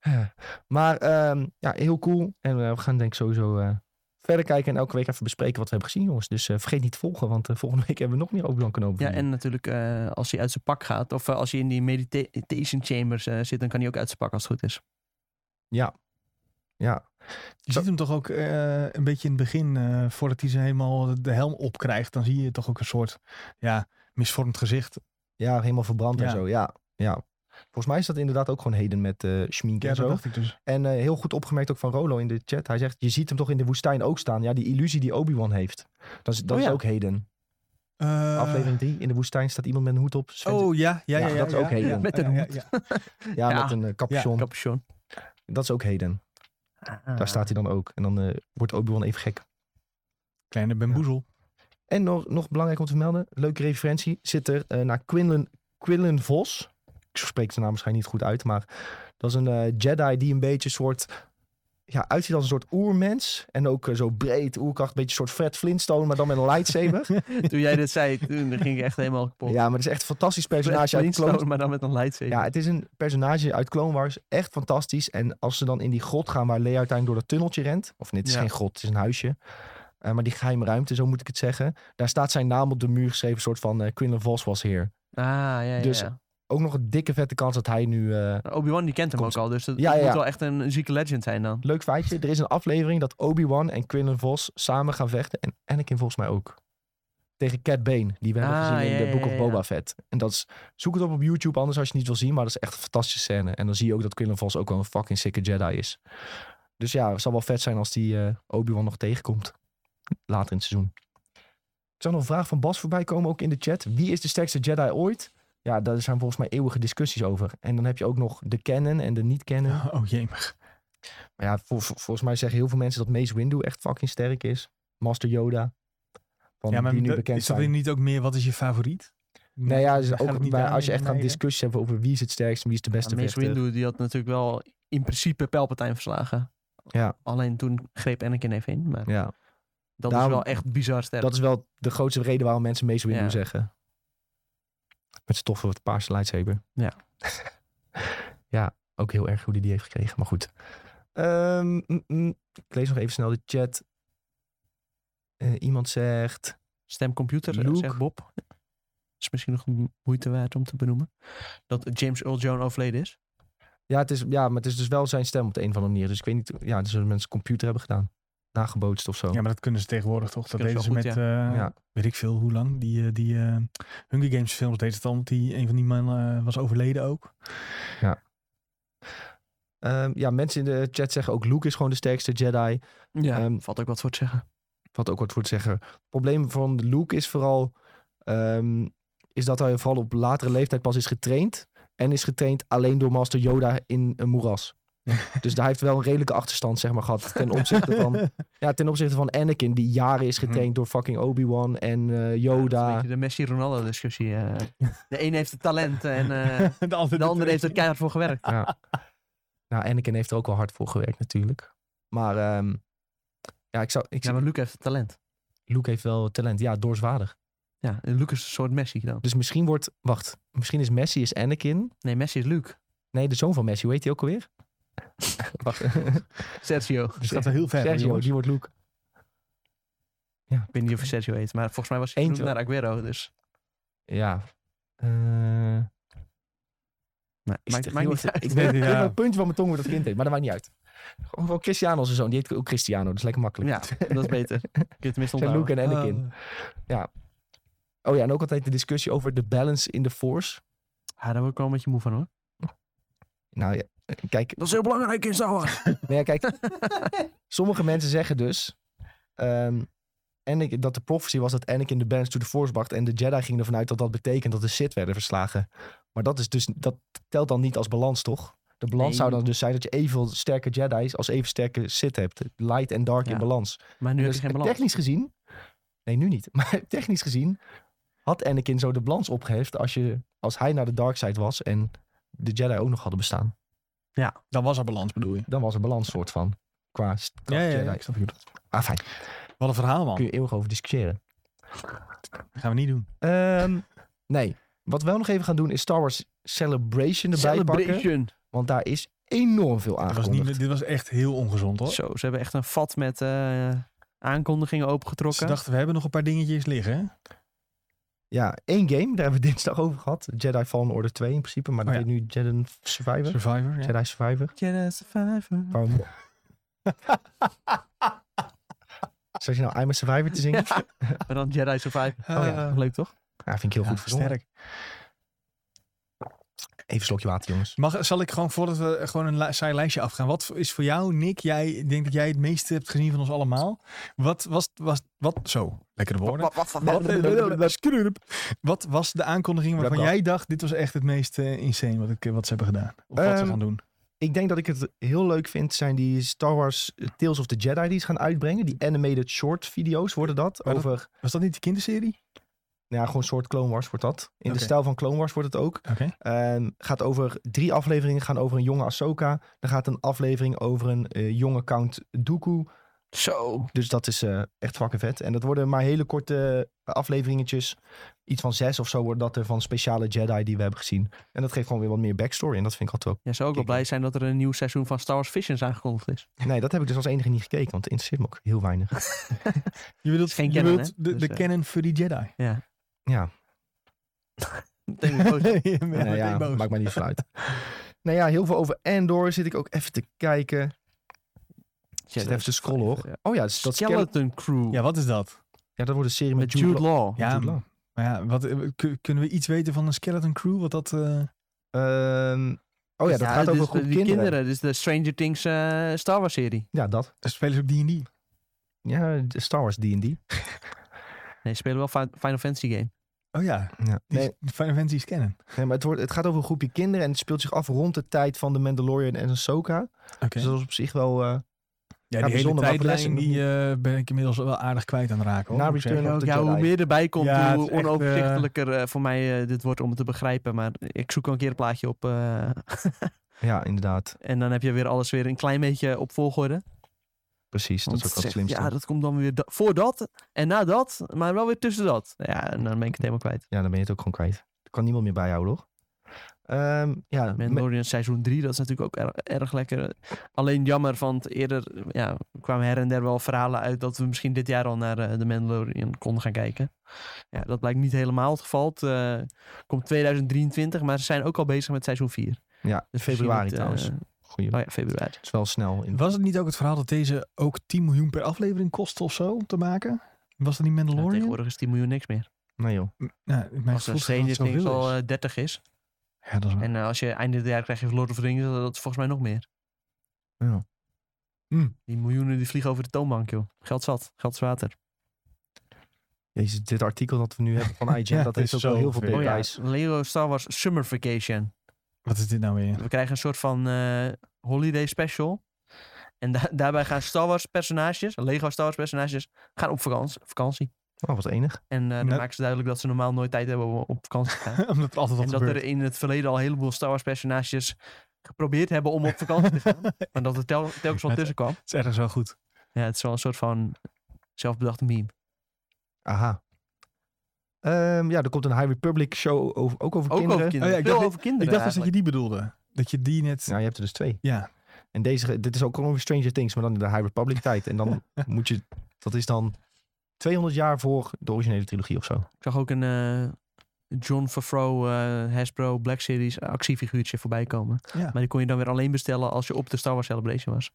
Speaker 1: Maar ehm, ja, heel cool. En eh, we gaan denk ik sowieso eh, verder kijken en elke week even bespreken wat we hebben gezien, jongens. Dus eh, vergeet niet te volgen, want eh, volgende week hebben we nog meer Obi-Wan Kenobi.
Speaker 2: Ja, en natuurlijk eh, als hij uit zijn pak gaat, of eh, als hij in die meditation chambers eh, zit, dan kan hij ook uit zijn pak als het goed is.
Speaker 1: Ja. Ja.
Speaker 3: Je
Speaker 1: Zo-
Speaker 3: ziet hem toch ook eh, een beetje in het begin, eh, voordat hij ze helemaal de helm opkrijgt, dan zie je toch ook een soort ja, misvormd gezicht.
Speaker 1: ja, helemaal verbrand en
Speaker 3: Ja.
Speaker 1: zo. Ja. ja. Volgens mij is dat inderdaad ook gewoon heden met eh schmink en
Speaker 3: Ja,
Speaker 1: zo.
Speaker 3: dat dacht ik dus.
Speaker 1: En eh, heel goed opgemerkt ook van Rolo in de chat. Hij zegt, je ziet hem toch in de woestijn ook staan. Ja, die illusie die Obi-Wan heeft. Dat is, dat
Speaker 2: Oh
Speaker 1: is
Speaker 2: ja.
Speaker 1: ook heden.
Speaker 3: Eh,
Speaker 1: Aflevering 3, in de woestijn staat iemand met een hoed op. Sven-
Speaker 3: Oh ja, ja, ja.
Speaker 1: Ja,
Speaker 3: ja,
Speaker 1: dat is
Speaker 3: ja,
Speaker 1: ook heden.
Speaker 3: ja,
Speaker 2: Met een
Speaker 3: ja,
Speaker 2: hoed.
Speaker 3: ja,
Speaker 1: ja,
Speaker 2: ja.
Speaker 1: met een eh, capuchon.
Speaker 2: Capuchon.
Speaker 1: Dat is ook Heden. Daar
Speaker 2: Ah.
Speaker 1: staat hij dan ook. En dan eh, wordt Obi-Wan even gek.
Speaker 3: Kleine bamboezel.
Speaker 1: En nog, nog belangrijk om te vermelden, leuke referentie, zit er eh, naar Quinlan, Quinlan Vos. Ik spreek de naam waarschijnlijk niet goed uit, maar dat is een eh, Jedi die een beetje soort, ja, uitziet als een soort oermens. En ook eh, zo breed, oerkracht, een beetje een soort Fred Flintstone, maar dan met een lightsaber.
Speaker 2: Toen jij dit zei, toen ging ik echt helemaal kapot.
Speaker 1: ja, maar het is echt een fantastisch personage uit
Speaker 2: Flintstone,
Speaker 1: Clone
Speaker 2: maar dan met een lightsaber.
Speaker 1: Ja, het is een personage uit Clone Wars, echt fantastisch. En als ze dan in die grot gaan waar Leia uiteindelijk door dat tunneltje rent, of nee, het is
Speaker 2: Ja.
Speaker 1: geen grot, het is een huisje. Eh, maar die geheime ruimte, zo moet ik het zeggen. Daar staat zijn naam op de muur geschreven, een soort van eh Quinlan Vos was hier.
Speaker 2: Ah, ja, ja,
Speaker 1: Dus-
Speaker 2: ja.
Speaker 1: ook nog een dikke vette kans dat hij nu... eh,
Speaker 2: Obi-Wan die kent hem
Speaker 1: Komt-
Speaker 2: ook al, dus dat
Speaker 1: Ja, ja,
Speaker 2: moet
Speaker 1: ja.
Speaker 2: wel echt een zieke legend zijn dan.
Speaker 1: leuk feitje, er is een aflevering dat Obi-Wan en Quinlan Vos samen gaan vechten. En Anakin volgens mij ook. Tegen Cat Bane, die we hebben
Speaker 2: Ah,
Speaker 1: gezien
Speaker 2: ja,
Speaker 1: in
Speaker 2: ja,
Speaker 1: de Book of
Speaker 2: ja,
Speaker 1: Boba
Speaker 2: ja.
Speaker 1: Fett. En dat is, zoek het op op YouTube anders als je het niet wil zien, maar dat is echt een fantastische scène. En dan zie je ook dat Quinlan Vos ook wel een fucking sicke Jedi is. Dus ja, het zal wel vet zijn als die eh, Obi-Wan nog tegenkomt. Later in het seizoen. Ik zag nog een vraag van Bas voorbij komen, ook in de chat. Wie is de sterkste Jedi ooit? Ja, daar zijn volgens mij eeuwige discussies over. En dan heb je ook nog de canon en de niet-canon.
Speaker 3: Oh jemig.
Speaker 1: Maar ja, vol- vol- volgens mij zeggen heel veel mensen dat Mace Windu echt fucking sterk is. Master Yoda. Van
Speaker 3: Ja, maar
Speaker 1: die nu
Speaker 3: dat-
Speaker 1: bekend
Speaker 3: is dat
Speaker 1: zijn.
Speaker 3: niet ook meer wat is je favoriet?
Speaker 1: Nee, ja, dus
Speaker 3: Daar gaat
Speaker 1: ook
Speaker 3: het niet
Speaker 1: bij-
Speaker 3: aan
Speaker 1: als je echt
Speaker 3: in
Speaker 1: gaat
Speaker 3: mij, hè?
Speaker 1: discussies hebben over wie is het sterkst en wie is de beste
Speaker 2: Maar Mace
Speaker 1: vechter.
Speaker 2: Windu die had natuurlijk wel in principe Palpatine verslagen.
Speaker 1: Ja.
Speaker 2: Alleen toen greep Anakin even in, maar
Speaker 1: Ja,
Speaker 2: dat
Speaker 1: Daarom-
Speaker 2: is wel echt bizar sterk.
Speaker 1: dat is wel de grootste reden waarom mensen Mace Windu
Speaker 2: Ja.
Speaker 1: zeggen. Met stoffen wat paarse lightsaber.
Speaker 2: Ja.
Speaker 1: ja, ook heel erg hoe die die heeft gekregen, maar goed. Ehm, mm, mm. ik lees nog even snel de chat. Eh, iemand zegt...
Speaker 2: Stemcomputer, eh,
Speaker 1: Luke.
Speaker 2: zegt Bob. Is misschien nog m- moeite waard om te benoemen. Dat James Earl Jones overleden is.
Speaker 1: Ja, het is, ja, maar het is dus wel zijn stem op de een of andere manier. Dus ik weet niet, ja, dat zullen mensen computer hebben gedaan. Nagebootst of zo.
Speaker 3: Ja, maar dat kunnen ze tegenwoordig toch? Dat
Speaker 2: Kunnen
Speaker 3: deden
Speaker 2: ze
Speaker 3: ze met,
Speaker 2: wel
Speaker 3: eh,
Speaker 1: Ja.
Speaker 3: weet ik veel, hoe lang? Die, eh, die eh, Hunger Games films deden het al. want Die, een van die mannen eh, was overleden ook.
Speaker 1: Ehm, ja, mensen in de chat zeggen ook Luke is gewoon de sterkste Jedi.
Speaker 2: Ja,
Speaker 1: Ehm,
Speaker 2: valt ook wat voor te zeggen.
Speaker 1: Wat ook wat voor te zeggen. Het probleem van Luke is vooral, ehm, is dat hij vooral op latere leeftijd pas is getraind. En is getraind alleen door Master Yoda in een moeras. dus daar heeft wel een redelijke achterstand zeg maar, gehad ten opzichte van, ja, ten opzichte van Anakin. Die jaren is getraind door fucking Obi-Wan en eh,
Speaker 2: Mhm. Dat is een
Speaker 1: Yoda.
Speaker 2: beetje de Messi-Ronaldo discussie. eh. de een heeft het talent en eh,
Speaker 3: de andere,
Speaker 2: de ander heeft er keihard voor gewerkt.
Speaker 1: Ja. Nou, Anakin heeft er ook wel hard voor gewerkt natuurlijk. Maar ehm, ja, ik zou, ik
Speaker 2: Ja, maar Luke heeft het talent.
Speaker 1: Luke heeft wel talent. Ja, doorzwaardig.
Speaker 2: Ja, en Luke is een soort Messi dan.
Speaker 1: Dus misschien wordt, wacht, misschien is Messi is Anakin.
Speaker 2: Nee, Messi is Luke.
Speaker 1: Nee, de zoon van Messi, hoe heet hij ook alweer? wacht,
Speaker 2: Sergio.
Speaker 3: Dus het gaat wel heel ver. hoor,
Speaker 1: Sergio,
Speaker 3: jongens.
Speaker 1: die wordt Luke.
Speaker 2: Ik weet niet of hij Sergio heet, maar volgens mij was hij
Speaker 1: Eentje
Speaker 2: genoemd naar Aguero. Dus.
Speaker 1: Ja. Eh,
Speaker 2: Nee,
Speaker 1: ik zit
Speaker 2: maakt,
Speaker 1: echt
Speaker 2: maakt
Speaker 1: heel
Speaker 2: niet
Speaker 1: erg-
Speaker 2: uit.
Speaker 1: Ik weet ik weet
Speaker 3: Ja.
Speaker 1: wel een puntje van mijn tong hoe dat kind heet, maar dat maakt niet uit. Gewoon wel Cristiano zijn zoon, die heet ook Cristiano, dat is lekker makkelijk.
Speaker 2: Ja, dat is beter. Kun je het tenminste
Speaker 1: Zijn
Speaker 2: onthouden.
Speaker 1: Luke en Anakin.
Speaker 3: Ah.
Speaker 1: Oh ja, en ook altijd de discussie over de balance in de force.
Speaker 2: Ah, daar word ik wel een beetje moe van hoor.
Speaker 1: Nou ja, kijk,
Speaker 2: Dat is heel belangrijk in Star Wars.
Speaker 1: Nee, Nou ja, kijk, sommige mensen zeggen dus ehm Anakin, dat de prophecy was dat Anakin de balance to the force bracht en de Jedi gingen ervan uit dat dat betekent dat de Sith werden verslagen. Maar dat, is dus, dat telt dan niet als balans, toch? De balans
Speaker 2: Nee.
Speaker 1: zou dan dus zijn dat je evenveel sterke Jedi's als even sterke Sith hebt. Light en dark
Speaker 2: Ja.
Speaker 1: in balans.
Speaker 2: Maar nu heb
Speaker 1: Dus
Speaker 2: je geen balans.
Speaker 1: Technisch gezien, nee nu niet, maar technisch gezien had Anakin zo de balans opgeheft als, je, als hij naar de dark side was en de Jedi ook nog hadden bestaan.
Speaker 3: Dan was er balans, bedoel je?
Speaker 1: Dan was er balans soort van. Qua st-
Speaker 3: Ja, ja, ja,
Speaker 1: Jedi.
Speaker 3: ik snap je.
Speaker 1: Ah, fijn.
Speaker 3: Wat een verhaal,
Speaker 1: kun
Speaker 3: man.
Speaker 1: je eeuwig over discussiëren.
Speaker 3: gaan we niet doen.
Speaker 1: Ehm, nee. Wat we wel nog even gaan doen is Star Wars Celebration erbij pakken.
Speaker 2: Celebration.
Speaker 1: Want daar is enorm veel
Speaker 3: Dit was, niet,
Speaker 1: aangekondigd.
Speaker 3: meer- dit was echt heel ongezond, hoor.
Speaker 2: Zo, ze hebben echt een vat met eh, aankondigingen
Speaker 3: Ze
Speaker 2: opengetrokken.
Speaker 3: dachten, we hebben nog een paar dingetjes liggen. hè?
Speaker 1: Ja, één game, daar hebben we dinsdag over gehad. Jedi Fallen Order 2 in principe, maar dat
Speaker 3: Oh ja.
Speaker 1: heet nu Jedi Survivor.
Speaker 3: Survivor. Ja.
Speaker 1: Jedi Survivor.
Speaker 2: Jedi Survivor.
Speaker 1: Waarom? Zou je nou I'm a Survivor te zingen? Ja,
Speaker 2: Maar dan Jedi Survivor.
Speaker 3: Oh ja.
Speaker 2: Leuk toch?
Speaker 1: vind ik heel
Speaker 3: Ja,
Speaker 1: goed verzonnen.
Speaker 3: sterk.
Speaker 1: Even een slokje water, jongens.
Speaker 3: Mag, zal ik gewoon voordat we gewoon een la- saai lijstje afgaan. Wat is voor jou, Nick? Jij ik denk dat jij het meeste hebt gezien van ons allemaal. Wat was, was wat, zo, lekkere woorden.
Speaker 2: Wat, wat,
Speaker 3: Wat was de aankondiging waarvan
Speaker 1: Blabla.
Speaker 3: jij dacht, dit was echt het meest eh, insane wat, ik, wat ze hebben gedaan? Of wat ze
Speaker 1: Ehm,
Speaker 3: gaan doen?
Speaker 1: Ik denk dat ik het heel leuk vind, zijn die Star Wars eh, Tales of the Jedi die ze gaan uitbrengen. Die animated short video's worden dat.
Speaker 3: Maar dat-
Speaker 1: Over,
Speaker 3: Was dat niet de kinderserie?
Speaker 1: nou ja, gewoon soort Clone Wars wordt dat. In
Speaker 3: Oké.
Speaker 1: de stijl van Clone Wars wordt het ook.
Speaker 3: Oké.
Speaker 1: Ehm, gaat over drie afleveringen gaan over een jonge Ahsoka. Dan gaat een aflevering over een eh, jonge Count Dooku.
Speaker 2: Zo.
Speaker 1: Dus dat is eh, echt fucking vet. En dat worden maar hele korte afleveringetjes. Iets van zes of zo wordt dat er van speciale Jedi die we hebben gezien. En dat geeft gewoon weer wat meer backstory. En dat vind ik altijd
Speaker 2: Jij zou ook wel
Speaker 1: Kijk.
Speaker 2: blij zijn dat er een nieuw seizoen van Star Wars Visions aangekondigd is.
Speaker 1: wel... Nee, dat heb ik dus als enige niet gekeken. Want het interesseert me ook heel weinig.
Speaker 3: Je bedoelt,
Speaker 2: is geen
Speaker 3: je
Speaker 2: canon,
Speaker 3: bedoelt
Speaker 2: hè?
Speaker 3: de,
Speaker 2: Dus,
Speaker 3: de
Speaker 2: eh.
Speaker 3: canon voor die Jedi.
Speaker 1: Ja.
Speaker 2: Meteen weer boos.
Speaker 3: Je bent
Speaker 1: Nou
Speaker 3: meteen
Speaker 1: ja,
Speaker 3: boos.
Speaker 1: maakt mij niet veel uit. nou ja, heel veel over Andor zit ik ook even te kijken. Ik zit
Speaker 2: Jedi
Speaker 1: even te scrollen hoor.
Speaker 2: Ja.
Speaker 1: Oh ja, dat, is- dat, is Skele-
Speaker 2: Skeleton Crew.
Speaker 3: Ja, wat is dat?
Speaker 1: ja, dat wordt een serie met,
Speaker 2: Met Jude
Speaker 1: Law.
Speaker 2: Law.
Speaker 3: Ja,
Speaker 1: Jude Law.
Speaker 3: maar ja, wat, eh, kun- kunnen we iets weten van een skeleton crew? Wat dat... eh,
Speaker 1: Ehm, oh ja, dat gaat
Speaker 2: dus
Speaker 1: over een groep
Speaker 2: die
Speaker 1: kinderen.
Speaker 2: Dus de Stranger Things eh, Star Wars serie.
Speaker 1: Ja, dat.
Speaker 3: spelen ze ook D&D?
Speaker 1: Ja, de Star Wars D&D.
Speaker 2: Nee, ze spelen wel Fi- Final Fantasy game.
Speaker 3: Oh ja,
Speaker 1: Ja.
Speaker 3: die
Speaker 1: Nee,
Speaker 3: is- Final Fantasy is canon.
Speaker 1: nee, maar het, wordt, het gaat over een groepje kinderen en het speelt zich af rond de tijd van de Mandalorian en Ahsoka.
Speaker 3: Oké.
Speaker 1: Dus dat is op zich wel... eh,
Speaker 3: Ja,
Speaker 1: Ja,
Speaker 3: die hele
Speaker 1: bijzonder, maar voor de
Speaker 3: tijdlijn
Speaker 1: rest-
Speaker 3: die, eh, ben ik inmiddels wel aardig kwijt aan het raken. Hoor,
Speaker 1: Na
Speaker 3: moet ik
Speaker 1: Return
Speaker 3: zeggen.
Speaker 1: of the
Speaker 2: ja, hoe
Speaker 1: Jedi.
Speaker 2: meer erbij komt,
Speaker 3: Ja, het
Speaker 2: hoe
Speaker 3: is echt,
Speaker 2: onoverzichtelijker eh, voor mij eh, dit wordt om het te begrijpen. Maar ik zoek al een keer een plaatje op. eh,
Speaker 1: Ja, inderdaad.
Speaker 2: en dan heb je weer alles weer een klein beetje op volgorde.
Speaker 1: Precies, dat
Speaker 2: Want
Speaker 1: is ook
Speaker 2: het
Speaker 1: wel het
Speaker 2: zegt,
Speaker 1: slimste.
Speaker 2: ja,
Speaker 1: Ja,
Speaker 2: dat komt dan weer da- voor dat en na dat, maar wel weer tussen dat. Nou Ja, en dan ben ik het helemaal kwijt.
Speaker 1: dan ben je het ook gewoon kwijt. Er kan niemand meer bijhouden, hoor. Ehm, ja, me-
Speaker 2: Mandalorian seizoen 3, dat is natuurlijk ook erg, erg lekker. Alleen jammer, want eerder ja, kwamen her en der wel verhalen uit dat we misschien dit jaar al naar eh, de Mandalorian konden gaan kijken. Ja, dat blijkt niet helemaal het geval. Het eh, komt 2023, maar ze zijn ook al bezig met seizoen 4.
Speaker 1: ja
Speaker 2: Dus
Speaker 1: februari
Speaker 2: misschien moet,
Speaker 1: trouwens.
Speaker 2: eh,
Speaker 1: Goeie.
Speaker 2: oh ja, februari.
Speaker 1: Het is wel snel. In...
Speaker 3: Was het niet ook het verhaal dat deze ook 10 miljoen per aflevering kostte of zo om te maken? Was dat niet
Speaker 2: Ja,
Speaker 3: Mandalorian?
Speaker 2: tegenwoordig is 10 miljoen niks meer.
Speaker 1: Nee joh.
Speaker 3: Nou, mijn
Speaker 2: Als een
Speaker 3: gevoel is dat het
Speaker 2: Stranger
Speaker 3: zoveel
Speaker 2: Things
Speaker 3: is.
Speaker 2: al eh, 30 is.
Speaker 3: Ja, dat is waar.
Speaker 2: En eh, als je einde dit jaar krijg je Lord of the Rings, dat is volgens mij nog meer.
Speaker 1: Ja.
Speaker 3: Hm.
Speaker 2: Die miljoenen die vliegen over de toonbank, joh. Geld zat, geld is water.
Speaker 1: Jezus, dit artikel dat we nu hebben van IGN,
Speaker 3: Ja,
Speaker 1: dat
Speaker 3: het
Speaker 1: heeft
Speaker 3: is
Speaker 1: ook wel
Speaker 3: zo
Speaker 1: heel veel
Speaker 3: veel.
Speaker 2: Oh ja,
Speaker 1: details.
Speaker 2: Lego Star Wars Summer Vacation.
Speaker 3: Wat is dit nou weer?
Speaker 2: We krijgen een soort van eh, holiday special. En da- daarbij gaan Star Wars personages, Lego Star Wars personages, gaan op vakantie. vakantie.
Speaker 1: Oh, wat enig.
Speaker 2: En eh, dan
Speaker 3: Net-
Speaker 2: maken ze duidelijk dat ze normaal nooit tijd hebben om op vakantie te gaan.
Speaker 3: Omdat er altijd wat
Speaker 2: en dat
Speaker 3: gebeurt.
Speaker 2: er in het verleden al een heleboel Star Wars personages geprobeerd hebben om op vakantie te gaan. Maar dat er tel- telkens wel
Speaker 3: Het-
Speaker 2: tussen kwam.
Speaker 3: Het is ergens wel goed.
Speaker 2: Ja, het is wel een soort van zelfbedachte meme.
Speaker 1: Aha. Ehm, ja, er komt een High Republic show over, ook over
Speaker 2: Ook
Speaker 1: kinderen.
Speaker 2: over kinderen.
Speaker 3: Oh ja, ik
Speaker 2: Veel
Speaker 3: dacht-
Speaker 2: over kinderen
Speaker 3: Ik dacht dus dat je
Speaker 2: eigenlijk.
Speaker 3: die bedoelde. Dat je die net...
Speaker 1: Nou, je hebt er dus twee.
Speaker 3: Ja.
Speaker 1: En deze, dit is ook gewoon over Stranger Things, maar dan in de High Republic tijd. En dan moet je, dat is dan 200 jaar voor de originele trilogie of zo.
Speaker 2: Ik zag ook een eh, John Favreau eh, Hasbro Black Series actiefiguurtje voorbij komen.
Speaker 3: ja.
Speaker 2: Maar die kon je dan weer alleen bestellen als je op de Star Wars Celebration was.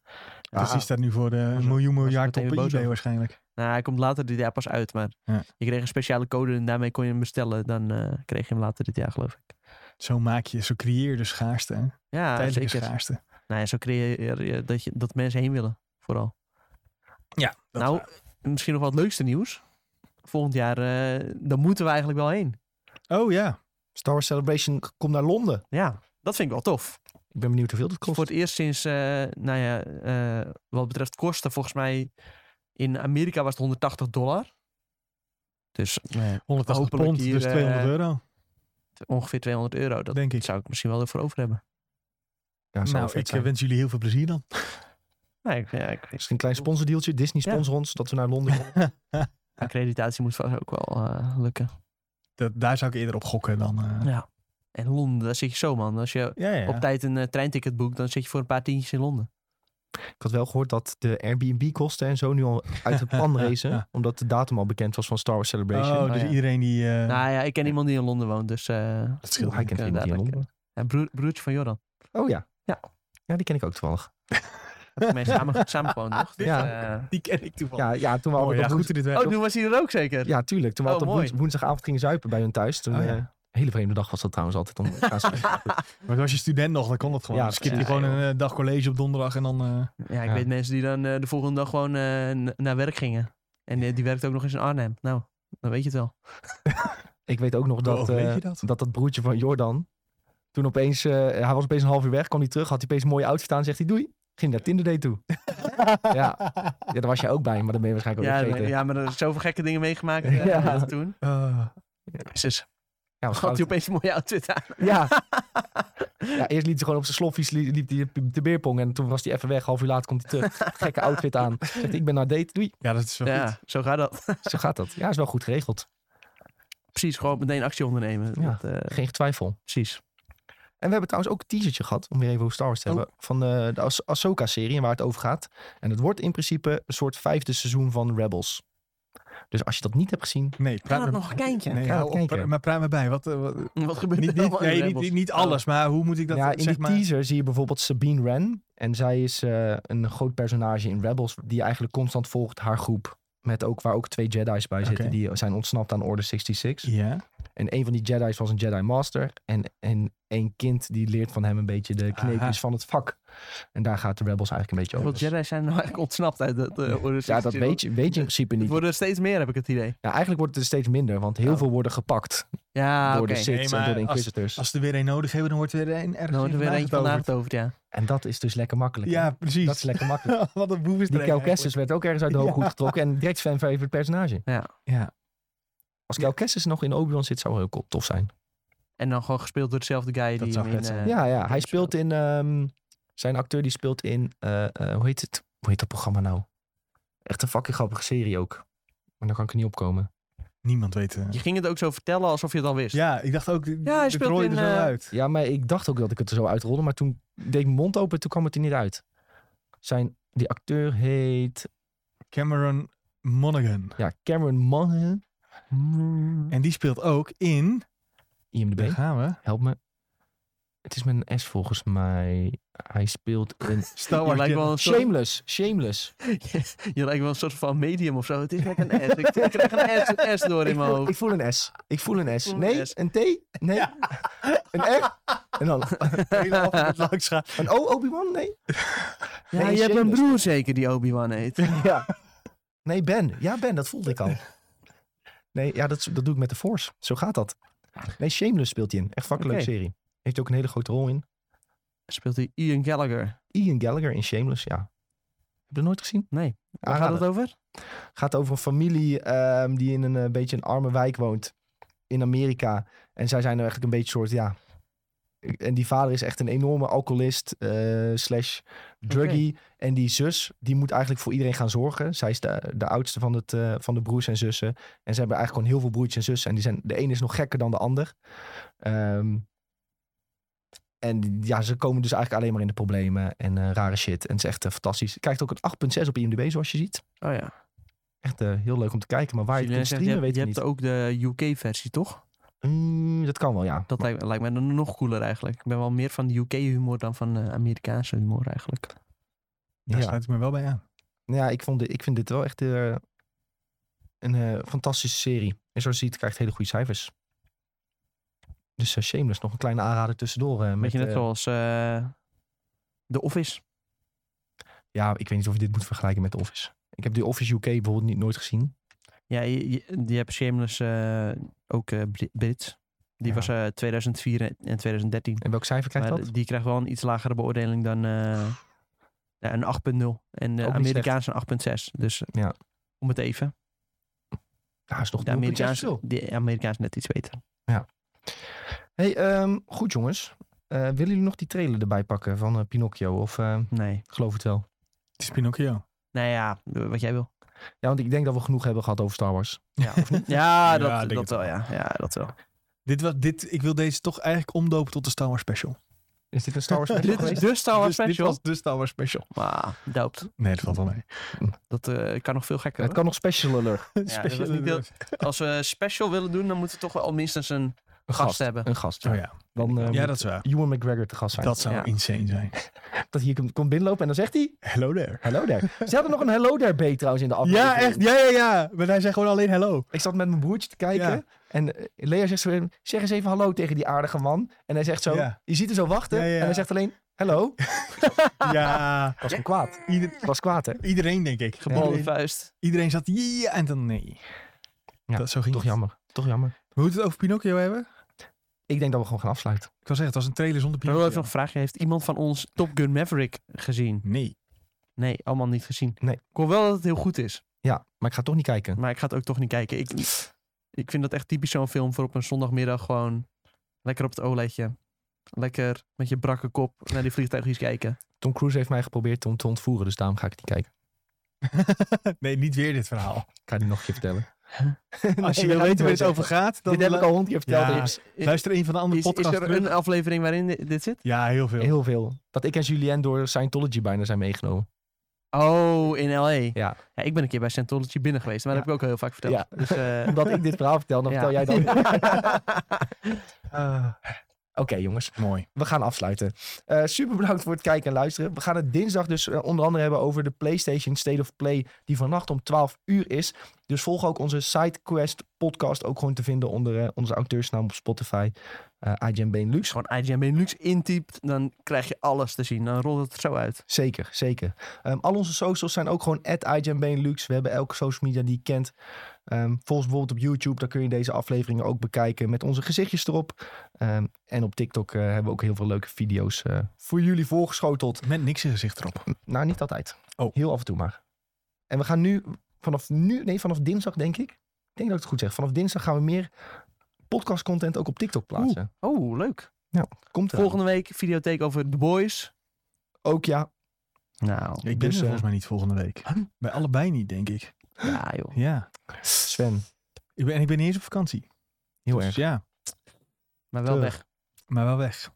Speaker 3: Dus die
Speaker 1: Ah,
Speaker 3: staat nu voor de
Speaker 2: was er-
Speaker 3: miljoen miljard op
Speaker 2: meteen
Speaker 3: eBay
Speaker 2: weer boos over.
Speaker 3: waarschijnlijk.
Speaker 2: Nou, hij komt later dit jaar pas uit, maar
Speaker 3: Ja.
Speaker 2: je kreeg een speciale code en daarmee kon je hem bestellen. Dan eh, kreeg je hem later dit jaar, geloof ik.
Speaker 3: Zo maak je, zo creëer je de schaarste. hè?
Speaker 2: Ja,
Speaker 3: Tijdelijke
Speaker 2: zeker.
Speaker 3: schaarste.
Speaker 2: Nou ja, zo creëer je dat, je dat mensen heen willen, vooral.
Speaker 3: Ja. dat
Speaker 2: nou,
Speaker 3: is waar.
Speaker 2: misschien nog wat leukste nieuws. Volgend jaar, eh, dan moeten we eigenlijk wel heen.
Speaker 3: Oh ja.
Speaker 1: Star Wars Celebration komt naar Londen.
Speaker 2: Ja, dat vind ik wel tof.
Speaker 1: Ik ben benieuwd hoeveel dat kost.
Speaker 2: Voor het eerst sinds, eh, nou ja, eh, wat betreft kosten, volgens mij in Amerika was het 180 dollar. Dus eh,
Speaker 3: 180
Speaker 2: Hopelijk
Speaker 3: pond,
Speaker 2: hier,
Speaker 3: dus
Speaker 2: eh,
Speaker 3: 200 euro,
Speaker 2: ongeveer 200 euro. Dat
Speaker 3: denk ik.
Speaker 2: zou ik misschien wel ervoor over hebben.
Speaker 1: Ja, zou
Speaker 3: Nou,
Speaker 1: vet
Speaker 3: ik eh,
Speaker 1: zijn.
Speaker 3: wens jullie heel veel plezier dan.
Speaker 2: Nee, ik, ja, ik,
Speaker 1: Misschien een klein sponsordeeltje. Disney
Speaker 2: Ja.
Speaker 1: sponsor ons, dat we naar Londen komen.
Speaker 2: Accreditatie moet vast ook wel eh, lukken.
Speaker 3: Dat, daar zou ik eerder op gokken dan... eh,
Speaker 2: Ja. En Londen, daar zit je zo, man. Als je
Speaker 3: Ja, ja.
Speaker 2: op tijd een eh, treinticket boekt, dan zit je voor een paar tientjes in Londen.
Speaker 1: Ik had wel gehoord dat de Airbnb-kosten en zo nu al uit het pan racen. Omdat de datum al bekend was van Star Wars Celebration.
Speaker 3: Oh, dus
Speaker 2: ja.
Speaker 3: iedereen die... eh,
Speaker 2: nou ja, ik ken iemand die in Londen woont, dus... eh
Speaker 3: dat scheelt
Speaker 1: hij
Speaker 3: niet.
Speaker 1: kent
Speaker 2: eh,
Speaker 1: iemand die in
Speaker 2: dadelijk,
Speaker 1: Londen.
Speaker 2: ja, broer- broertje van Joran.
Speaker 1: Oh ja.
Speaker 2: Ja.
Speaker 1: Ja, die ken ik ook toevallig.
Speaker 2: Mee samen, samen gewoon nog. Dus,
Speaker 1: Ja.
Speaker 2: eh,
Speaker 3: Die ken ik toevallig.
Speaker 1: Ja, ja toen we
Speaker 3: Oh,
Speaker 1: altijd
Speaker 3: ja,
Speaker 1: op
Speaker 3: goed
Speaker 1: woens-
Speaker 3: dat dit werkt.
Speaker 2: oh, toen was hij er ook zeker?
Speaker 1: ja, tuurlijk. Toen we
Speaker 2: Oh,
Speaker 1: altijd op woens-
Speaker 2: mooi.
Speaker 1: woensdagavond gingen zuipen bij hun thuis. Toen,
Speaker 3: Oh, ja.
Speaker 1: eh, hele vreemde dag was dat trouwens altijd. Om gaan slapen.
Speaker 3: Maar als je student nog, dan kon dat gewoon.
Speaker 1: Ja,
Speaker 3: Dan skip je
Speaker 2: precies.
Speaker 3: gewoon
Speaker 2: Ja,
Speaker 3: een eh, dag college op donderdag en dan... eh,
Speaker 2: Ja, ik
Speaker 1: Ja.
Speaker 2: weet mensen die dan eh, de volgende dag gewoon eh, n- naar werk gingen. En eh, die werkte ook nog eens in Arnhem. Nou, dan weet je het wel.
Speaker 1: ik weet ook nog dat,
Speaker 3: Oh, weet
Speaker 1: eh,
Speaker 3: je dat?
Speaker 1: dat dat broertje van Jordan. Toen opeens, eh, hij was opeens een half uur weg, kwam hij terug, had hij opeens een mooie outfit aan, zegt hij doei. Ging naar Tinder Day toe. ja. ja, daar was jij ook bij, maar dan ben je waarschijnlijk ook
Speaker 2: Ja,
Speaker 1: vergeten. Ja,
Speaker 2: ja, maar er zijn zoveel gekke dingen meegemaakt eh,
Speaker 1: Ja.
Speaker 2: toen.
Speaker 3: eh,
Speaker 2: Jezus,
Speaker 1: was
Speaker 2: had
Speaker 1: goud.
Speaker 2: hij opeens een mooie outfit aan.
Speaker 1: ja. ja, eerst liep hij gewoon op zijn sloffies, li- liep hij te beerpong en toen was hij even weg. Half uur later komt hij terug, gekke outfit aan. Zegt hij, ik ben naar date, doei.
Speaker 3: ja, dat is wel goed.
Speaker 2: Ja, zo gaat dat.
Speaker 1: Zo gaat dat. Ja, is wel goed geregeld.
Speaker 2: Precies, gewoon meteen actie ondernemen.
Speaker 1: Ja.
Speaker 2: Dat, eh,
Speaker 1: Geen twijfel.
Speaker 2: precies.
Speaker 1: En we hebben trouwens ook een teasertje gehad, om weer even over Star Wars te
Speaker 3: Oh.
Speaker 1: hebben, van eh, de Ahs- Ahsoka-serie en waar het over gaat. En het wordt in principe een soort vijfde seizoen van Rebels. Dus als je dat niet hebt gezien,
Speaker 3: Nee,
Speaker 2: Ga
Speaker 3: praat
Speaker 2: dat
Speaker 3: me-
Speaker 2: nog een kindje.
Speaker 3: Nee,
Speaker 1: Ga
Speaker 3: hou
Speaker 1: dat
Speaker 3: op,
Speaker 1: kijken.
Speaker 3: maar praat me bij. Wat, eh, wat-
Speaker 2: Wat gebeurt
Speaker 3: niet,
Speaker 2: er
Speaker 3: niet,
Speaker 2: allemaal in
Speaker 3: nee, niet,
Speaker 2: Rebels? Oh,
Speaker 3: niet, niet alles, maar hoe moet ik dat
Speaker 1: ja, in
Speaker 3: zeg
Speaker 1: die
Speaker 3: maar...
Speaker 1: teaser zie je bijvoorbeeld Sabine Wren. En zij is eh, een groot personage in Rebels. Die je eigenlijk constant volgt haar groep. Met ook, waar ook twee Jedi's bij zitten.
Speaker 3: Oké.
Speaker 1: Die zijn ontsnapt aan Order 66.
Speaker 3: Ja,
Speaker 1: En een van die Jedi's was een Jedi Master. En, en een kind die leert van hem een beetje de
Speaker 3: Aha.
Speaker 1: kneepjes van het vak. En daar gaat de Rebels eigenlijk een beetje
Speaker 2: Hoeveel
Speaker 1: over.
Speaker 2: Jedi's zijn nou eigenlijk ontsnapt uit dat eh, Order
Speaker 1: Ja, dat
Speaker 2: 66?
Speaker 1: weet je, weet je in principe
Speaker 2: Het
Speaker 1: niet.
Speaker 2: worden er steeds meer, heb ik het idee.
Speaker 1: Ja, eigenlijk wordt het er steeds minder. Want heel
Speaker 2: Oh.
Speaker 1: veel worden gepakt
Speaker 2: Ja,
Speaker 1: door
Speaker 2: oké.
Speaker 1: de
Speaker 2: Dan
Speaker 1: Sith
Speaker 3: Ah, Nee,
Speaker 1: en
Speaker 3: maar
Speaker 1: door de
Speaker 3: als-
Speaker 1: Inquisitors.
Speaker 3: als ze er weer een nodig hebben, dan wordt er weer een ergens
Speaker 2: wordt er weer
Speaker 3: in
Speaker 2: eentje van
Speaker 3: getoverd.
Speaker 2: over, ja.
Speaker 1: En dat is dus lekker makkelijk. hè?
Speaker 3: Ja, precies.
Speaker 1: Dat is lekker makkelijk.
Speaker 3: Wat een boef
Speaker 1: Die
Speaker 3: is er
Speaker 1: Kel
Speaker 3: een eigenlijk.
Speaker 1: Kessis werd ook ergens uit de hooghoed
Speaker 3: Ja.
Speaker 1: getrokken. En direct fan favorite personage.
Speaker 3: Ja.
Speaker 1: Als Kel Kessis nog in Obi-Wan zit, zou heel cool, tof zijn.
Speaker 2: En dan gewoon gespeeld door dezelfde guy
Speaker 3: Dat
Speaker 2: die
Speaker 3: zou
Speaker 2: hem in...
Speaker 3: vet zijn.
Speaker 2: eh,
Speaker 1: ja, ja. Hij
Speaker 2: dat
Speaker 1: speelt in... ehm, zijn acteur die speelt in... eh, eh, hoe heet het? Hoe heet dat programma nou? Echt een fucking grappige serie ook. Maar dan kan ik er niet op komen.
Speaker 3: Niemand weet... eh.
Speaker 2: Je ging het ook zo vertellen alsof je het al wist.
Speaker 3: Ja, ik dacht ook,
Speaker 2: hij
Speaker 3: ja, het
Speaker 2: speelt
Speaker 3: rooi er
Speaker 2: in,
Speaker 3: zo
Speaker 2: eh,
Speaker 3: uit.
Speaker 1: Ja, maar ik dacht ook dat ik het er zo uitrolde. Maar toen deed ik mijn mond open, toen kwam het er niet uit. Zijn... Die acteur heet...
Speaker 3: Cameron Monaghan.
Speaker 1: Ja, Cameron Mann.
Speaker 3: En die speelt ook in... Daar
Speaker 1: IMDb.
Speaker 3: gaan we.
Speaker 1: Help me. Het is met een S volgens mij. Hij speelt in...
Speaker 3: Star
Speaker 2: je,
Speaker 3: Wars
Speaker 2: lijkt
Speaker 3: Jedi.
Speaker 2: wel een soort,
Speaker 1: Shameless. Shameless.
Speaker 2: je lijkt wel een soort van medium of zo. Het is met een S. Ik, ik krijg een S, een S door in
Speaker 1: Ik
Speaker 2: mijn
Speaker 1: voel,
Speaker 2: hoofd.
Speaker 1: ik voel een S. Ik voel een S.
Speaker 2: voel een
Speaker 1: nee,
Speaker 2: S.
Speaker 1: een T? Nee. Een R? En dan
Speaker 3: Heel af en langs gaan.
Speaker 1: een O, Obi-Wan? Nee.
Speaker 2: Ja,
Speaker 1: Nee,
Speaker 2: je hebt een
Speaker 1: Shameless.
Speaker 2: broer zeker die Obi-Wan heet.
Speaker 1: Ja. Nee, Ben. Ja, Ben, dat voelde ik al. Nee, ja, dat, dat doe ik met de Force. Zo gaat dat. Nee, Shameless speelt hij in. Echt fucking leuke
Speaker 2: Oké.
Speaker 1: serie. Heeft ook een hele grote rol in.
Speaker 2: Speelt hij Ian
Speaker 1: Ah,
Speaker 2: Gallagher?
Speaker 1: Ian Gallagher in Shameless, ja. Heb je dat nooit gezien?
Speaker 2: Nee. Waar
Speaker 1: Aanrader.
Speaker 2: gaat het over?
Speaker 1: gaat over een familie ehm, die in een eh, beetje een arme wijk woont in Amerika. En zij zijn er eigenlijk een beetje soort, ja... En die vader is echt een enorme alcoholist eh, slash druggie. En die zus, die moet eigenlijk voor iedereen gaan zorgen. Zij is de, de oudste van, het, eh, van de broers en zussen. En ze hebben eigenlijk gewoon heel veel broertjes en zussen. En die zijn, de een is nog gekker dan de ander. Ehm, en ja, ze komen dus eigenlijk alleen maar in de problemen en eh, rare shit. En het is echt eh, fantastisch. Krijgt ook een 8.6 op IMDb, zoals je ziet.
Speaker 2: Oh ja.
Speaker 1: Echt eh, heel leuk om te kijken, maar waar je het
Speaker 2: Julien
Speaker 1: kunt
Speaker 2: zegt, Dus je
Speaker 1: streamen
Speaker 2: hebt,
Speaker 1: weet
Speaker 2: je
Speaker 1: ik
Speaker 2: hebt
Speaker 1: niet.
Speaker 2: ook de UK-versie, toch?
Speaker 1: Mm, dat kan wel, ja.
Speaker 2: Dat lijkt, lijkt mij dan nog cooler eigenlijk. Ik ben wel meer van de UK-humor dan van eh, Amerikaanse humor eigenlijk.
Speaker 3: Daar
Speaker 1: ja. Nou
Speaker 3: sluit ik me wel bij aan.
Speaker 1: ja ik, vond dit, ik vind dit wel echt eh, een eh, fantastische serie. En zoals je ziet krijgt het hele goede cijfers. Dus eh, Shameless, nog een kleine aanrader tussendoor. eh, met,
Speaker 2: Beetje net
Speaker 1: eh,
Speaker 2: zoals eh The Office.
Speaker 1: ja, ik weet niet of je dit moet vergelijken met The Office. Ik heb The Office UK bijvoorbeeld niet, nooit gezien.
Speaker 2: Ja, je, je, je hebt Shameless eh, ook eh, Brit- Brits. Die
Speaker 1: Ja.
Speaker 2: was eh 2004 en 2013.
Speaker 1: En welk cijfer krijgt
Speaker 2: maar
Speaker 1: dat?
Speaker 2: die krijgt wel een iets lagere beoordeling dan eh, ja, een 8.0. En de
Speaker 1: Ook niet
Speaker 2: Amerikaanse een 8.6. Dus eh,
Speaker 1: Ja.
Speaker 2: om het even.
Speaker 1: Ja, is nog
Speaker 2: De
Speaker 1: een puntje
Speaker 2: Amerikaanse,
Speaker 1: verschil.
Speaker 2: de Amerikaanse net iets beter.
Speaker 1: Hey, ehm, goed jongens. Eh, willen jullie nog die trailer erbij pakken van eh, Pinocchio? Of eh,
Speaker 2: Nee.
Speaker 1: geloof het wel?
Speaker 3: Het is Pinocchio.
Speaker 2: Nou ja, wat jij wil.
Speaker 1: Ja, want ik denk dat we genoeg hebben gehad over Star Wars.
Speaker 2: Ja, of niet? ja, dat,
Speaker 3: Ja, ik denk
Speaker 2: dat wel.
Speaker 3: het wel.
Speaker 2: Ja. ja, dat wel.
Speaker 3: Dit was, dit, ik wil deze toch eigenlijk omdopen tot de Star Wars special.
Speaker 1: Is dit een Star Wars
Speaker 3: Dit
Speaker 1: special
Speaker 3: is
Speaker 1: geweest?
Speaker 2: de Star Wars
Speaker 3: Dus dit
Speaker 2: special.
Speaker 3: was de Star Wars special.
Speaker 2: Maar, Ah, doopt.
Speaker 3: Nee, dat valt wel mee.
Speaker 2: Dat eh, kan nog veel gekker.
Speaker 1: Het
Speaker 2: hoor.
Speaker 1: kan nog special alert.
Speaker 2: dat was niet heel- Als we special willen doen, dan moeten we toch wel minstens een
Speaker 1: Een
Speaker 2: gast
Speaker 1: gast.
Speaker 2: hebben.
Speaker 1: Een gast.
Speaker 3: Oh ja.
Speaker 1: Dan eh,
Speaker 3: ja,
Speaker 1: moet
Speaker 3: dat is waar.
Speaker 1: Ewan McGregor te gast zijn.
Speaker 3: Dat zou
Speaker 2: Ja.
Speaker 3: insane zijn.
Speaker 1: Dat hier komt, komt binnenlopen en dan zegt hij...
Speaker 3: Hello there.
Speaker 1: Hallo daar. Ze hadden nog een hello daar B trouwens in de aflevering.
Speaker 3: Ja, echt. Ja, ja, ja. Maar hij zegt gewoon alleen hello.
Speaker 1: Ik zat met mijn broertje te kijken.
Speaker 3: Ja.
Speaker 1: En eh, Lea zegt zo, in, zeg eens even hallo tegen die aardige man. En hij zegt zo,
Speaker 3: Ja.
Speaker 1: je ziet hem zo wachten.
Speaker 3: Ja, ja, ja.
Speaker 1: En hij zegt alleen, hallo.
Speaker 3: Ja.
Speaker 1: Was hem kwaad.
Speaker 3: Ieder-
Speaker 1: Was kwaad, hè?
Speaker 3: iedereen, denk ik.
Speaker 2: Gebalde
Speaker 3: Iedereen,
Speaker 2: vuist.
Speaker 3: iedereen zat ja en dan nee.
Speaker 1: Ja,
Speaker 3: dat, zo ging
Speaker 1: Toch
Speaker 3: het.
Speaker 1: jammer. Toch jammer.
Speaker 3: We moeten het over Pinocchio hebben.
Speaker 1: Ik denk dat we gewoon gaan afsluiten.
Speaker 3: Ik wil zeggen, het was een trailer zonder
Speaker 2: Rolo
Speaker 3: Pinocchio.
Speaker 2: heeft nog een vraagje. Heeft iemand van ons Top Gun Maverick gezien?
Speaker 3: Nee.
Speaker 2: Nee, allemaal niet gezien.
Speaker 1: Nee.
Speaker 2: Ik hoor wel dat het heel goed is.
Speaker 1: Ja, maar ik ga toch niet kijken.
Speaker 2: Maar ik ga het ook toch niet kijken. Ik, ik vind dat echt typisch zo'n film voor op een zondagmiddag gewoon lekker op het OLEDje. Lekker met je brakke kop naar die vliegtuigjes kijken.
Speaker 1: Tom Cruise heeft mij geprobeerd om te ontvoeren. Dus daarom ga ik het niet kijken.
Speaker 3: nee, niet weer dit verhaal.
Speaker 1: Ik ga het nog een keer vertellen.
Speaker 3: Nou. Als je
Speaker 1: Nee, dat
Speaker 3: wil weten waar
Speaker 1: wil
Speaker 3: het over gaat, dan
Speaker 1: Dit heb ik al honderd keer verteld.
Speaker 3: Ja.
Speaker 1: Is
Speaker 3: luister een van de andere
Speaker 2: Is, is
Speaker 3: podcasts
Speaker 2: er
Speaker 3: terug.
Speaker 2: een aflevering waarin di- dit zit?
Speaker 3: Ja, heel veel.
Speaker 1: Heel veel. Dat ik en Julien door Scientology bijna zijn meegenomen.
Speaker 2: Oh, in L.A.
Speaker 1: Ja.
Speaker 2: ik ben een keer bij Scientology binnen geweest. Maar
Speaker 1: Ja.
Speaker 2: dat heb ik ook al heel vaak verteld.
Speaker 1: Ja.
Speaker 2: Dus, eh,
Speaker 1: Omdat ik dit verhaal vertel, dan
Speaker 2: Ja.
Speaker 1: vertel jij dan. Oké
Speaker 3: Ah,
Speaker 1: jongens,
Speaker 3: mooi.
Speaker 1: we gaan afsluiten. Eh, super bedankt voor het kijken en luisteren. We gaan het dinsdag dus eh, onder andere hebben over de PlayStation State of Play, die vannacht om 12 uur is. Dus volg ook onze SideQuest podcast, ook gewoon te vinden onder eh, onze auteursnaam op Spotify, eh IGN Benelux.
Speaker 2: gewoon IGN Benelux intypt, dan krijg je alles te zien. Dan rolt het zo uit.
Speaker 1: Zeker, zeker. Ehm, al onze socials zijn ook gewoon @iGenBenelux. We hebben elke social media die je kent. Ehm volgens bijvoorbeeld op YouTube, daar kun je deze afleveringen ook bekijken met onze gezichtjes erop. Ehm, en op TikTok eh, hebben we ook heel veel leuke video's eh, voor jullie voorgeschoteld.
Speaker 3: Met niks in gezicht erop.
Speaker 1: Nou, niet altijd.
Speaker 3: Oh.
Speaker 1: Heel af en toe maar. En we gaan nu, vanaf nu, nee, vanaf dinsdag denk ik. Ik denk dat ik het goed zeg. Vanaf dinsdag gaan we meer podcast content ook op TikTok plaatsen.
Speaker 2: Oh, leuk.
Speaker 1: Komt er.
Speaker 2: Volgende week videotheek over The Boys.
Speaker 1: Ook ja.
Speaker 2: Nou,
Speaker 3: Ik ben
Speaker 1: Dus,
Speaker 3: er
Speaker 1: eh,
Speaker 3: volgens mij niet volgende week. Bij allebei niet, denk ik.
Speaker 2: ja joh.
Speaker 3: Ja.
Speaker 1: Sven,
Speaker 3: Ik ben, en ik ben niet eens op vakantie.
Speaker 1: heel
Speaker 3: Dus
Speaker 1: erg.
Speaker 3: ja,
Speaker 2: Maar wel
Speaker 1: Terug.
Speaker 2: weg.
Speaker 3: maar wel weg.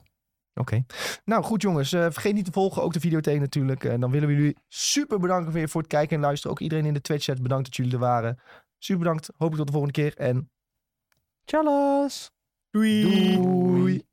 Speaker 1: Oké. Nou goed jongens, eh, vergeet niet te volgen, ook de videotheek natuurlijk. En dan willen we jullie super bedanken weer voor het kijken en luisteren. Ook iedereen in de Twitch chat, bedankt dat jullie er waren. Super bedankt, hopelijk tot de volgende keer en
Speaker 2: Tjallas!
Speaker 3: Doei.
Speaker 1: doei.